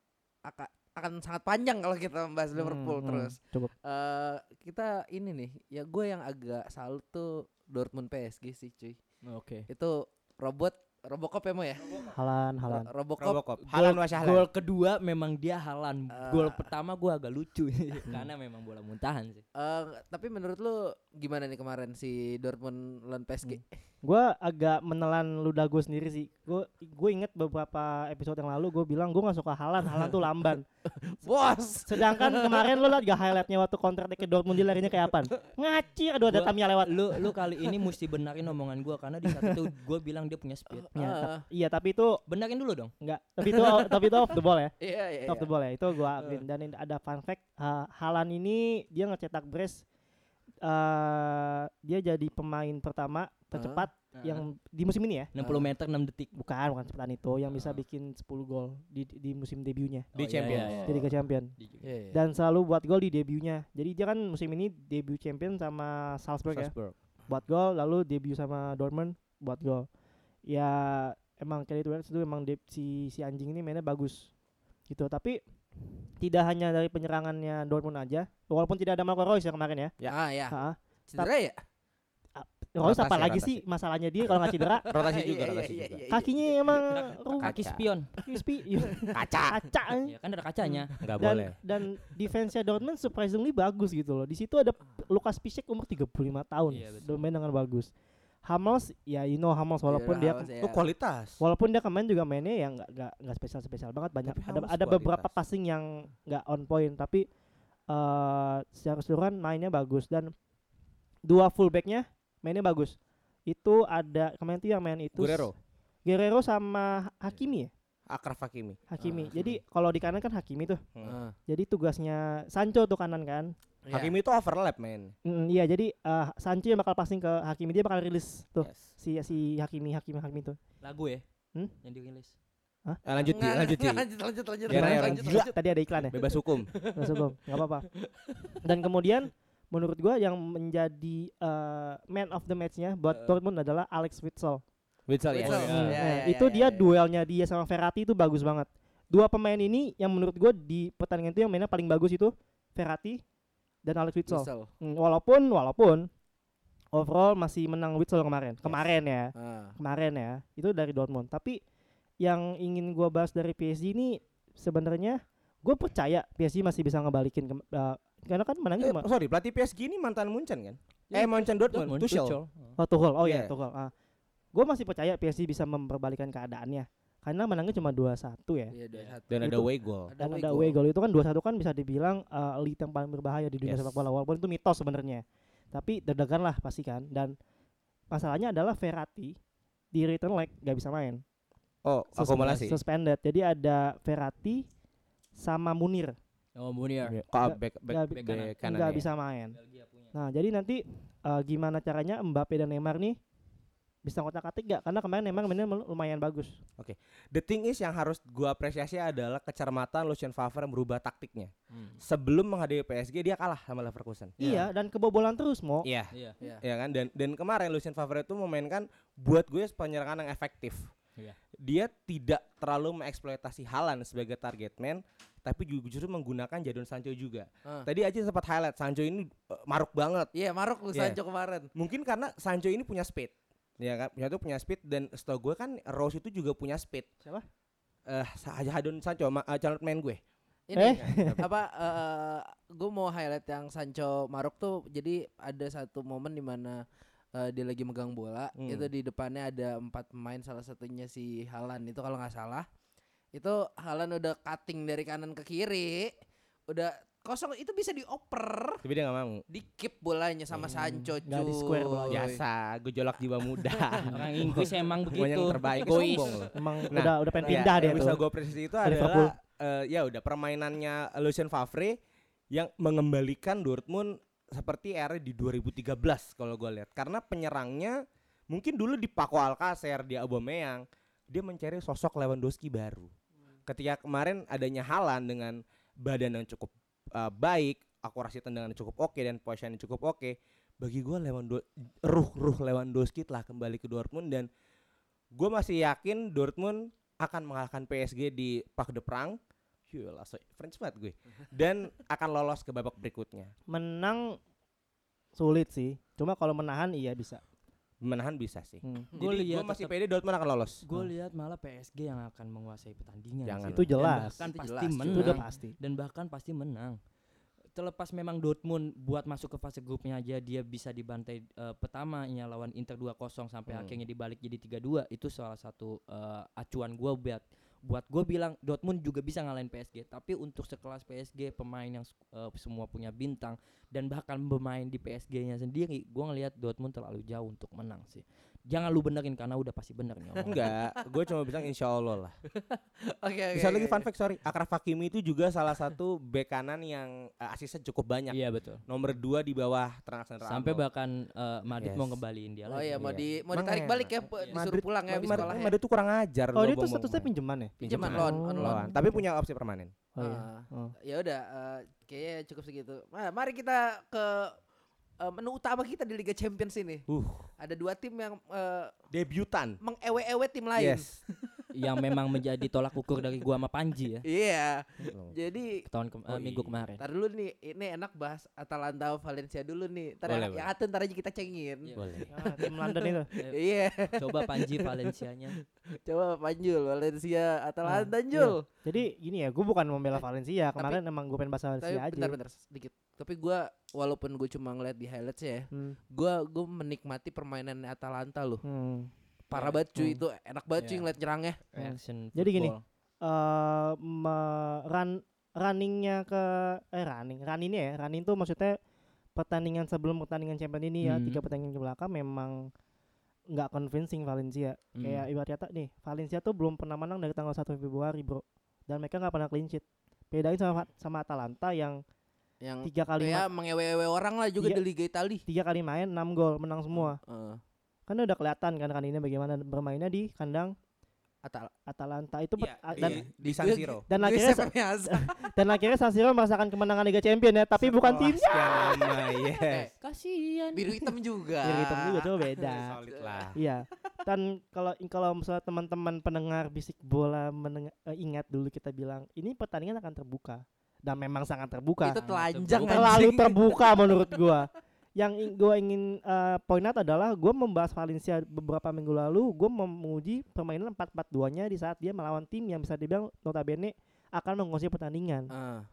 [SPEAKER 5] akan akan sangat panjang kalau kita membahas Liverpool
[SPEAKER 6] Hmm, hmm,
[SPEAKER 5] terus.
[SPEAKER 6] Coba.
[SPEAKER 5] Eh kita ini nih, ya gue yang agak salut tuh Dortmund PSG sih, cuy.
[SPEAKER 4] oke
[SPEAKER 5] Itu robot Robocop ya mau ya?
[SPEAKER 6] Halan, halan.
[SPEAKER 5] Ro- Robocop.
[SPEAKER 7] Robocop. Halan wa syahlan.
[SPEAKER 4] Gol kedua memang dia halan.
[SPEAKER 5] Eh.
[SPEAKER 4] Gol pertama gua agak lucu <laughs> karena memang bola muntahan sih.
[SPEAKER 5] Eh, tapi menurut lu gimana nih kemarin si Dortmund lawan PSG?
[SPEAKER 6] Gua agak menelan ludah gue sendiri sih. Gue gue inget beberapa episode yang lalu gue bilang gue nggak suka Halan. Halan tuh
[SPEAKER 5] <laughs>
[SPEAKER 6] lamban.
[SPEAKER 5] <laughs> Bos.
[SPEAKER 6] Sedangkan kemarin lo liat gak highlightnya waktu counter attack ke Dortmund dia larinya kayak apa? Ngacir aduh ada
[SPEAKER 4] Gua-
[SPEAKER 6] Tamiya lewat.
[SPEAKER 4] Lu lu kali ini mesti benerin omongan gua karena di saat itu gua bilang dia punya speed.
[SPEAKER 6] Ya,
[SPEAKER 5] Ah.
[SPEAKER 6] tap- iya tapi itu
[SPEAKER 4] Benerin dulu dong.
[SPEAKER 6] enggak tapi itu tapi itu off the ball ya.
[SPEAKER 5] Iya, <laughs> iya. iya.
[SPEAKER 6] Off the ball ya. Itu gua akuin dan ini ada fun fact ha- Halan ini dia ngecetak brace eh dia jadi pemain pertama tercepat
[SPEAKER 5] Ah.
[SPEAKER 6] yang di musim ini ya.
[SPEAKER 4] 60 meter 6 detik.
[SPEAKER 6] Bukan bukan cepetan itu yang
[SPEAKER 5] Ah.
[SPEAKER 6] bisa bikin 10 gol di di musim debutnya
[SPEAKER 7] Di Champions.
[SPEAKER 6] di Liga Champion.
[SPEAKER 5] Iya, iya.
[SPEAKER 6] Dan selalu buat gol di debutnya. Jadi dia kan musim ini debut champion sama Salzburg ya.
[SPEAKER 4] Salzburg.
[SPEAKER 6] buat gol lalu debut sama Dortmund buat gol ya emang Kelly Towers itu emang de- si si anjing ini mainnya bagus gitu tapi tidak hanya dari penyerangannya Dortmund aja walaupun tidak ada Marco Reus ya kemarin ya
[SPEAKER 5] Ah, ya.
[SPEAKER 6] Heeh.
[SPEAKER 5] Cedera ya?
[SPEAKER 6] Reus apa
[SPEAKER 7] Rotasi,
[SPEAKER 6] lagi
[SPEAKER 7] rotasi.
[SPEAKER 6] sih masalahnya dia kalau nggak cedera
[SPEAKER 7] Rotasi juga,
[SPEAKER 5] <laughs> Iya, iya,
[SPEAKER 7] rotasi
[SPEAKER 5] iya,
[SPEAKER 7] juga.
[SPEAKER 5] iya, iya.
[SPEAKER 6] kakinya emang rugi
[SPEAKER 4] Kaki spion.
[SPEAKER 6] spi
[SPEAKER 7] Kaca.
[SPEAKER 6] <laughs> kaca
[SPEAKER 4] Ya kan ada kacanya.
[SPEAKER 7] Enggak
[SPEAKER 6] dan
[SPEAKER 7] boleh.
[SPEAKER 6] dan defense-nya Dortmund surprisingly bagus gitu loh. Di situ ada P- Lukas Piszek umur 35 tahun.
[SPEAKER 4] Iya, betul.
[SPEAKER 6] domain dengan bagus. Hamels ya you know
[SPEAKER 7] Iya,
[SPEAKER 6] Hamels walaupun
[SPEAKER 5] Cedera
[SPEAKER 6] dia
[SPEAKER 5] awas ya.
[SPEAKER 7] Itu kualitas.
[SPEAKER 6] Walaupun dia kemarin juga mainnya yang nggak nggak nggak spesial spesial banget banyak
[SPEAKER 7] Tapi
[SPEAKER 6] ada
[SPEAKER 7] harus
[SPEAKER 6] ada beberapa
[SPEAKER 7] kualitas.
[SPEAKER 6] passing yang nggak on point tapi eh secara keseluruhan mainnya bagus dan dua fullbacknya mainnya bagus itu ada kemarin tuh yang main itu s-
[SPEAKER 7] Guerrero,
[SPEAKER 6] Guerrero sama Hakimi ya
[SPEAKER 7] Akraf Hakimi.
[SPEAKER 5] Ah.
[SPEAKER 6] Hakimi jadi kalau di kanan kan Hakimi tuh
[SPEAKER 5] Ah,
[SPEAKER 6] jadi tugasnya Sancho tuh kanan kan
[SPEAKER 5] iya.
[SPEAKER 7] Hakimi itu overlap, men.
[SPEAKER 6] Mm, iya jadi eh, Sancho yang bakal passing ke Hakimi dia bakal rilis tuh
[SPEAKER 7] Yes.
[SPEAKER 6] si si Hakimi Hakimi Hakimi tuh
[SPEAKER 4] Lagu ya.
[SPEAKER 6] Hmm?
[SPEAKER 4] Yang dirilis.
[SPEAKER 7] Eh, lanjut, Ji,
[SPEAKER 5] Nggak,
[SPEAKER 7] lanjut, Ji.
[SPEAKER 5] nggak, lanjut, lanjut, lanjut,
[SPEAKER 7] Biar
[SPEAKER 5] lanjut,
[SPEAKER 7] aja,
[SPEAKER 5] lanjut,
[SPEAKER 6] Gila,
[SPEAKER 5] lanjut.
[SPEAKER 6] tadi ada iklan ya
[SPEAKER 7] Bebas
[SPEAKER 4] <laughs>
[SPEAKER 7] hukum.
[SPEAKER 6] Masuk gol, nggak apa-apa. Dan kemudian menurut gua yang menjadi eh, man of the match-nya buat Dortmund adalah Alex Witsel.
[SPEAKER 7] Witsel ya.
[SPEAKER 5] Witsel.
[SPEAKER 7] Iya.
[SPEAKER 5] Ya,
[SPEAKER 6] Nah,
[SPEAKER 5] ya,
[SPEAKER 6] itu
[SPEAKER 5] ya,
[SPEAKER 6] dia
[SPEAKER 5] ya.
[SPEAKER 6] duelnya dia sama Ferrati itu bagus banget. Dua pemain ini yang menurut gua di pertandingan itu yang mainnya paling bagus itu Ferrati dan Alex Witsel.
[SPEAKER 5] Whistle.
[SPEAKER 6] Hmm, walaupun walaupun overall masih menang Witsel kemarin. Kemarin ya.
[SPEAKER 5] Ah.
[SPEAKER 6] Kemarin ya. Itu dari Dortmund. Tapi yang ingin gua bahas dari PSG ini sebenarnya gue percaya PSG masih bisa ngebalikin ke, eh, karena kan menangnya
[SPEAKER 7] Eh,
[SPEAKER 6] cuma
[SPEAKER 7] sorry, pelatih PSG ini mantan Munchen kan?
[SPEAKER 4] Iya,
[SPEAKER 7] eh, Munchen Dortmund,
[SPEAKER 4] Dortmund,
[SPEAKER 7] Tuchel.
[SPEAKER 4] Tuchel.
[SPEAKER 6] Oh Tuchel, oh ya
[SPEAKER 7] Iya.
[SPEAKER 6] Tuchel. Ah. Gue masih percaya PSG bisa memperbalikan keadaannya karena menangnya cuma 2-1 ya.
[SPEAKER 5] Iya, dua satu.
[SPEAKER 7] Dan ada
[SPEAKER 6] Itu.
[SPEAKER 7] away goal.
[SPEAKER 6] Dan
[SPEAKER 5] away
[SPEAKER 6] ada
[SPEAKER 5] goal.
[SPEAKER 6] away goal itu kan 2-1 kan bisa dibilang eh, elite yang paling berbahaya di dunia
[SPEAKER 7] Yes.
[SPEAKER 6] sepak bola walaupun itu mitos sebenarnya. Tapi deg-degan lah pasti kan dan masalahnya adalah Verratti di return leg gak bisa main.
[SPEAKER 7] Oh, akumulasi.
[SPEAKER 6] Suspended. Jadi ada Verratti sama Munir
[SPEAKER 4] Oh, Munir.
[SPEAKER 6] Nggak-
[SPEAKER 7] Kok back back,
[SPEAKER 6] nggak-
[SPEAKER 7] back kanan. kanan
[SPEAKER 6] nggak
[SPEAKER 7] ya?
[SPEAKER 6] bisa main.
[SPEAKER 4] Belgia punya.
[SPEAKER 6] Nah, jadi nanti eh, gimana caranya Mbappe dan Neymar nih bisa kotak-katik gak? Karena kemarin Neymar mainnya mel- lumayan bagus.
[SPEAKER 7] The thing is yang harus gua apresiasi adalah kecermatan Lucien Favre merubah taktiknya.
[SPEAKER 4] Hmm.
[SPEAKER 7] Sebelum menghadapi PSG dia kalah sama Leverkusen.
[SPEAKER 6] Iya, dan kebobolan terus, Mo.
[SPEAKER 7] Iya.
[SPEAKER 4] Iya.
[SPEAKER 7] Ya kan dan dan kemarin Lucien Favre itu memainkan buat gue penyerangan yang efektif.
[SPEAKER 4] Iya.
[SPEAKER 7] Dia tidak terlalu mengeksploitasi Halan sebagai target man, tapi ju- justru menggunakan Jadon Sancho juga.
[SPEAKER 5] Ah.
[SPEAKER 7] Tadi aja sempat highlight Sancho ini eh, maruk banget.
[SPEAKER 5] Iya, Marok lu
[SPEAKER 7] Iya.
[SPEAKER 5] Sancho kemarin.
[SPEAKER 7] Mungkin karena Sancho ini punya speed. Ya kan, punya tuh punya speed dan setahu gue kan Rose itu juga punya speed.
[SPEAKER 6] Siapa?
[SPEAKER 7] Eh, Sa- Jadon Sancho, ma- eh, calon main gue.
[SPEAKER 5] Ini
[SPEAKER 7] <laughs>
[SPEAKER 6] Eh?
[SPEAKER 5] apa gue mau highlight yang Sancho Marok tuh jadi ada satu momen di mana eh, dia lagi megang bola
[SPEAKER 7] Hmm.
[SPEAKER 5] itu di depannya ada empat pemain salah satunya si Halan itu kalau nggak salah itu Halan udah cutting dari kanan ke kiri udah kosong itu bisa dioper
[SPEAKER 7] Tapi dia gak mau.
[SPEAKER 5] dikip bolanya sama
[SPEAKER 7] Hmm.
[SPEAKER 5] Sancho
[SPEAKER 6] nggak di square bola.
[SPEAKER 5] cuy.
[SPEAKER 7] Biasa, gejolak jiwa muda.
[SPEAKER 4] <laughs> Orang Inggris emang
[SPEAKER 7] Gue
[SPEAKER 4] begitu.
[SPEAKER 7] yang terbaik,
[SPEAKER 4] Egois.
[SPEAKER 7] sombong loh.
[SPEAKER 6] Emang
[SPEAKER 7] Nah,
[SPEAKER 6] udah udah pengen
[SPEAKER 7] Iya,
[SPEAKER 6] pindah dia
[SPEAKER 7] yang bisa
[SPEAKER 6] tuh.
[SPEAKER 7] gue presisi itu
[SPEAKER 6] Ke Liverpool.
[SPEAKER 7] adalah eh, ya udah permainannya Lucien Favre yang mengembalikan Dortmund seperti era di 2013 kalau gue lihat karena penyerangnya mungkin dulu di Paco Alcacer di Aubameyang dia mencari sosok Lewandowski baru ketika kemarin adanya Halan dengan badan yang cukup eh, baik akurasi tendangan yang cukup oke dan possession yang cukup oke bagi gue Lewandowski ruh-ruh Lewandowski telah kembali ke Dortmund dan gue masih yakin Dortmund akan mengalahkan PSG di Parc de Prang. Yolah, so French banget gue.
[SPEAKER 4] <laughs>
[SPEAKER 7] Dan akan lolos ke babak berikutnya.
[SPEAKER 6] Menang sulit sih. Cuma kalau menahan iya bisa.
[SPEAKER 7] Menahan bisa sih.
[SPEAKER 6] Hmm.
[SPEAKER 4] Gua
[SPEAKER 7] Jadi gue
[SPEAKER 4] lihat
[SPEAKER 7] masih
[SPEAKER 4] tetep-
[SPEAKER 7] pede Dortmund akan lolos.
[SPEAKER 4] Gue lihat malah PSG yang akan menguasai pertandingan.
[SPEAKER 7] Jangan.
[SPEAKER 4] sih.
[SPEAKER 6] Itu
[SPEAKER 4] Dan
[SPEAKER 6] jelas.
[SPEAKER 4] Bahkan
[SPEAKER 5] Itu
[SPEAKER 4] pasti
[SPEAKER 5] jelas, cuy.
[SPEAKER 4] menang.
[SPEAKER 6] Itu udah pasti.
[SPEAKER 4] Dan bahkan pasti menang. Terlepas memang Dortmund buat masuk ke fase grupnya aja dia bisa dibantai eh, pertamanya lawan Inter 2-0 sampai
[SPEAKER 7] Hmm.
[SPEAKER 4] akhirnya dibalik jadi 3-2 itu salah satu eh, acuan gue buat buat gue bilang Dortmund juga bisa ngalahin PSG tapi untuk sekelas PSG pemain yang s- eh, semua punya bintang dan bahkan pemain di PSG-nya sendiri gue ngelihat Dortmund terlalu jauh untuk menang sih jangan lu benerin karena udah pasti bener
[SPEAKER 7] <laughs>
[SPEAKER 4] nih omongan.
[SPEAKER 7] Enggak, gue cuma bilang insya Allah lah.
[SPEAKER 5] Oke oke.
[SPEAKER 7] Bisa lagi
[SPEAKER 5] oke.
[SPEAKER 7] fun fact, sorry. Akraf Hakimi itu juga salah satu bek kanan yang eh, asisnya cukup banyak.
[SPEAKER 4] iya betul
[SPEAKER 7] Nomor dua di bawah Trent Alexander
[SPEAKER 4] sampai bahkan eh, Madrid mau
[SPEAKER 7] Yes.
[SPEAKER 4] ngembaliin dia
[SPEAKER 5] Oh
[SPEAKER 4] lagi.
[SPEAKER 5] iya mau
[SPEAKER 7] Iya.
[SPEAKER 5] di mau
[SPEAKER 7] Makanya.
[SPEAKER 5] ditarik balik ya bu-
[SPEAKER 4] Iya.
[SPEAKER 5] disuruh pulang ya habis sekolah ya.
[SPEAKER 7] Madrid tuh kurang ajar.
[SPEAKER 6] Oh, dia
[SPEAKER 7] loh,
[SPEAKER 6] tuh
[SPEAKER 7] buang-buang
[SPEAKER 6] statusnya
[SPEAKER 7] pemain.
[SPEAKER 6] pinjaman ya?
[SPEAKER 5] Pinjaman
[SPEAKER 7] Pinjaman.
[SPEAKER 5] loan on loan.
[SPEAKER 7] Lawan, Tapi punya opsi permanen.
[SPEAKER 6] Oh, iya.
[SPEAKER 5] Ah.
[SPEAKER 6] Oh.
[SPEAKER 5] ya udah eh, kayaknya cukup segitu. Nah, mari kita ke eh, menu utama kita di Liga Champions ini.
[SPEAKER 7] Uh,
[SPEAKER 5] Ada dua tim yang eh,
[SPEAKER 7] debutan.
[SPEAKER 5] mengewe-ewe tim lain.
[SPEAKER 7] Yes.
[SPEAKER 4] yang memang menjadi tolak ukur dari gua sama Panji ya
[SPEAKER 5] Iya. Jadi
[SPEAKER 4] tahun ke- eh,
[SPEAKER 7] Oh,
[SPEAKER 4] minggu
[SPEAKER 7] iya.
[SPEAKER 4] kemarin.
[SPEAKER 5] Ntar dulu nih, ini enak bahas Atalanta Valencia dulu nih. Ntar
[SPEAKER 7] Boleh,
[SPEAKER 5] yang, yang Aten ntar aja kita cengin.
[SPEAKER 4] Iya.
[SPEAKER 7] Boleh.
[SPEAKER 6] Ah, tim London itu.
[SPEAKER 5] Iya,
[SPEAKER 4] Coba Panji
[SPEAKER 7] <laughs>
[SPEAKER 4] Valencianya.
[SPEAKER 5] coba Panjul, Valencia, Atalanta,
[SPEAKER 6] Ah,
[SPEAKER 5] Jul.
[SPEAKER 6] Jadi gini ya, gue bukan membela Valencia.
[SPEAKER 5] Eh, tapi-
[SPEAKER 6] Kemarin emang gue pengen bahas
[SPEAKER 5] Tapi
[SPEAKER 6] Valencia aja.
[SPEAKER 5] bentar-bentar sedikit. Tapi gua walaupun gue cuma ngeliat di highlights ya,
[SPEAKER 6] Hmm.
[SPEAKER 5] gua gue menikmati permainan Atalanta loh.
[SPEAKER 6] hmm.
[SPEAKER 5] Parah banget cuy
[SPEAKER 4] Hmm.
[SPEAKER 5] itu, enak banget cuy
[SPEAKER 4] Iya.
[SPEAKER 5] ngeliat nyerangnya.
[SPEAKER 4] Action
[SPEAKER 6] Jadi gini,
[SPEAKER 4] football.
[SPEAKER 6] eh me- run runningnya ke eh running runningnya ya running tuh maksudnya pertandingan sebelum pertandingan champion ini ya
[SPEAKER 4] Hmm.
[SPEAKER 6] tiga pertandingan ke belakang memang nggak convincing Valencia
[SPEAKER 4] Hmm.
[SPEAKER 6] kayak ibarat kata nih Valencia tuh belum pernah menang dari tanggal 1 Februari bro dan mereka nggak pernah clean sheet bedain sama sama Atalanta yang
[SPEAKER 5] Yang
[SPEAKER 6] tiga kali
[SPEAKER 5] ya
[SPEAKER 6] ma-
[SPEAKER 5] mengewe-ewe orang lah juga
[SPEAKER 6] Iya.
[SPEAKER 5] di Liga Itali.
[SPEAKER 6] tiga kali main 6 gol menang semua
[SPEAKER 5] Heeh.
[SPEAKER 6] kan udah kelihatan kan runningnya bagaimana bermainnya di kandang
[SPEAKER 5] Atal
[SPEAKER 6] Atalanta itu
[SPEAKER 4] Iya,
[SPEAKER 6] pet- a- dan
[SPEAKER 7] Dan di San
[SPEAKER 4] <laughs>
[SPEAKER 7] Siro.
[SPEAKER 6] dan
[SPEAKER 5] Luis
[SPEAKER 6] akhirnya
[SPEAKER 5] F. Meazza.
[SPEAKER 6] dan akhirnya San Siro merasakan kemenangan Liga Champion ya tapi bukan tim
[SPEAKER 7] Sekian lama, yes.
[SPEAKER 4] kasihan.
[SPEAKER 5] biru hitam juga.
[SPEAKER 6] Biru hitam juga cuma
[SPEAKER 5] <laughs>
[SPEAKER 6] beda.
[SPEAKER 7] Solid lah.
[SPEAKER 6] Iya. Dan kalau kalau misalnya teman-teman pendengar bisik bola mendengar, eh, ingat dulu kita bilang ini pertandingan akan terbuka dan memang sangat terbuka.
[SPEAKER 5] Itu telanjang
[SPEAKER 4] Bukan
[SPEAKER 6] Terlalu
[SPEAKER 5] <laughs> anjing.
[SPEAKER 6] terbuka menurut gua. yang gue ingin eh, point out adalah gue membahas Valencia beberapa minggu lalu gue memuji permainan 4-4-2 nya di saat dia melawan tim yang bisa dibilang notabene akan menguasai pertandingan
[SPEAKER 5] Ah.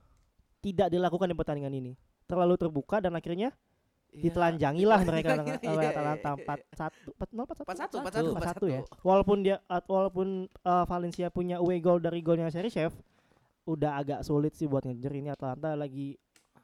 [SPEAKER 6] tidak dilakukan di pertandingan ini terlalu terbuka dan akhirnya
[SPEAKER 5] Iya. <laughs>
[SPEAKER 6] ditelanjangi lah mereka dengan
[SPEAKER 5] Iya,
[SPEAKER 6] oleh
[SPEAKER 5] iya,
[SPEAKER 6] Atalanta
[SPEAKER 5] iya.
[SPEAKER 6] 4-1
[SPEAKER 5] 41 41
[SPEAKER 6] 4-1 4-1 ya walaupun dia at- walaupun eh, Valencia punya away goal dari golnya Serichev udah agak sulit sih buat ngejar ini Atalanta lagi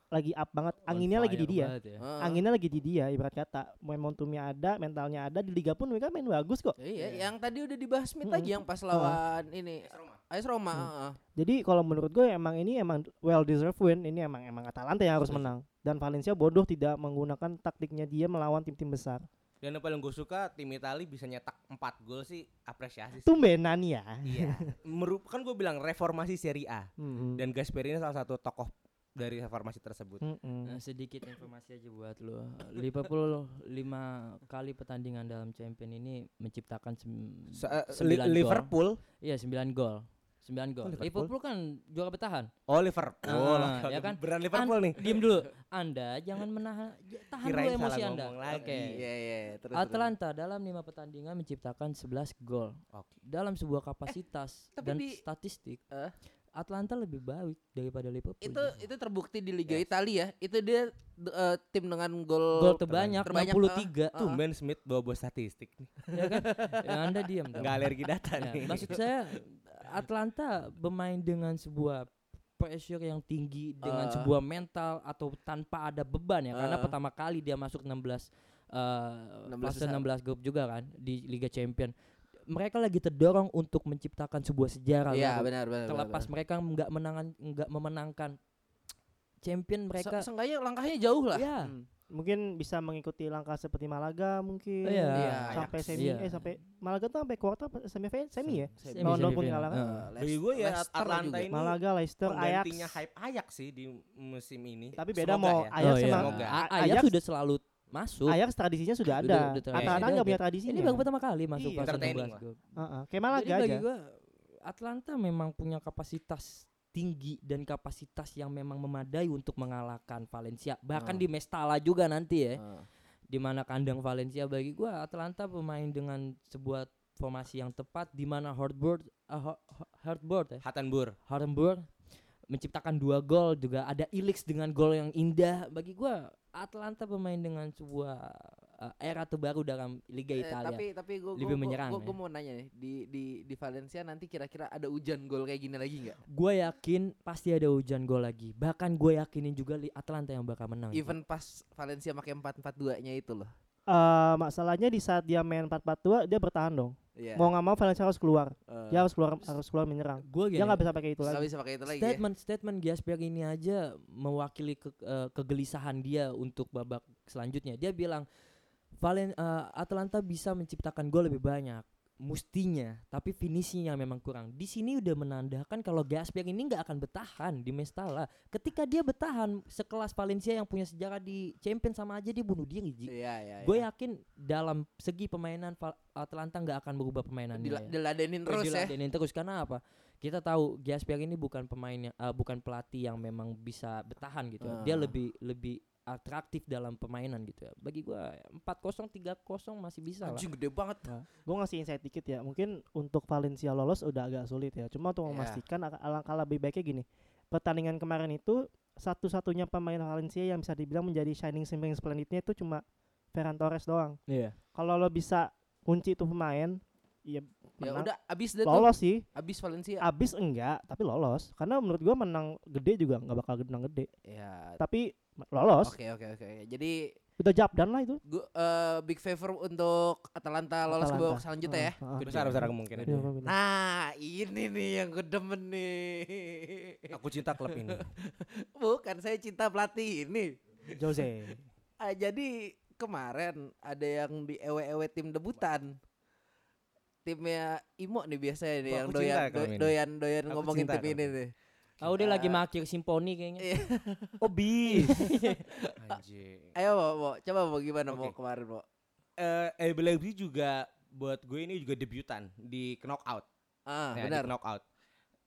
[SPEAKER 6] lagi up banget anginnya lagi di dia
[SPEAKER 4] ya.
[SPEAKER 5] Ah.
[SPEAKER 6] anginnya lagi di dia ibarat kata momentumnya ada mentalnya ada di liga pun mereka main bagus kok
[SPEAKER 5] Iya, yang tadi udah dibahas Smith
[SPEAKER 6] Mm-mm.
[SPEAKER 5] lagi yang pas lawan ini AS Roma.
[SPEAKER 6] Hmm.
[SPEAKER 5] heeh.
[SPEAKER 6] jadi kalau menurut gue emang ini emang well deserved win ini emang emang Atalanta yang harus
[SPEAKER 7] Setuju.
[SPEAKER 6] menang dan Valencia bodoh tidak menggunakan taktiknya dia melawan tim-tim besar
[SPEAKER 7] Dan yang paling gue suka tim Itali bisa nyetak 4 gol sih apresiasi. sih.
[SPEAKER 6] tumbenan ya
[SPEAKER 7] Iya. Merupakan gue bilang reformasi Serie A
[SPEAKER 6] <laughs> Mm-mm.
[SPEAKER 7] dan Gasperini salah satu tokoh dari reformasi tersebut.
[SPEAKER 6] Mm-mm.
[SPEAKER 4] Nah, sedikit informasi aja buat lo. Liverpool lima kali pertandingan dalam champion ini menciptakan sem-
[SPEAKER 7] Se- eh, Li-
[SPEAKER 4] sembilan gol.
[SPEAKER 7] Liverpool,
[SPEAKER 4] Iya, 9 gol. 9 gol.
[SPEAKER 7] Oh, Liverpool.
[SPEAKER 4] Liverpool kan juara bertahan.
[SPEAKER 7] oh Liverpool,
[SPEAKER 4] Ah,
[SPEAKER 7] Oke,
[SPEAKER 4] ya
[SPEAKER 7] oke.
[SPEAKER 4] kan?
[SPEAKER 7] beneran Liverpool nih.
[SPEAKER 4] Diam dulu. Anda jangan menahan j- tahan dulu
[SPEAKER 7] Kirain salah
[SPEAKER 4] anu emosi Anda.
[SPEAKER 7] ngomong lagi.
[SPEAKER 4] Oke.
[SPEAKER 5] Iya, iya, terus. terus.
[SPEAKER 4] Atlanta dalam lima pertandingan menciptakan 11 gol.
[SPEAKER 7] Oke.
[SPEAKER 4] Dalam sebuah kapasitas
[SPEAKER 5] Eh, tapi
[SPEAKER 4] dan
[SPEAKER 5] di-
[SPEAKER 4] statistik,
[SPEAKER 5] Eh?
[SPEAKER 4] Atlanta lebih baik daripada Liverpool.
[SPEAKER 5] Itu itu terbukti di Liga
[SPEAKER 7] Yes.
[SPEAKER 5] Italia ya. Itu dia d- eh, tim dengan gol
[SPEAKER 4] gol terbanyak,
[SPEAKER 5] terbanyak,
[SPEAKER 4] 63.
[SPEAKER 5] ah.
[SPEAKER 7] Tuh Ben Smith bawa-bawa statistik nih.
[SPEAKER 4] ya kan? Ya, anda diam dong.
[SPEAKER 7] Enggak alergi data
[SPEAKER 4] Ya,
[SPEAKER 7] nih.
[SPEAKER 4] maksud saya Atlanta bermain dengan sebuah pressure yang tinggi dengan
[SPEAKER 5] Ah.
[SPEAKER 4] sebuah mental atau tanpa ada beban ya karena
[SPEAKER 5] Ah.
[SPEAKER 4] pertama kali dia masuk 16 eh
[SPEAKER 5] 16
[SPEAKER 4] fase
[SPEAKER 5] besar.
[SPEAKER 4] 16 grup juga kan di Liga Champion. Mereka lagi terdorong untuk menciptakan sebuah sejarah
[SPEAKER 5] Iya,
[SPEAKER 4] baru.
[SPEAKER 5] benar benar.
[SPEAKER 4] terlepas mereka nggak menangan nggak memenangkan champion mereka
[SPEAKER 5] mereka seenggaknya langkahnya jauh lah.
[SPEAKER 4] Iya.
[SPEAKER 5] Hmm.
[SPEAKER 6] mungkin bisa mengikuti langkah seperti Malaga mungkin
[SPEAKER 4] Iya.
[SPEAKER 5] Iya,
[SPEAKER 6] sampai
[SPEAKER 5] Ajax.
[SPEAKER 6] semi
[SPEAKER 4] Iya.
[SPEAKER 6] eh sampai Malaga tuh sampai kuarter apa semi final- semi ya
[SPEAKER 5] Saya
[SPEAKER 4] Semi-
[SPEAKER 5] bisa-
[SPEAKER 6] lawan Dortmund
[SPEAKER 4] semifinal.
[SPEAKER 6] kalah kan?
[SPEAKER 5] Eh.
[SPEAKER 4] Heeh.
[SPEAKER 7] Bagi gue ya
[SPEAKER 5] Leicester
[SPEAKER 7] Atlanta
[SPEAKER 5] juga.
[SPEAKER 7] ini
[SPEAKER 6] Malaga Leicester Ajax
[SPEAKER 7] penggantinya hype Ajax sih di musim ini.
[SPEAKER 6] tapi beda
[SPEAKER 7] Semoga
[SPEAKER 6] mau
[SPEAKER 7] ya.
[SPEAKER 6] Ajax
[SPEAKER 4] Oh, iya.
[SPEAKER 6] emang
[SPEAKER 7] Semoga.
[SPEAKER 4] A-
[SPEAKER 6] Ajax
[SPEAKER 4] Ajax sudah selalu masuk.
[SPEAKER 6] Ajax ya? tradisinya sudah
[SPEAKER 4] Udah-
[SPEAKER 6] ada
[SPEAKER 4] udah tradisi.
[SPEAKER 6] Atalanta nggak punya tradisinya
[SPEAKER 4] Iya. Ini baru pertama kali masuk
[SPEAKER 7] Iya,
[SPEAKER 4] fase
[SPEAKER 7] entertaining
[SPEAKER 4] 16
[SPEAKER 7] lah.
[SPEAKER 4] grup.
[SPEAKER 6] Heeh, kayak Malaga
[SPEAKER 4] Jadi
[SPEAKER 6] aja
[SPEAKER 4] bagi gua Atlanta memang punya kapasitas tinggi dan kapasitas yang memang memadai untuk mengalahkan Valencia
[SPEAKER 5] Ah.
[SPEAKER 4] bahkan di Mestala juga nanti ya
[SPEAKER 5] Ah.
[SPEAKER 4] di mana kandang Valencia bagi gua Atlanta pemain dengan sebuah formasi yang tepat di mana Hartberg eh, Ho- Ho- Hartberg ya
[SPEAKER 7] Hattenbur.
[SPEAKER 4] Hartberg menciptakan dua gol juga ada Ilix dengan gol yang indah bagi gua Atlanta pemain dengan sebuah eh, era terbaru dalam Liga
[SPEAKER 5] Eh,
[SPEAKER 4] Italia
[SPEAKER 5] tapi tapi gue
[SPEAKER 4] Lebih menyerang
[SPEAKER 5] gue,
[SPEAKER 4] ya.
[SPEAKER 5] mau nanya nih di di di Valencia nanti kira-kira ada hujan gol kayak gini lagi nggak?
[SPEAKER 4] Gue yakin pasti ada hujan gol lagi. Bahkan gue yakinin juga li- Atlanta yang bakal menang.
[SPEAKER 5] Even pas Valencia pakai 4-4-2-nya itu loh.
[SPEAKER 6] Eh, masalahnya di saat dia main 4-4-2 dia bertahan dong
[SPEAKER 5] Iya.
[SPEAKER 6] mau nggak mau Valencia harus keluar
[SPEAKER 5] Eh,
[SPEAKER 4] ya, Iya.
[SPEAKER 6] dia harus keluar harus keluar menyerang
[SPEAKER 4] Gue
[SPEAKER 6] dia Ya, nggak bisa pakai itu
[SPEAKER 5] nggak
[SPEAKER 6] lagi
[SPEAKER 5] bisa pakai itu lagi. ya.
[SPEAKER 4] statement statement Gasper ini aja mewakili ke- eh, kegelisahan dia untuk babak selanjutnya. Dia bilang Valen eh, Atlanta bisa menciptakan gol lebih banyak mustinya, tapi finishingnya memang kurang. Di sini udah menandakan kalau Gasper ini nggak akan bertahan di Mestala. Ketika dia bertahan sekelas Valencia yang punya sejarah di Champions sama aja dia bunuh diri. Ji.
[SPEAKER 5] Iya, iya.
[SPEAKER 4] Gue
[SPEAKER 5] iya.
[SPEAKER 4] yakin dalam segi permainan Val- Atlanta nggak akan berubah permainannya.
[SPEAKER 5] Dila-
[SPEAKER 4] ya.
[SPEAKER 5] diladenin terus ya.
[SPEAKER 4] Diladenin terus karena apa? Kita tahu Gasper ini bukan pemain yang eh, bukan pelatih yang memang bisa bertahan gitu. ya. Dia
[SPEAKER 5] Ah.
[SPEAKER 4] lebih lebih atraktif dalam permainan gitu ya. Bagi gua 4-0 3-0 masih bisa lah.
[SPEAKER 5] Anjing gede banget.
[SPEAKER 6] gue ngasih insight dikit ya mungkin untuk Valencia lolos udah agak sulit ya cuma
[SPEAKER 5] Iya.
[SPEAKER 6] untuk memastikan al- alangkah lebih baiknya gini pertandingan kemarin itu satu-satunya pemain Valencia yang bisa dibilang menjadi shining sembilan splendidnya itu cuma Ferran Torres doang
[SPEAKER 4] Iya.
[SPEAKER 6] kalau lo bisa kunci itu pemain ya
[SPEAKER 5] Ya
[SPEAKER 6] menang
[SPEAKER 5] udah abis deh tuh. Ya.
[SPEAKER 6] lolos sih
[SPEAKER 5] Abis Valencia.
[SPEAKER 6] abis enggak tapi lolos karena menurut gua menang gede juga nggak bakal menang gede
[SPEAKER 5] Ya.
[SPEAKER 6] tapi lolos
[SPEAKER 5] Oke, oke, oke. Jadi
[SPEAKER 6] udah jabdan lah itu
[SPEAKER 5] gua eh, big favor untuk Atalanta lolos ke
[SPEAKER 6] Atalanta.
[SPEAKER 5] babak selanjutnya
[SPEAKER 4] Hmm.
[SPEAKER 5] ya.
[SPEAKER 6] Heeh, heeh.
[SPEAKER 7] Besar besar kemungkinan.
[SPEAKER 6] Iya, bener.
[SPEAKER 5] Nah, ini nih yang gue demen nih.
[SPEAKER 7] Aku cinta klub ini.
[SPEAKER 5] Bukan saya cinta pelatih ini.
[SPEAKER 6] Jose
[SPEAKER 5] Ah, jadi kemarin ada yang di ewe-ewe tim debutan. Timnya Imo nih biasanya nih
[SPEAKER 7] Aku
[SPEAKER 5] yang
[SPEAKER 7] cinta
[SPEAKER 5] doyan
[SPEAKER 7] klub ini.
[SPEAKER 5] doyan doyan
[SPEAKER 7] Aku
[SPEAKER 5] ngomongin
[SPEAKER 7] cinta
[SPEAKER 5] tim
[SPEAKER 7] klub
[SPEAKER 5] ini
[SPEAKER 7] ini.
[SPEAKER 5] nih.
[SPEAKER 4] Tahu dia lagi
[SPEAKER 5] Ah.
[SPEAKER 4] makir simponi kayaknya.
[SPEAKER 5] Iya.
[SPEAKER 7] oh bis. Anjing.
[SPEAKER 5] Ayo Mo, Mo, coba mau gimana mau
[SPEAKER 7] Oke.
[SPEAKER 5] kemarin mau.
[SPEAKER 7] Eh RB Leipzig juga buat gue ini juga debutan di knockout.
[SPEAKER 5] Ah,
[SPEAKER 7] Ya, di
[SPEAKER 5] benar.
[SPEAKER 7] knockout.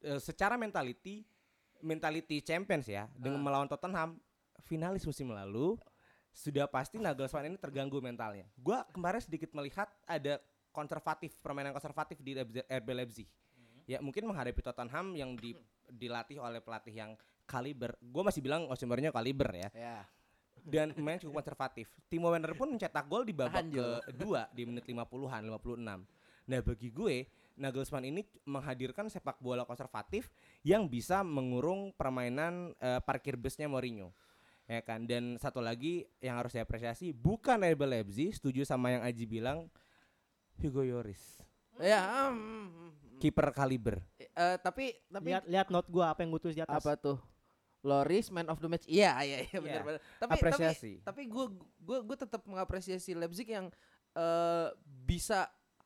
[SPEAKER 7] Eh, secara mentality mentality champions ya dengan
[SPEAKER 5] Ah.
[SPEAKER 7] melawan Tottenham finalis musim lalu sudah pasti Nagelsmann ini terganggu mentalnya. Gua kemarin sedikit melihat ada konservatif permainan konservatif di Leipzig- RB Leipzig. Ya mungkin menghadapi Tottenham yang di- dilatih oleh pelatih yang kaliber. Gue masih bilang Osimhennya kaliber ya.
[SPEAKER 5] Ya.
[SPEAKER 7] Dan main cukup konservatif. Timo Werner pun mencetak gol di
[SPEAKER 5] Tahan,
[SPEAKER 7] babak
[SPEAKER 5] Jo.
[SPEAKER 7] kedua di menit 50-an, 56. Nah bagi gue Nagelsmann ini menghadirkan sepak bola konservatif yang bisa mengurung permainan eh, parkir busnya Mourinho. Ya kan? Dan satu lagi yang harus saya apresiasi bukan Rebel Leipzig, setuju sama yang Aji bilang Hugo Yoris,
[SPEAKER 5] Ya. mm, mm.
[SPEAKER 7] kiper kaliber.
[SPEAKER 5] Eh, tapi tapi
[SPEAKER 6] lihat lihat note gua apa yang gue tulis di atas
[SPEAKER 5] apa tuh? Loris man of the match. Iya, iya, iya benar
[SPEAKER 7] Iya.
[SPEAKER 5] benar. Tapi
[SPEAKER 7] Apresiasi.
[SPEAKER 5] tapi tapi gue gue gue tetap mengapresiasi Leipzig yang eh bisa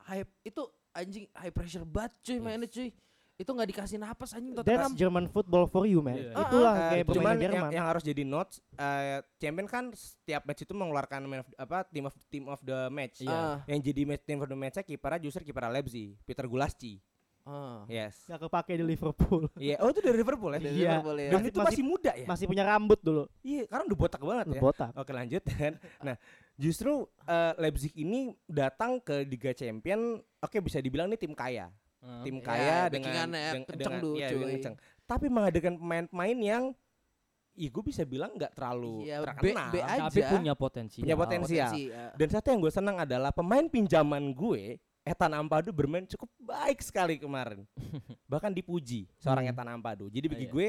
[SPEAKER 5] hype itu anjing high pressure banget cuy mainnya cuy. Itu nggak dikasih napas anjing
[SPEAKER 6] That's
[SPEAKER 5] Tottenham.
[SPEAKER 6] German football for you man
[SPEAKER 4] Iya.
[SPEAKER 6] itulah
[SPEAKER 5] Ah,
[SPEAKER 7] Eh,
[SPEAKER 6] kayak
[SPEAKER 7] cuman
[SPEAKER 6] permainan
[SPEAKER 7] yang,
[SPEAKER 6] Jerman
[SPEAKER 7] yang harus jadi notes eh, champion kan setiap match itu mengeluarkan man of, apa team of team of the match.
[SPEAKER 5] Iya. Ah.
[SPEAKER 7] Yang jadi match team of the match kipernya justru kiper Leipzig, Peter Gulasci.
[SPEAKER 5] Ah. <laughs>
[SPEAKER 7] Yes.
[SPEAKER 6] gak kepake di Liverpool
[SPEAKER 7] Iya, oh itu dari Liverpool ya.
[SPEAKER 5] Dari
[SPEAKER 6] Iya.
[SPEAKER 5] Liverpool ya.
[SPEAKER 7] Dan
[SPEAKER 6] Masih-
[SPEAKER 7] itu masih muda ya.
[SPEAKER 6] masih punya rambut dulu
[SPEAKER 7] Iya, karena udah botak banget ya.
[SPEAKER 6] botak
[SPEAKER 7] Oke lanjut <laughs> kan. Nah justru eh, Leipzig ini datang ke Liga Champion, oke bisa dibilang ini tim kaya, tim
[SPEAKER 5] Ya,
[SPEAKER 7] kaya dengan
[SPEAKER 5] backingannya
[SPEAKER 7] deng-
[SPEAKER 5] kenceng
[SPEAKER 7] dengan-
[SPEAKER 5] dulu,
[SPEAKER 7] iya,
[SPEAKER 5] cuy.
[SPEAKER 7] dengan kenceng. Tapi menghadirkan pemain-pemain yang, ya gue bisa bilang nggak terlalu
[SPEAKER 5] Iya, B,
[SPEAKER 7] terkenal.
[SPEAKER 5] B aja.
[SPEAKER 4] tapi punya potensi.
[SPEAKER 7] Punya potensi.
[SPEAKER 5] potensi. ya.
[SPEAKER 7] Dan satu yang gue senang adalah pemain pinjaman gue, Ethan Ampadu bermain cukup baik sekali
[SPEAKER 5] <laughs>
[SPEAKER 7] kemarin. Bahkan dipuji seorang
[SPEAKER 4] Hmm.
[SPEAKER 7] Ethan Ampadu.
[SPEAKER 5] Oh,
[SPEAKER 7] Jadi bagi
[SPEAKER 4] iya.
[SPEAKER 7] gue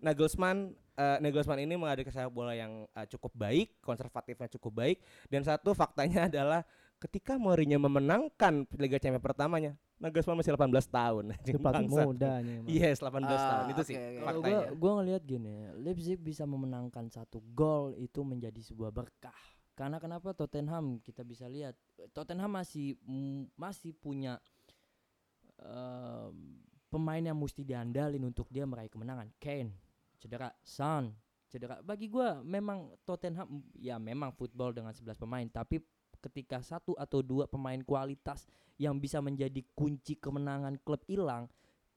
[SPEAKER 7] Nagelsmann eh, Nagelsmann ini mengadakan sepak bola yang eh, cukup baik, konservatifnya cukup baik dan satu faktanya <laughs> adalah ketika Mourinho memenangkan Liga Champions pertamanya, Nagelsmann masih 18 tahun.
[SPEAKER 6] itu pelatih
[SPEAKER 7] Bangsat. Iya,
[SPEAKER 6] mudanya emang.
[SPEAKER 7] Yes, 18
[SPEAKER 5] Ah,
[SPEAKER 7] tahun itu sih
[SPEAKER 5] oke, oke.
[SPEAKER 4] Kalau
[SPEAKER 7] faktanya.
[SPEAKER 4] gua gua ngelihat gini, Leipzig bisa memenangkan satu gol itu menjadi sebuah berkah. Karena kenapa Tottenham kita bisa lihat Tottenham masih mm, masih punya eh, pemain yang mesti diandalin untuk dia meraih kemenangan. Kane, cedera, Son, cedera. Bagi gua memang Tottenham ya memang football dengan 11 pemain, tapi ketika satu atau dua pemain kualitas yang bisa menjadi kunci kemenangan klub hilang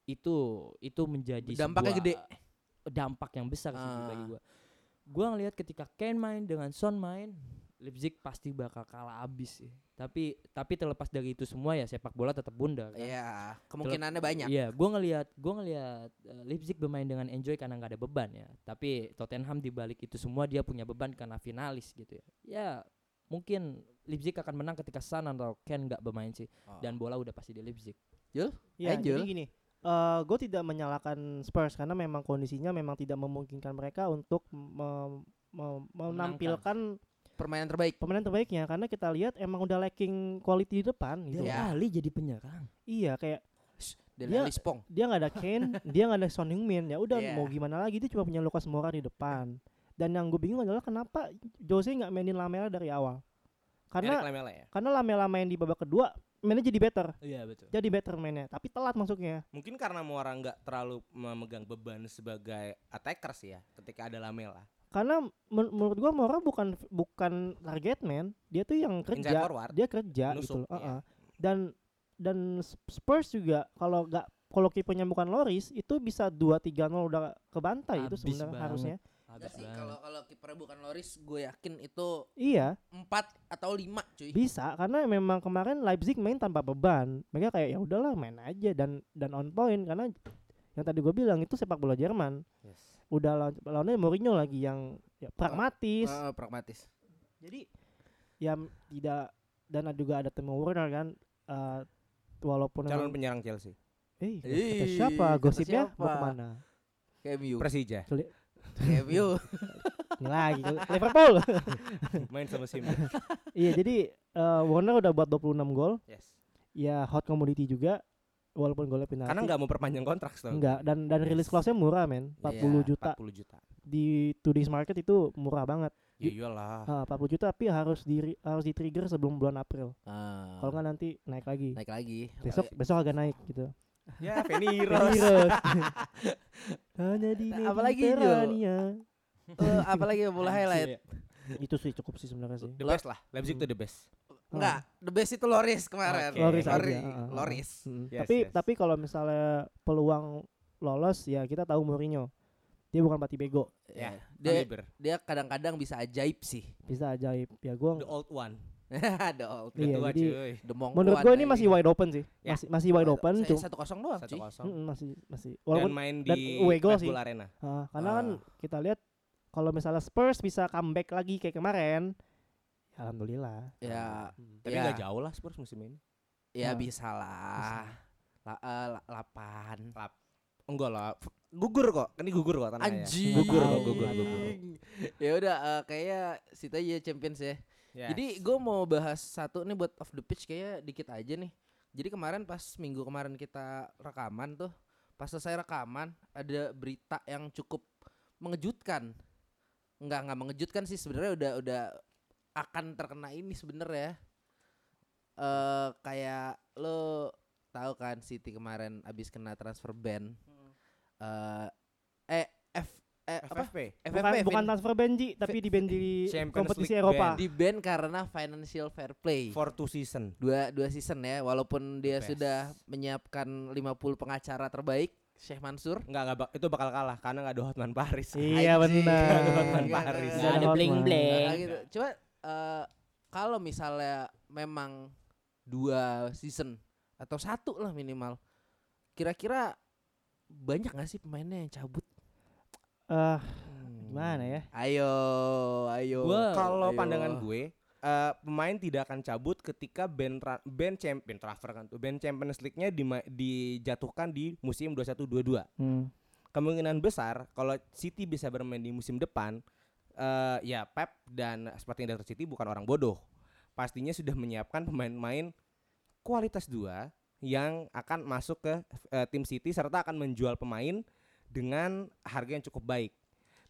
[SPEAKER 4] itu itu menjadi
[SPEAKER 5] Dampaknya
[SPEAKER 4] sebuah
[SPEAKER 5] gede.
[SPEAKER 4] dampak yang besar sih
[SPEAKER 5] Ah.
[SPEAKER 4] bagi gua. Gua ngelihat ketika Kane main dengan Son main, Leipzig pasti bakal kalah abis sih. Tapi tapi terlepas dari itu semua ya sepak bola tetap bundar. kan.
[SPEAKER 5] Iya, kemungkinannya banyak.
[SPEAKER 4] Iya, gua ngelihat gua ngelihat eh, Leipzig bermain dengan enjoy karena nggak ada beban ya. Tapi Tottenham di balik itu semua dia punya beban karena finalis gitu ya. Ya mungkin Leipzig akan menang ketika Son atau Ken nggak bermain sih
[SPEAKER 5] Oh.
[SPEAKER 4] dan bola udah pasti di Leipzig.
[SPEAKER 6] Ya,
[SPEAKER 5] Angel.
[SPEAKER 6] jadi gini, gue tidak menyalahkan Spurs karena memang kondisinya memang tidak memungkinkan mereka untuk me- me- menampilkan
[SPEAKER 5] permainan terbaik.
[SPEAKER 6] pemain terbaiknya karena kita lihat emang udah lacking quality di depan gitu.
[SPEAKER 4] Dele
[SPEAKER 7] Iya.
[SPEAKER 5] Ya.
[SPEAKER 4] Ali jadi penyerang.
[SPEAKER 6] Iya, kayak
[SPEAKER 5] Dele
[SPEAKER 6] Dia-
[SPEAKER 5] Alli Spong.
[SPEAKER 6] dia nggak ada Kane, dia nggak ada Son Heung-min. Ya udah
[SPEAKER 5] Iya.
[SPEAKER 6] mau gimana lagi dia cuma punya Lucas Moura di depan. Dan yang gue bingung adalah kenapa Jose nggak mainin Lamela dari awal?
[SPEAKER 7] Eric
[SPEAKER 6] Karena
[SPEAKER 7] Lamela ya.
[SPEAKER 6] karena Lamela main di babak kedua, mainnya jadi better,
[SPEAKER 4] Iya betul.
[SPEAKER 6] jadi better mainnya, tapi telat masuknya.
[SPEAKER 7] Mungkin karena Moura nggak terlalu memegang beban sebagai attacker sih ya ketika ada Lamela.
[SPEAKER 6] karena men- menurut gua Mora bukan bukan target man dia tuh yang kerja
[SPEAKER 7] Inside forward.
[SPEAKER 6] dia kerja gitu
[SPEAKER 7] Nusuk,
[SPEAKER 6] loh
[SPEAKER 7] iya.
[SPEAKER 6] uh-uh. dan dan Sp- Spurs juga kalau nggak kalau kipernya bukan Loris itu bisa 2-3-0 udah
[SPEAKER 5] Ah,
[SPEAKER 6] kebantai itu
[SPEAKER 4] Abis
[SPEAKER 6] sebenarnya
[SPEAKER 4] banget.
[SPEAKER 6] harusnya
[SPEAKER 5] Enggak sih, kalau kalau kipernya bukan Loris, gue yakin itu
[SPEAKER 6] iya
[SPEAKER 5] 4 atau 5, cuy.
[SPEAKER 6] bisa karena memang kemarin Leipzig main tanpa beban mereka kayak ya udahlah main aja dan dan on point karena yang tadi gua bilang itu sepak bola Jerman udah lawan lawannya Mourinho lagi yang ya, pragmatis
[SPEAKER 5] Ah, pragmatis.
[SPEAKER 6] Jadi ya m- tidak dan ada juga ada Timo Werner kan eh, walaupun
[SPEAKER 7] Calon
[SPEAKER 6] memang,
[SPEAKER 7] penyerang Chelsea.
[SPEAKER 6] eh kata
[SPEAKER 5] Ih,
[SPEAKER 6] siapa
[SPEAKER 5] kata
[SPEAKER 6] gosipnya mau
[SPEAKER 5] siapa?
[SPEAKER 6] kemana?
[SPEAKER 5] KMU.
[SPEAKER 7] <laughs> Persija
[SPEAKER 6] <laughs>
[SPEAKER 5] KMU.
[SPEAKER 6] Ini lagi ke Liverpool. <laughs>
[SPEAKER 7] main sama Sim.
[SPEAKER 6] iya jadi eh, Werner udah buat 26 gol.
[SPEAKER 7] Yes.
[SPEAKER 6] Ya hot commodity juga walaupun golnya penalti.
[SPEAKER 7] Karena nggak mau perpanjang kontrak setahun.
[SPEAKER 6] Enggak, dan dan rilis clause-nya murah men 40
[SPEAKER 5] Iya,
[SPEAKER 6] juta
[SPEAKER 7] 40 juta.
[SPEAKER 6] di today's market itu murah banget
[SPEAKER 7] Ya
[SPEAKER 6] Ah,
[SPEAKER 7] iyalah.
[SPEAKER 6] 40 juta tapi harus di harus di trigger sebelum bulan April
[SPEAKER 5] Ah,
[SPEAKER 6] kalau nggak nanti naik lagi
[SPEAKER 5] naik lagi.
[SPEAKER 6] besok besok agak naik gitu <laughs>
[SPEAKER 7] ya Feni
[SPEAKER 6] Heroes.
[SPEAKER 7] Rose.
[SPEAKER 6] Hanya di
[SPEAKER 5] Nah, apalagi, Jo?
[SPEAKER 6] Mediterania.
[SPEAKER 5] Eh, apalagi yang bola highlight.
[SPEAKER 6] Itu sih cukup sih sebenarnya sih.
[SPEAKER 7] The best lah. Leipzig itu the best.
[SPEAKER 5] Enggak, the best itu Loris kemarin.
[SPEAKER 7] Oke. Loris
[SPEAKER 5] Sorry,
[SPEAKER 6] aja, ah, ah, ah.
[SPEAKER 5] Loris.
[SPEAKER 6] Mm,
[SPEAKER 7] Yes,
[SPEAKER 6] tapi
[SPEAKER 7] yes.
[SPEAKER 6] tapi kalau misalnya peluang lolos ya kita tahu Mourinho. Dia bukan pelatih bego,
[SPEAKER 7] Ya,
[SPEAKER 5] Dia
[SPEAKER 7] Kaliber.
[SPEAKER 5] dia kadang-kadang bisa ajaib sih. <laughs>
[SPEAKER 6] bisa ajaib. Ya gua
[SPEAKER 7] The old one.
[SPEAKER 5] Ada all
[SPEAKER 6] Iya,
[SPEAKER 7] Ketua
[SPEAKER 6] jadi-
[SPEAKER 7] cuy.
[SPEAKER 5] demong.
[SPEAKER 6] menurut gua ini masih wide open sih.
[SPEAKER 7] Ya.
[SPEAKER 6] Masih masih wide open cuma
[SPEAKER 5] gitu. Eh, Satu kosong doang.
[SPEAKER 7] Satu
[SPEAKER 5] cuy.
[SPEAKER 7] kosong.
[SPEAKER 6] Mm, masih masih
[SPEAKER 7] Dan
[SPEAKER 6] walaupun
[SPEAKER 7] main
[SPEAKER 6] dan
[SPEAKER 7] di
[SPEAKER 6] away goal
[SPEAKER 7] Red
[SPEAKER 6] sih.
[SPEAKER 7] Bull Arena.
[SPEAKER 6] ah, karena kan kita lihat kalau misalnya Spurs bisa comeback lagi kayak kemarin, ya alhamdulillah.
[SPEAKER 5] Ya,
[SPEAKER 7] Tapi
[SPEAKER 5] ya,
[SPEAKER 7] nggak jauh lah Spurs musim ini.
[SPEAKER 5] ya
[SPEAKER 6] Ah.
[SPEAKER 5] bisa lah. La- eh, la- lapan.
[SPEAKER 7] Enggak lah. F- Gugur kok. Ini gugur kok tanahnya.
[SPEAKER 5] Anjing.
[SPEAKER 7] ya? Gugur kok, gugur, gugur.
[SPEAKER 5] Ya udah eh, kayaknya Sita aja Champions ya.
[SPEAKER 7] Ya.
[SPEAKER 5] Jadi gue mau bahas satu nih buat off the pitch kayaknya dikit aja nih. Jadi kemarin pas minggu kemarin kita rekaman tuh, pas selesai rekaman ada berita yang cukup mengejutkan. Enggak nggak mengejutkan sih sebenarnya udah udah akan terkena ini sebenarnya. Eh kayak lo tahu kan City kemarin abis kena transfer ban. Eh eh F eh, apa?
[SPEAKER 7] FFP.
[SPEAKER 6] Bukan,
[SPEAKER 5] FFP,
[SPEAKER 6] bukan
[SPEAKER 5] Vin.
[SPEAKER 6] transfer benji tapi di benji di
[SPEAKER 7] Champions
[SPEAKER 6] kompetisi
[SPEAKER 7] League
[SPEAKER 6] Eropa.
[SPEAKER 7] ban.
[SPEAKER 5] di ban karena financial fair play.
[SPEAKER 7] For two season.
[SPEAKER 5] dua dua season ya walaupun dia
[SPEAKER 7] Best.
[SPEAKER 5] sudah menyiapkan 50 pengacara terbaik Syekh Mansur
[SPEAKER 7] Enggak, enggak, bak- itu bakal kalah karena enggak ada Hotman Paris.
[SPEAKER 6] Iya
[SPEAKER 5] Anjing.
[SPEAKER 6] benar.
[SPEAKER 7] Lawan
[SPEAKER 5] Iya,
[SPEAKER 7] Paris.
[SPEAKER 5] iya,
[SPEAKER 4] Nggak ada
[SPEAKER 6] Hotman.
[SPEAKER 4] bling-bling.
[SPEAKER 5] Nah, gitu. Coba eh, kalau misalnya memang dua season atau satu lah minimal kira-kira banyak gak sih pemainnya yang cabut?
[SPEAKER 6] Eh, gimana
[SPEAKER 7] Hmm.
[SPEAKER 6] ya?
[SPEAKER 5] Ayo, ayo.
[SPEAKER 4] Gua-
[SPEAKER 7] Kalau
[SPEAKER 5] ayo.
[SPEAKER 7] pandangan gue eh, pemain tidak akan cabut ketika band tra- band champion transfer kan tuh band Champions League-nya dima- dijatuhkan di musim 21-22.
[SPEAKER 6] Hmm.
[SPEAKER 7] Kemungkinan besar kalau City bisa bermain di musim depan eh, ya Pep dan Sporting Director City bukan orang bodoh. Pastinya sudah menyiapkan pemain-pemain kualitas dua yang akan masuk ke eh, tim City serta akan menjual pemain dengan harga yang cukup baik.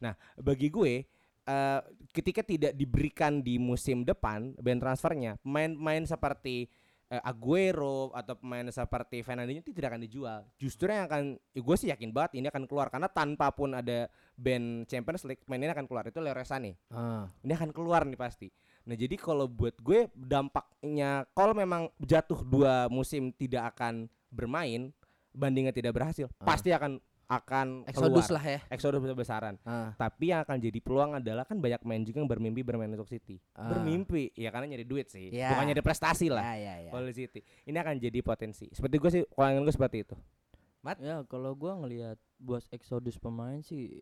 [SPEAKER 7] Nah, bagi gue eh, ketika tidak diberikan di musim depan band transfernya, pemain-pemain seperti eh, Aguero atau pemain seperti Fernandinho itu tidak akan dijual. Justru yang akan ya gue sih yakin banget ini akan keluar karena tanpa pun ada band Champions League pemain ini akan keluar itu Leroy Sané. Ini akan keluar nih pasti. Nah, jadi kalau buat gue dampaknya kalau memang jatuh dua musim tidak akan bermain bandingnya tidak berhasil,
[SPEAKER 5] Ah.
[SPEAKER 7] pasti akan akan
[SPEAKER 5] Exodus
[SPEAKER 7] keluar.
[SPEAKER 5] lah ya.
[SPEAKER 7] Exodus besar-besaran.
[SPEAKER 5] Ah.
[SPEAKER 7] Tapi yang akan jadi peluang adalah kan banyak main juga yang bermimpi bermain untuk City.
[SPEAKER 5] Ah.
[SPEAKER 7] Bermimpi, ya karena nyari duit sih,
[SPEAKER 5] Ya.
[SPEAKER 7] bukan nyari prestasi lah.
[SPEAKER 5] Ya, ya, ya.
[SPEAKER 7] Kalau di City, ini akan jadi potensi. Seperti gue sih, kalau gue seperti itu.
[SPEAKER 4] Ya kalau gua ngelihat buat eksodus pemain sih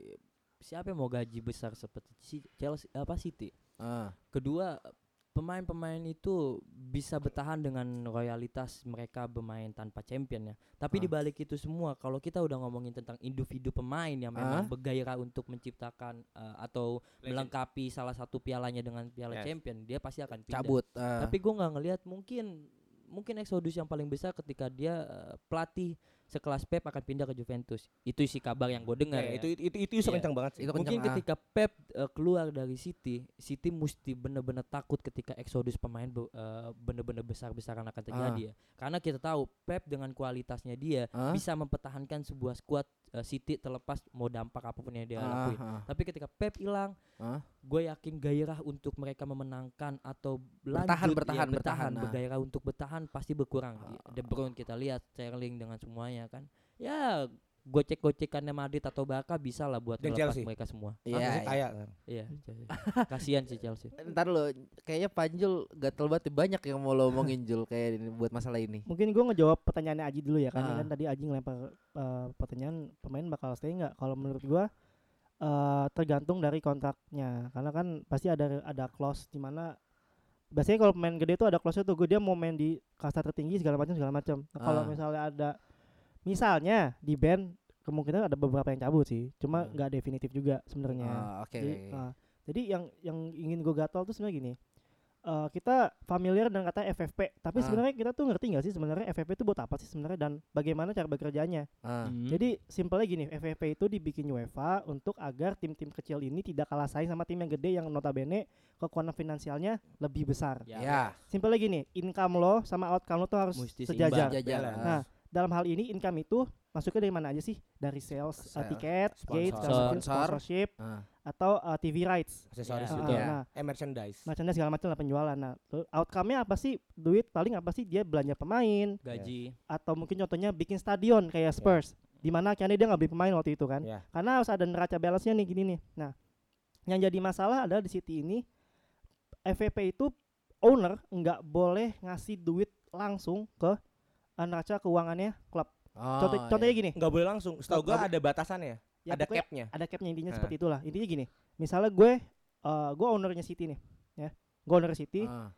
[SPEAKER 4] siapa yang mau gaji besar seperti si- Chelsea apa City.
[SPEAKER 5] Ah.
[SPEAKER 4] Kedua pemain-pemain itu bisa bertahan dengan royalitas mereka bermain tanpa champion ya.
[SPEAKER 5] Ah.
[SPEAKER 4] Tapi dibalik itu semua kalau kita udah ngomongin tentang individu pemain yang
[SPEAKER 5] Ah.
[SPEAKER 4] memang bergairah untuk menciptakan eh, atau melengkapi salah satu pialanya dengan piala
[SPEAKER 7] Yes.
[SPEAKER 4] champion, dia pasti akan pindah.
[SPEAKER 5] Cabut. ah.
[SPEAKER 4] Tapi gue nggak ngelihat mungkin mungkin Exodus yang paling besar ketika dia eh, pelatih sekelas Pep akan pindah ke Juventus. Itu sih kabar yang gue dengar. ya.
[SPEAKER 7] Ya, itu itu itu, itu isu
[SPEAKER 4] Iya.
[SPEAKER 7] kencang banget sih.
[SPEAKER 5] Itu kencang,
[SPEAKER 4] mungkin
[SPEAKER 5] ah.
[SPEAKER 4] ketika Pep eh, keluar dari City, City mesti benar-benar takut ketika Exodus pemain be- eh, benar-benar besar-besaran akan terjadi ya. Karena kita tahu Pep dengan kualitasnya dia
[SPEAKER 5] Ah.
[SPEAKER 4] bisa mempertahankan sebuah skuad eh, City terlepas mau dampak apapun yang dia lakuin.
[SPEAKER 5] Ah, ah.
[SPEAKER 4] Tapi ketika Pep hilang,
[SPEAKER 5] Hah?
[SPEAKER 4] gue yakin gairah untuk mereka memenangkan atau lanjut
[SPEAKER 5] Bertahan, bertahan,
[SPEAKER 4] ya,
[SPEAKER 5] bertahan,
[SPEAKER 4] bertahan,
[SPEAKER 5] ah.
[SPEAKER 4] bergairah untuk bertahan pasti berkurang. Di- De Bruyne kita lihat, Sterling dengan semuanya kan, ya gocek-gocekannya Madrid atau Barca bisa lah buat
[SPEAKER 7] Dan
[SPEAKER 4] melepas
[SPEAKER 7] Chelsea.
[SPEAKER 4] mereka semua.
[SPEAKER 5] Iya,
[SPEAKER 7] Langsung
[SPEAKER 5] iya.
[SPEAKER 7] kaya.
[SPEAKER 4] Iya, Chelsea. kasihan sih Chelsea.
[SPEAKER 5] ya. Ntar lo kayaknya Panjul gatel banget nih, banyak yang mau lo omongin Jul kayak ini, buat masalah ini.
[SPEAKER 6] Mungkin gua ngejawab pertanyaannya Aji dulu ya
[SPEAKER 5] Ah.
[SPEAKER 6] karena kan tadi Aji ngelempar eh, pertanyaan pemain bakal stay nggak? Kalau menurut gua eh, tergantung dari kontraknya karena kan pasti ada ada clause di mana biasanya kalau pemain gede tuh ada clause tuh gua dia mau main di kasta tertinggi segala macam segala macam. Nah, kalau
[SPEAKER 5] Ah.
[SPEAKER 6] misalnya ada misalnya di band kemungkinan ada beberapa yang cabut sih, cuma
[SPEAKER 5] Hmm.
[SPEAKER 6] nggak definitif juga sebenarnya.
[SPEAKER 5] Ah, Oke.
[SPEAKER 6] Jadi, ah, jadi yang yang ingin gue gatal tuh sebenarnya gini. Eh kita familiar dengan kata FFP, tapi
[SPEAKER 5] Ah.
[SPEAKER 6] sebenarnya kita tuh ngerti nggak sih sebenarnya FFP itu buat apa sih sebenarnya dan bagaimana cara bekerjanya?
[SPEAKER 5] Ah,
[SPEAKER 6] Jadi simpelnya gini, FFP itu dibikin UEFA untuk agar tim-tim kecil ini tidak kalah saing sama tim yang gede yang notabene kekuatan finansialnya lebih besar.
[SPEAKER 4] Iya.
[SPEAKER 5] Ya.
[SPEAKER 6] Simpelnya gini, income lo sama outcome lo tuh harus
[SPEAKER 4] Mesti
[SPEAKER 6] sejajar.
[SPEAKER 4] seimbang.
[SPEAKER 5] Sejajar.
[SPEAKER 7] balance.
[SPEAKER 5] ah.
[SPEAKER 6] Nah, dalam hal ini income itu masuknya dari mana aja sih? Dari sales, eh,
[SPEAKER 5] Sales,
[SPEAKER 6] tiket, gate, segala
[SPEAKER 7] sponsor.
[SPEAKER 6] macam,
[SPEAKER 5] Sponsor.
[SPEAKER 6] sponsorship
[SPEAKER 5] Ah.
[SPEAKER 6] atau eh, TV rights.
[SPEAKER 7] Aksesoris
[SPEAKER 4] Ya.
[SPEAKER 7] juga.
[SPEAKER 6] Ah, nah.
[SPEAKER 7] Eh, merchandise.
[SPEAKER 6] merchandise segala macam lah penjualan. Nah, lo- outcome-nya apa sih? Duit paling apa sih dia belanja pemain
[SPEAKER 4] Gaji.
[SPEAKER 6] atau mungkin contohnya bikin stadion kayak Spurs. di mana akhirnya dia nggak beli pemain waktu itu kan
[SPEAKER 7] Iya.
[SPEAKER 6] karena harus ada neraca balance-nya nih gini nih nah yang jadi masalah adalah di City ini FVP itu owner nggak boleh ngasih duit langsung ke eh, neraca keuangannya klub
[SPEAKER 5] Oh, ya.
[SPEAKER 6] Contoh-
[SPEAKER 5] iya.
[SPEAKER 6] contohnya gini
[SPEAKER 7] Nggak boleh langsung. Setahu gua ada batasannya,
[SPEAKER 6] ya
[SPEAKER 7] ada
[SPEAKER 6] pokoknya-
[SPEAKER 7] capnya.
[SPEAKER 6] ada capnya intinya
[SPEAKER 7] Ah.
[SPEAKER 6] seperti itulah intinya gini misalnya gue eh gue ownernya City nih ya gue owner City
[SPEAKER 5] Ah.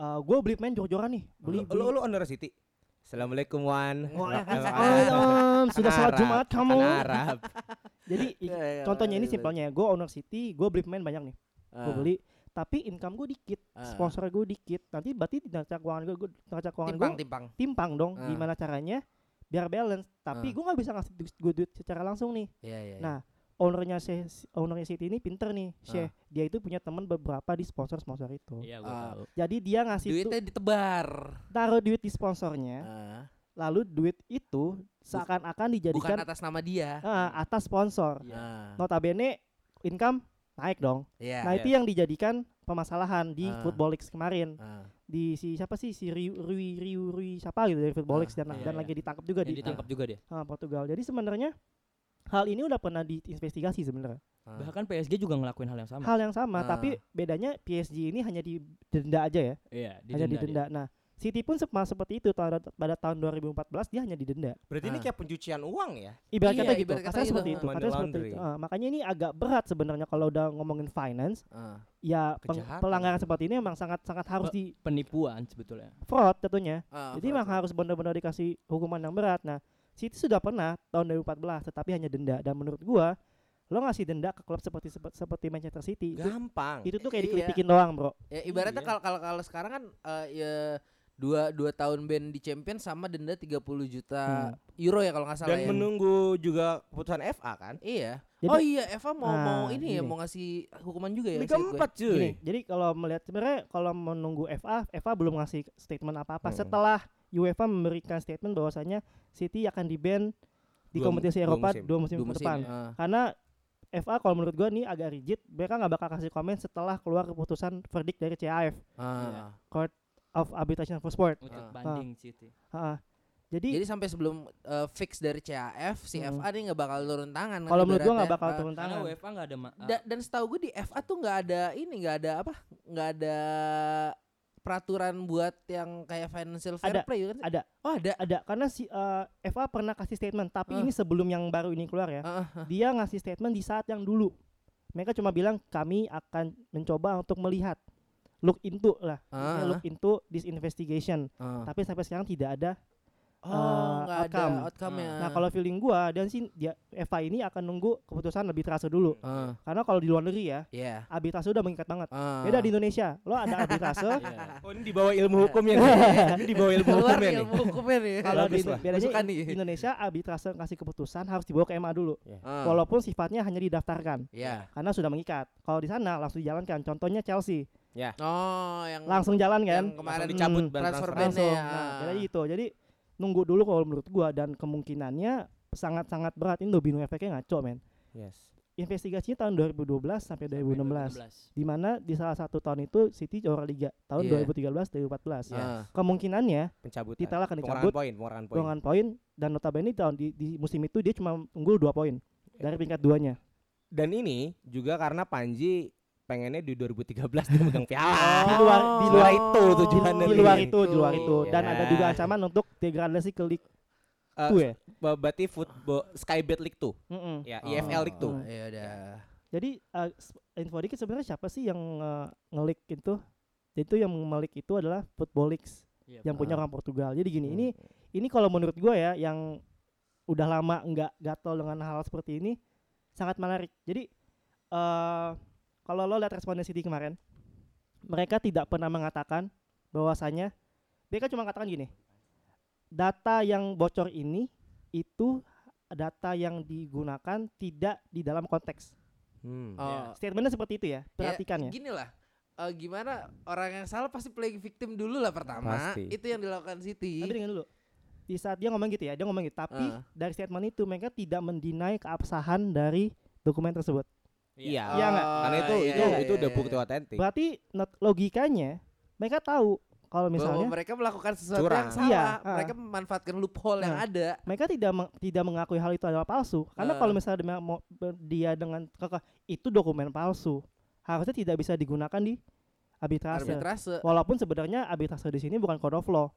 [SPEAKER 6] eh, gue beli pemain jor-joran nih beli
[SPEAKER 7] Lu,
[SPEAKER 6] beli
[SPEAKER 7] lu, lu owner City. Assalamualaikum Wan.
[SPEAKER 6] Oh, eh,
[SPEAKER 7] Makan
[SPEAKER 6] eh, em, sudah sholat
[SPEAKER 7] Arab,
[SPEAKER 6] Jumat kamu.
[SPEAKER 7] makan Arab.
[SPEAKER 6] Jadi i-
[SPEAKER 5] Iya,
[SPEAKER 6] contohnya ini simpelnya, gue owner City, gue beli pemain banyak nih, gue beli, tapi income gue dikit,
[SPEAKER 5] Ah.
[SPEAKER 6] sponsor gue dikit, nanti berarti di neraca keuangan gue, neraca keuangan gue
[SPEAKER 7] Timpang timpang.
[SPEAKER 6] timpang dong,
[SPEAKER 5] Ah.
[SPEAKER 6] gimana caranya biar balance, tapi
[SPEAKER 5] Ah.
[SPEAKER 6] gue nggak bisa ngasih gue duit secara langsung nih.
[SPEAKER 5] Iya, iya.
[SPEAKER 6] Nah, Ownernya si, si- ownernya City ini pinter nih, Syekh. Dia itu punya teman beberapa di sponsor-sponsor itu.
[SPEAKER 5] Ah.
[SPEAKER 4] Iya, gua tahu.
[SPEAKER 6] Jadi dia ngasih
[SPEAKER 5] duitnya
[SPEAKER 6] tuh,
[SPEAKER 5] ditebar.
[SPEAKER 6] taruh duit di sponsornya,
[SPEAKER 5] Ah,
[SPEAKER 6] lalu duit itu seakan-akan
[SPEAKER 5] bukan
[SPEAKER 6] dijadikan
[SPEAKER 5] atas nama dia.
[SPEAKER 6] ah, atas sponsor.
[SPEAKER 5] Ah,
[SPEAKER 6] notabene income naik dong.
[SPEAKER 5] Iya.
[SPEAKER 6] Nah, itu yang dijadikan permasalahan di
[SPEAKER 5] Ah.
[SPEAKER 6] Football League kemarin.
[SPEAKER 5] Ah,
[SPEAKER 6] Di si siapa sih si Rui Rui Rui, Rui siapa gitu dari
[SPEAKER 5] Ah,
[SPEAKER 6] Football League dan
[SPEAKER 4] iya,
[SPEAKER 6] dan
[SPEAKER 4] iya.
[SPEAKER 6] lagi ditangkap juga
[SPEAKER 4] Yang
[SPEAKER 6] di
[SPEAKER 4] ditangkap juga dia.
[SPEAKER 6] ah, Portugal. Jadi sebenarnya hal ini udah pernah diinvestigasi sebenarnya.
[SPEAKER 5] ah.
[SPEAKER 4] Bahkan PSG juga ngelakuin hal yang sama.
[SPEAKER 6] Hal yang
[SPEAKER 5] Ah.
[SPEAKER 6] sama, tapi bedanya PSG ini hanya didenda aja ya,
[SPEAKER 4] Iya,
[SPEAKER 6] hanya
[SPEAKER 4] dia.
[SPEAKER 6] didenda. Nah, City pun sama seperti itu pada, pada tahun 2014 dia hanya didenda.
[SPEAKER 7] Berarti ini
[SPEAKER 5] Ah.
[SPEAKER 7] kayak pencucian uang ya?
[SPEAKER 6] Ibarat
[SPEAKER 5] Iya,
[SPEAKER 6] kata gitu,
[SPEAKER 5] ibarat kata
[SPEAKER 6] kasarnya
[SPEAKER 5] gitu.
[SPEAKER 6] seperti itu,
[SPEAKER 7] Money
[SPEAKER 6] kasarnya seperti itu.
[SPEAKER 7] laundering.
[SPEAKER 6] Ah, makanya ini agak berat sebenarnya kalau udah ngomongin finance
[SPEAKER 5] Ah.
[SPEAKER 6] ya peng-
[SPEAKER 7] Kejahatan.
[SPEAKER 6] pelanggaran seperti ini memang sangat sangat harus
[SPEAKER 4] Ba-
[SPEAKER 6] di
[SPEAKER 4] Penipuan sebetulnya.
[SPEAKER 6] fraud tentunya.
[SPEAKER 5] Ah,
[SPEAKER 6] Jadi memang harus benar-benar dikasih hukuman yang berat. Nah, City sudah pernah tahun 2014 tetapi hanya denda dan menurut gua lo ngasih denda ke klub seperti seperti, seperti Manchester City itu,
[SPEAKER 7] Gampang.
[SPEAKER 6] itu tuh kayak
[SPEAKER 5] Iya.
[SPEAKER 6] dikelitikin doang, Bro.
[SPEAKER 5] Ya, ibaratnya
[SPEAKER 7] Iya.
[SPEAKER 5] kalau kalau kalau sekarang kan eh, ya dua dua tahun band di champion sama denda 30
[SPEAKER 6] Hmm.
[SPEAKER 5] juta euro ya kalau nggak salah
[SPEAKER 7] Dan
[SPEAKER 5] ya.
[SPEAKER 7] menunggu juga keputusan FA kan?
[SPEAKER 5] Iya.
[SPEAKER 6] Jadi-
[SPEAKER 5] oh iya, Eva mau mau
[SPEAKER 6] Ah,
[SPEAKER 5] ini ya
[SPEAKER 6] gini.
[SPEAKER 5] mau ngasih hukuman juga ya.
[SPEAKER 7] Liga
[SPEAKER 5] seingat gue.
[SPEAKER 7] empat
[SPEAKER 6] Gini,
[SPEAKER 7] cuy.
[SPEAKER 6] jadi kalau melihat sebenarnya kalau menunggu FA, FA belum ngasih statement apa-apa
[SPEAKER 7] Mm.
[SPEAKER 6] setelah UEFA memberikan statement bahwasanya City akan di-ban di
[SPEAKER 7] Dua mu-
[SPEAKER 6] kompetisi
[SPEAKER 7] dua
[SPEAKER 6] Eropa
[SPEAKER 7] musim.
[SPEAKER 6] dua musim,
[SPEAKER 5] Dua
[SPEAKER 6] ke
[SPEAKER 5] musim,
[SPEAKER 6] depan.
[SPEAKER 5] ah.
[SPEAKER 6] karena FA kalau menurut gua nih agak rigid mereka nggak bakal kasih komen setelah keluar keputusan verdict dari CAF
[SPEAKER 5] Ah.
[SPEAKER 4] Iya.
[SPEAKER 6] of arbitration for sport
[SPEAKER 4] Untuk
[SPEAKER 5] Ah.
[SPEAKER 4] banding City.
[SPEAKER 6] Ha-ha. jadi,
[SPEAKER 5] Jadi sampai sebelum eh, fix dari CAF, si
[SPEAKER 6] Hmm.
[SPEAKER 5] FA nih nggak bakal turun tangan. kan
[SPEAKER 6] kalau menurut gua
[SPEAKER 5] ibaratnya.
[SPEAKER 6] nggak bakal
[SPEAKER 5] Ah.
[SPEAKER 6] turun
[SPEAKER 4] Karena
[SPEAKER 6] tangan
[SPEAKER 4] UEFA nggak ada ma- ah,
[SPEAKER 5] Da- dan setahu gue di FA tuh nggak ada ini, nggak ada apa, nggak ada peraturan buat yang kayak financial fair
[SPEAKER 6] Ada,
[SPEAKER 5] play kan? sih?
[SPEAKER 6] ada.
[SPEAKER 5] Oh ada.
[SPEAKER 6] ada karena si eh, FA pernah kasih statement tapi
[SPEAKER 5] Ah.
[SPEAKER 6] ini sebelum yang baru ini keluar ya
[SPEAKER 5] Ah, ah.
[SPEAKER 6] dia ngasih statement di saat yang dulu mereka cuma bilang kami akan mencoba untuk melihat look into lah Intinya
[SPEAKER 5] Ah.
[SPEAKER 6] look into this investigation
[SPEAKER 5] Ah.
[SPEAKER 6] tapi sampai sekarang tidak ada eh,
[SPEAKER 5] Oh, nggak ada
[SPEAKER 6] outcome.
[SPEAKER 5] outcome ya.
[SPEAKER 6] nah kalau feeling gua dan sih dia FA ini akan nunggu keputusan lebih terasa dulu
[SPEAKER 5] Hmm.
[SPEAKER 6] Karena kalau di luar negeri ya,
[SPEAKER 5] ya.
[SPEAKER 6] arbitrase udah mengikat banget.
[SPEAKER 5] Ah.
[SPEAKER 6] Beda di Indonesia, lo ada arbitrase.
[SPEAKER 4] iya.
[SPEAKER 7] Oh ini di bawah ilmu hukumnya <laughs> nih. ini di bawah ilmu
[SPEAKER 5] <laughs> Keluar
[SPEAKER 7] hukumnya nih.
[SPEAKER 5] ilmu hukumnya nih.
[SPEAKER 6] Kalau di
[SPEAKER 7] Bagus lah.
[SPEAKER 6] bedanya
[SPEAKER 5] Masukan
[SPEAKER 6] in-
[SPEAKER 5] nih.
[SPEAKER 6] Indonesia arbitrase ngasih keputusan harus dibawa ke MA dulu.
[SPEAKER 5] Ah.
[SPEAKER 6] Walaupun sifatnya hanya didaftarkan
[SPEAKER 5] Ya.
[SPEAKER 6] karena sudah mengikat. Kalau di sana langsung dijalankan. Contohnya Chelsea,
[SPEAKER 5] Oh, yang
[SPEAKER 6] langsung jalan kan?
[SPEAKER 5] yang kemarin
[SPEAKER 6] Hmm,
[SPEAKER 7] dicabut ban
[SPEAKER 5] transfer
[SPEAKER 7] transfer.
[SPEAKER 5] ban-nya
[SPEAKER 6] langsung.
[SPEAKER 5] ya.
[SPEAKER 6] Nah, jadi itu. Jadi nunggu dulu kalau menurut gua dan kemungkinannya sangat-sangat berat ini Lobino efeknya ngaco men.
[SPEAKER 7] Yes.
[SPEAKER 6] Investigasinya tahun 2012 sampai 2016.
[SPEAKER 5] Ah.
[SPEAKER 4] 2016.
[SPEAKER 6] di mana di salah satu tahun itu City juara liga tahun
[SPEAKER 5] Iya.
[SPEAKER 6] 2013 2014.
[SPEAKER 5] Ah.
[SPEAKER 6] Kemungkinannya
[SPEAKER 7] Pencabutan.
[SPEAKER 6] Titel akan
[SPEAKER 7] Iya. Pengurangan
[SPEAKER 6] dicabut.
[SPEAKER 7] poin, pengurangan poin.
[SPEAKER 6] dorongan poin dan notabene tahun di, di musim itu dia cuma unggul dua poin dari peringkat duanya.
[SPEAKER 7] Dan ini juga karena Panji pengennya di 2013 dia megang
[SPEAKER 6] <laughs>
[SPEAKER 7] piala.
[SPEAKER 6] Di luar di
[SPEAKER 7] Suara
[SPEAKER 6] luar
[SPEAKER 7] Oh. itu tujuannya
[SPEAKER 6] di Oh, luar
[SPEAKER 7] nih.
[SPEAKER 6] itu, di luar itu dan
[SPEAKER 7] Iya.
[SPEAKER 6] ada juga ancaman untuk degradasi ke League
[SPEAKER 7] Eh,
[SPEAKER 6] 2 ya.
[SPEAKER 7] Ba- Berarti football Skybet League tuh.
[SPEAKER 6] Mm-mm.
[SPEAKER 7] Ya, EFL League tuh.
[SPEAKER 6] Hmm.
[SPEAKER 5] Oh. Iya udah.
[SPEAKER 6] Jadi eh, s- info dikit sebenarnya siapa sih yang eh, nge-leak itu? Itu yang melik itu adalah Football League
[SPEAKER 4] Iya,
[SPEAKER 6] yang punya orang Portugal. Jadi gini,
[SPEAKER 7] Hmm.
[SPEAKER 6] ini ini kalau menurut gua ya yang udah lama nggak gatel dengan hal seperti ini sangat menarik. Jadi eh kalau lo lihat responden City kemarin, mereka tidak pernah mengatakan bahwasanya mereka cuma katakan gini, data yang bocor ini itu data yang digunakan tidak di dalam konteks.
[SPEAKER 7] Hmm.
[SPEAKER 6] Iya.
[SPEAKER 5] Oh,
[SPEAKER 6] Statementnya seperti itu ya, perhatikan ya.
[SPEAKER 5] Gini lah. eh, gimana orang yang salah pasti play victim dulu lah pertama.
[SPEAKER 7] Pasti.
[SPEAKER 5] Itu yang dilakukan City.
[SPEAKER 6] Tapi dengan dulu. Di saat dia ngomong gitu ya, dia ngomong gitu. Tapi
[SPEAKER 5] Ah.
[SPEAKER 6] dari statement itu mereka tidak mendinai keabsahan dari dokumen tersebut.
[SPEAKER 7] Iya.
[SPEAKER 6] Iya nggak?
[SPEAKER 7] Karena itu
[SPEAKER 5] Eh, iya,
[SPEAKER 7] itu
[SPEAKER 5] iya,
[SPEAKER 7] itu
[SPEAKER 5] iya,
[SPEAKER 7] udah
[SPEAKER 5] iya.
[SPEAKER 7] bukti otentik.
[SPEAKER 6] Berarti not- logikanya mereka tahu Kalau
[SPEAKER 5] bahwa
[SPEAKER 6] misalnya
[SPEAKER 5] mereka melakukan sesuatu yang
[SPEAKER 7] Curang.
[SPEAKER 5] salah,
[SPEAKER 6] Iya, ah.
[SPEAKER 5] mereka memanfaatkan loophole yang
[SPEAKER 6] Nah.
[SPEAKER 5] ada.
[SPEAKER 6] mereka tidak meng- tidak mengakui hal itu adalah palsu. Karena
[SPEAKER 5] Eh.
[SPEAKER 6] kalau misalnya dia mau ber- dia dengan kekeh itu dokumen palsu, harusnya tidak bisa digunakan di arbitrase.
[SPEAKER 5] Arbitrase.
[SPEAKER 6] Walaupun sebenarnya arbitrase di sini bukan code of law.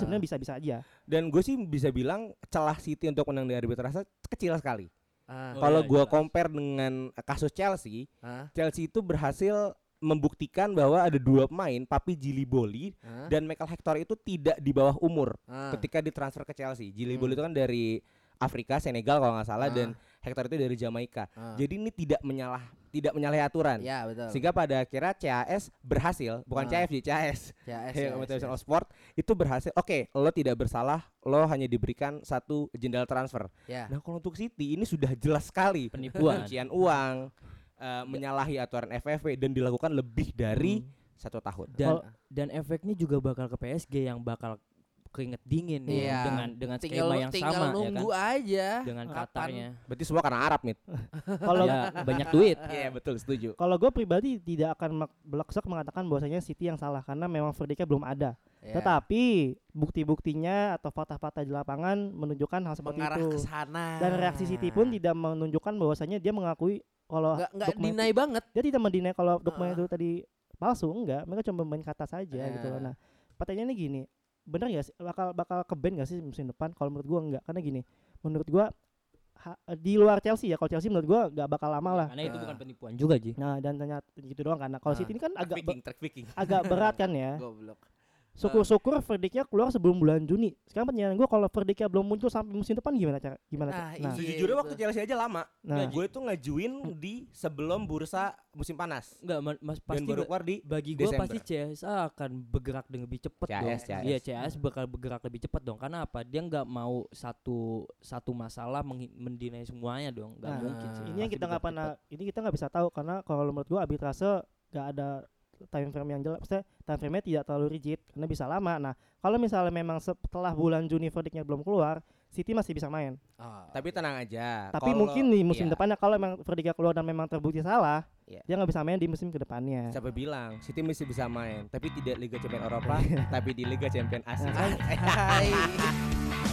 [SPEAKER 5] Ah.
[SPEAKER 6] sebenarnya bisa-bisa aja.
[SPEAKER 7] Dan gue sih bisa bilang celah City untuk menang di arbitrase kecil sekali.
[SPEAKER 5] Ah,
[SPEAKER 4] Oh,
[SPEAKER 7] Kalau
[SPEAKER 4] iya,
[SPEAKER 7] gue
[SPEAKER 4] jelas.
[SPEAKER 7] compare dengan kasus Chelsea,
[SPEAKER 5] ah,
[SPEAKER 7] Chelsea itu berhasil membuktikan bahwa ada dua pemain, Papi Boli
[SPEAKER 5] ah,
[SPEAKER 7] dan Michael Hector itu tidak di bawah umur
[SPEAKER 5] ah.
[SPEAKER 7] ketika ditransfer ke Chelsea. Boli
[SPEAKER 5] Hmm.
[SPEAKER 7] itu kan dari Afrika, Senegal kalau nggak salah
[SPEAKER 5] Ah.
[SPEAKER 7] dan Hector itu dari Jamaika.
[SPEAKER 5] Ah.
[SPEAKER 7] Jadi kan? ini tidak menyalah tidak menyalahi aturan.
[SPEAKER 5] ya betul.
[SPEAKER 7] Sehingga pada akhirnya CAS berhasil, bukan
[SPEAKER 5] Ah.
[SPEAKER 7] CFJ, CAS.
[SPEAKER 5] CAS,
[SPEAKER 7] Yang
[SPEAKER 5] CAS,
[SPEAKER 7] Komite
[SPEAKER 5] CAS.
[SPEAKER 7] Nasional Iya, Sport itu berhasil. Oke, lo tidak bersalah, lo hanya diberikan satu jendela transfer.
[SPEAKER 5] Ya.
[SPEAKER 7] Nah, kalau untuk City ini sudah jelas sekali
[SPEAKER 4] Penipuan.
[SPEAKER 7] pencucian uang, eh, menyalahi aturan FFP dan dilakukan lebih
[SPEAKER 5] Hmm.
[SPEAKER 7] dari satu tahun.
[SPEAKER 4] dan
[SPEAKER 5] Ah.
[SPEAKER 6] Kalau-
[SPEAKER 4] dan efeknya juga bakal ke PSG yang bakal keinget dingin nih
[SPEAKER 5] Iya.
[SPEAKER 4] dengan dengan skema
[SPEAKER 5] Tinggal,
[SPEAKER 4] yang
[SPEAKER 5] tinggal
[SPEAKER 4] sama ya kan
[SPEAKER 5] nunggu aja.
[SPEAKER 4] dengan
[SPEAKER 5] kapan.
[SPEAKER 4] Qatarnya
[SPEAKER 7] Berarti semua karena Arab, Mit.
[SPEAKER 6] Kalau
[SPEAKER 4] ya banyak duit
[SPEAKER 5] Ah.
[SPEAKER 7] Iya, betul, setuju.
[SPEAKER 6] kalau gue pribadi tidak akan mak- belaksak mengatakan bahwasanya City yang salah karena memang verdiknya belum ada.
[SPEAKER 5] Ya.
[SPEAKER 6] Tetapi bukti-buktinya atau fakta-fakta di lapangan menunjukkan hal seperti
[SPEAKER 5] mengarah
[SPEAKER 6] itu.
[SPEAKER 5] ke sana.
[SPEAKER 6] Dan reaksi City pun tidak menunjukkan bahwasanya dia mengakui kalau
[SPEAKER 5] nggak nggak
[SPEAKER 6] dokumen-
[SPEAKER 5] deny banget.
[SPEAKER 6] dia tidak mendinai kalau dokumen
[SPEAKER 5] Ah.
[SPEAKER 6] itu tadi palsu enggak mereka cuma main kata saja gitu loh
[SPEAKER 5] Ah.
[SPEAKER 6] nah pertanyaannya gini bener ya bakal bakal ke band gak sih musim depan kalau menurut gua enggak karena gini menurut gua ha- di luar Chelsea ya kalau Chelsea menurut gua nggak bakal lama lah
[SPEAKER 4] karena itu
[SPEAKER 5] Ah.
[SPEAKER 4] bukan penipuan juga ji
[SPEAKER 6] nah dan ternyata gitu doang karena
[SPEAKER 4] Nah,
[SPEAKER 6] kalau
[SPEAKER 5] Ah.
[SPEAKER 6] City ini kan agak be-
[SPEAKER 7] track picking.
[SPEAKER 6] agak berat kan
[SPEAKER 4] <laughs>
[SPEAKER 6] ya
[SPEAKER 5] Goblok.
[SPEAKER 6] syukur-syukur verdiknya keluar sebelum bulan Juni sekarang pertanyaan gua kalau verdiknya belum muncul sampai musim depan gimana cara gimana
[SPEAKER 5] Nah,
[SPEAKER 6] cara? nah,
[SPEAKER 5] iya.
[SPEAKER 7] Sejujurnya waktu Chelsea aja lama.
[SPEAKER 6] nah
[SPEAKER 7] Gue tuh ngajuin di sebelum bursa musim panas.
[SPEAKER 4] enggak ma- mas
[SPEAKER 7] Dan
[SPEAKER 4] pasti
[SPEAKER 7] baru
[SPEAKER 4] ba-
[SPEAKER 7] keluar di
[SPEAKER 4] bagi gua
[SPEAKER 7] Desember.
[SPEAKER 4] pasti CSA akan bergerak dengan lebih cepat dong
[SPEAKER 7] CAS.
[SPEAKER 4] iya CSA bakal bergerak lebih cepat dong karena apa dia nggak mau satu satu masalah menghi- mendinai semuanya dong nggak
[SPEAKER 6] Nah,
[SPEAKER 4] mungkin sih
[SPEAKER 6] ini yang
[SPEAKER 4] Pasti
[SPEAKER 6] kita nggak
[SPEAKER 4] bergerak
[SPEAKER 6] pernah
[SPEAKER 4] cepat.
[SPEAKER 6] ini kita nggak bisa tahu karena kalau menurut gua arbitrase nggak ada time frame yang jelas maksudnya time frame-nya tidak terlalu rigid karena bisa lama nah kalau misalnya memang setelah bulan Juni verdictnya belum keluar City masih bisa main
[SPEAKER 5] Ah,
[SPEAKER 4] Nah,
[SPEAKER 7] Tapi tenang aja.
[SPEAKER 6] tapi
[SPEAKER 7] kalau-
[SPEAKER 6] mungkin di musim
[SPEAKER 7] iya.
[SPEAKER 6] depannya kalau memang verdictnya keluar dan memang terbukti salah
[SPEAKER 7] Iya.
[SPEAKER 6] dia nggak bisa main di musim kedepannya
[SPEAKER 7] Siapa bilang City masih
[SPEAKER 6] <laughs>
[SPEAKER 7] bisa
[SPEAKER 6] Nah, kan
[SPEAKER 7] main, tapi tidak Liga Champion Eropa, tapi di Liga Champion Asia.
[SPEAKER 5] <laughs> Hai.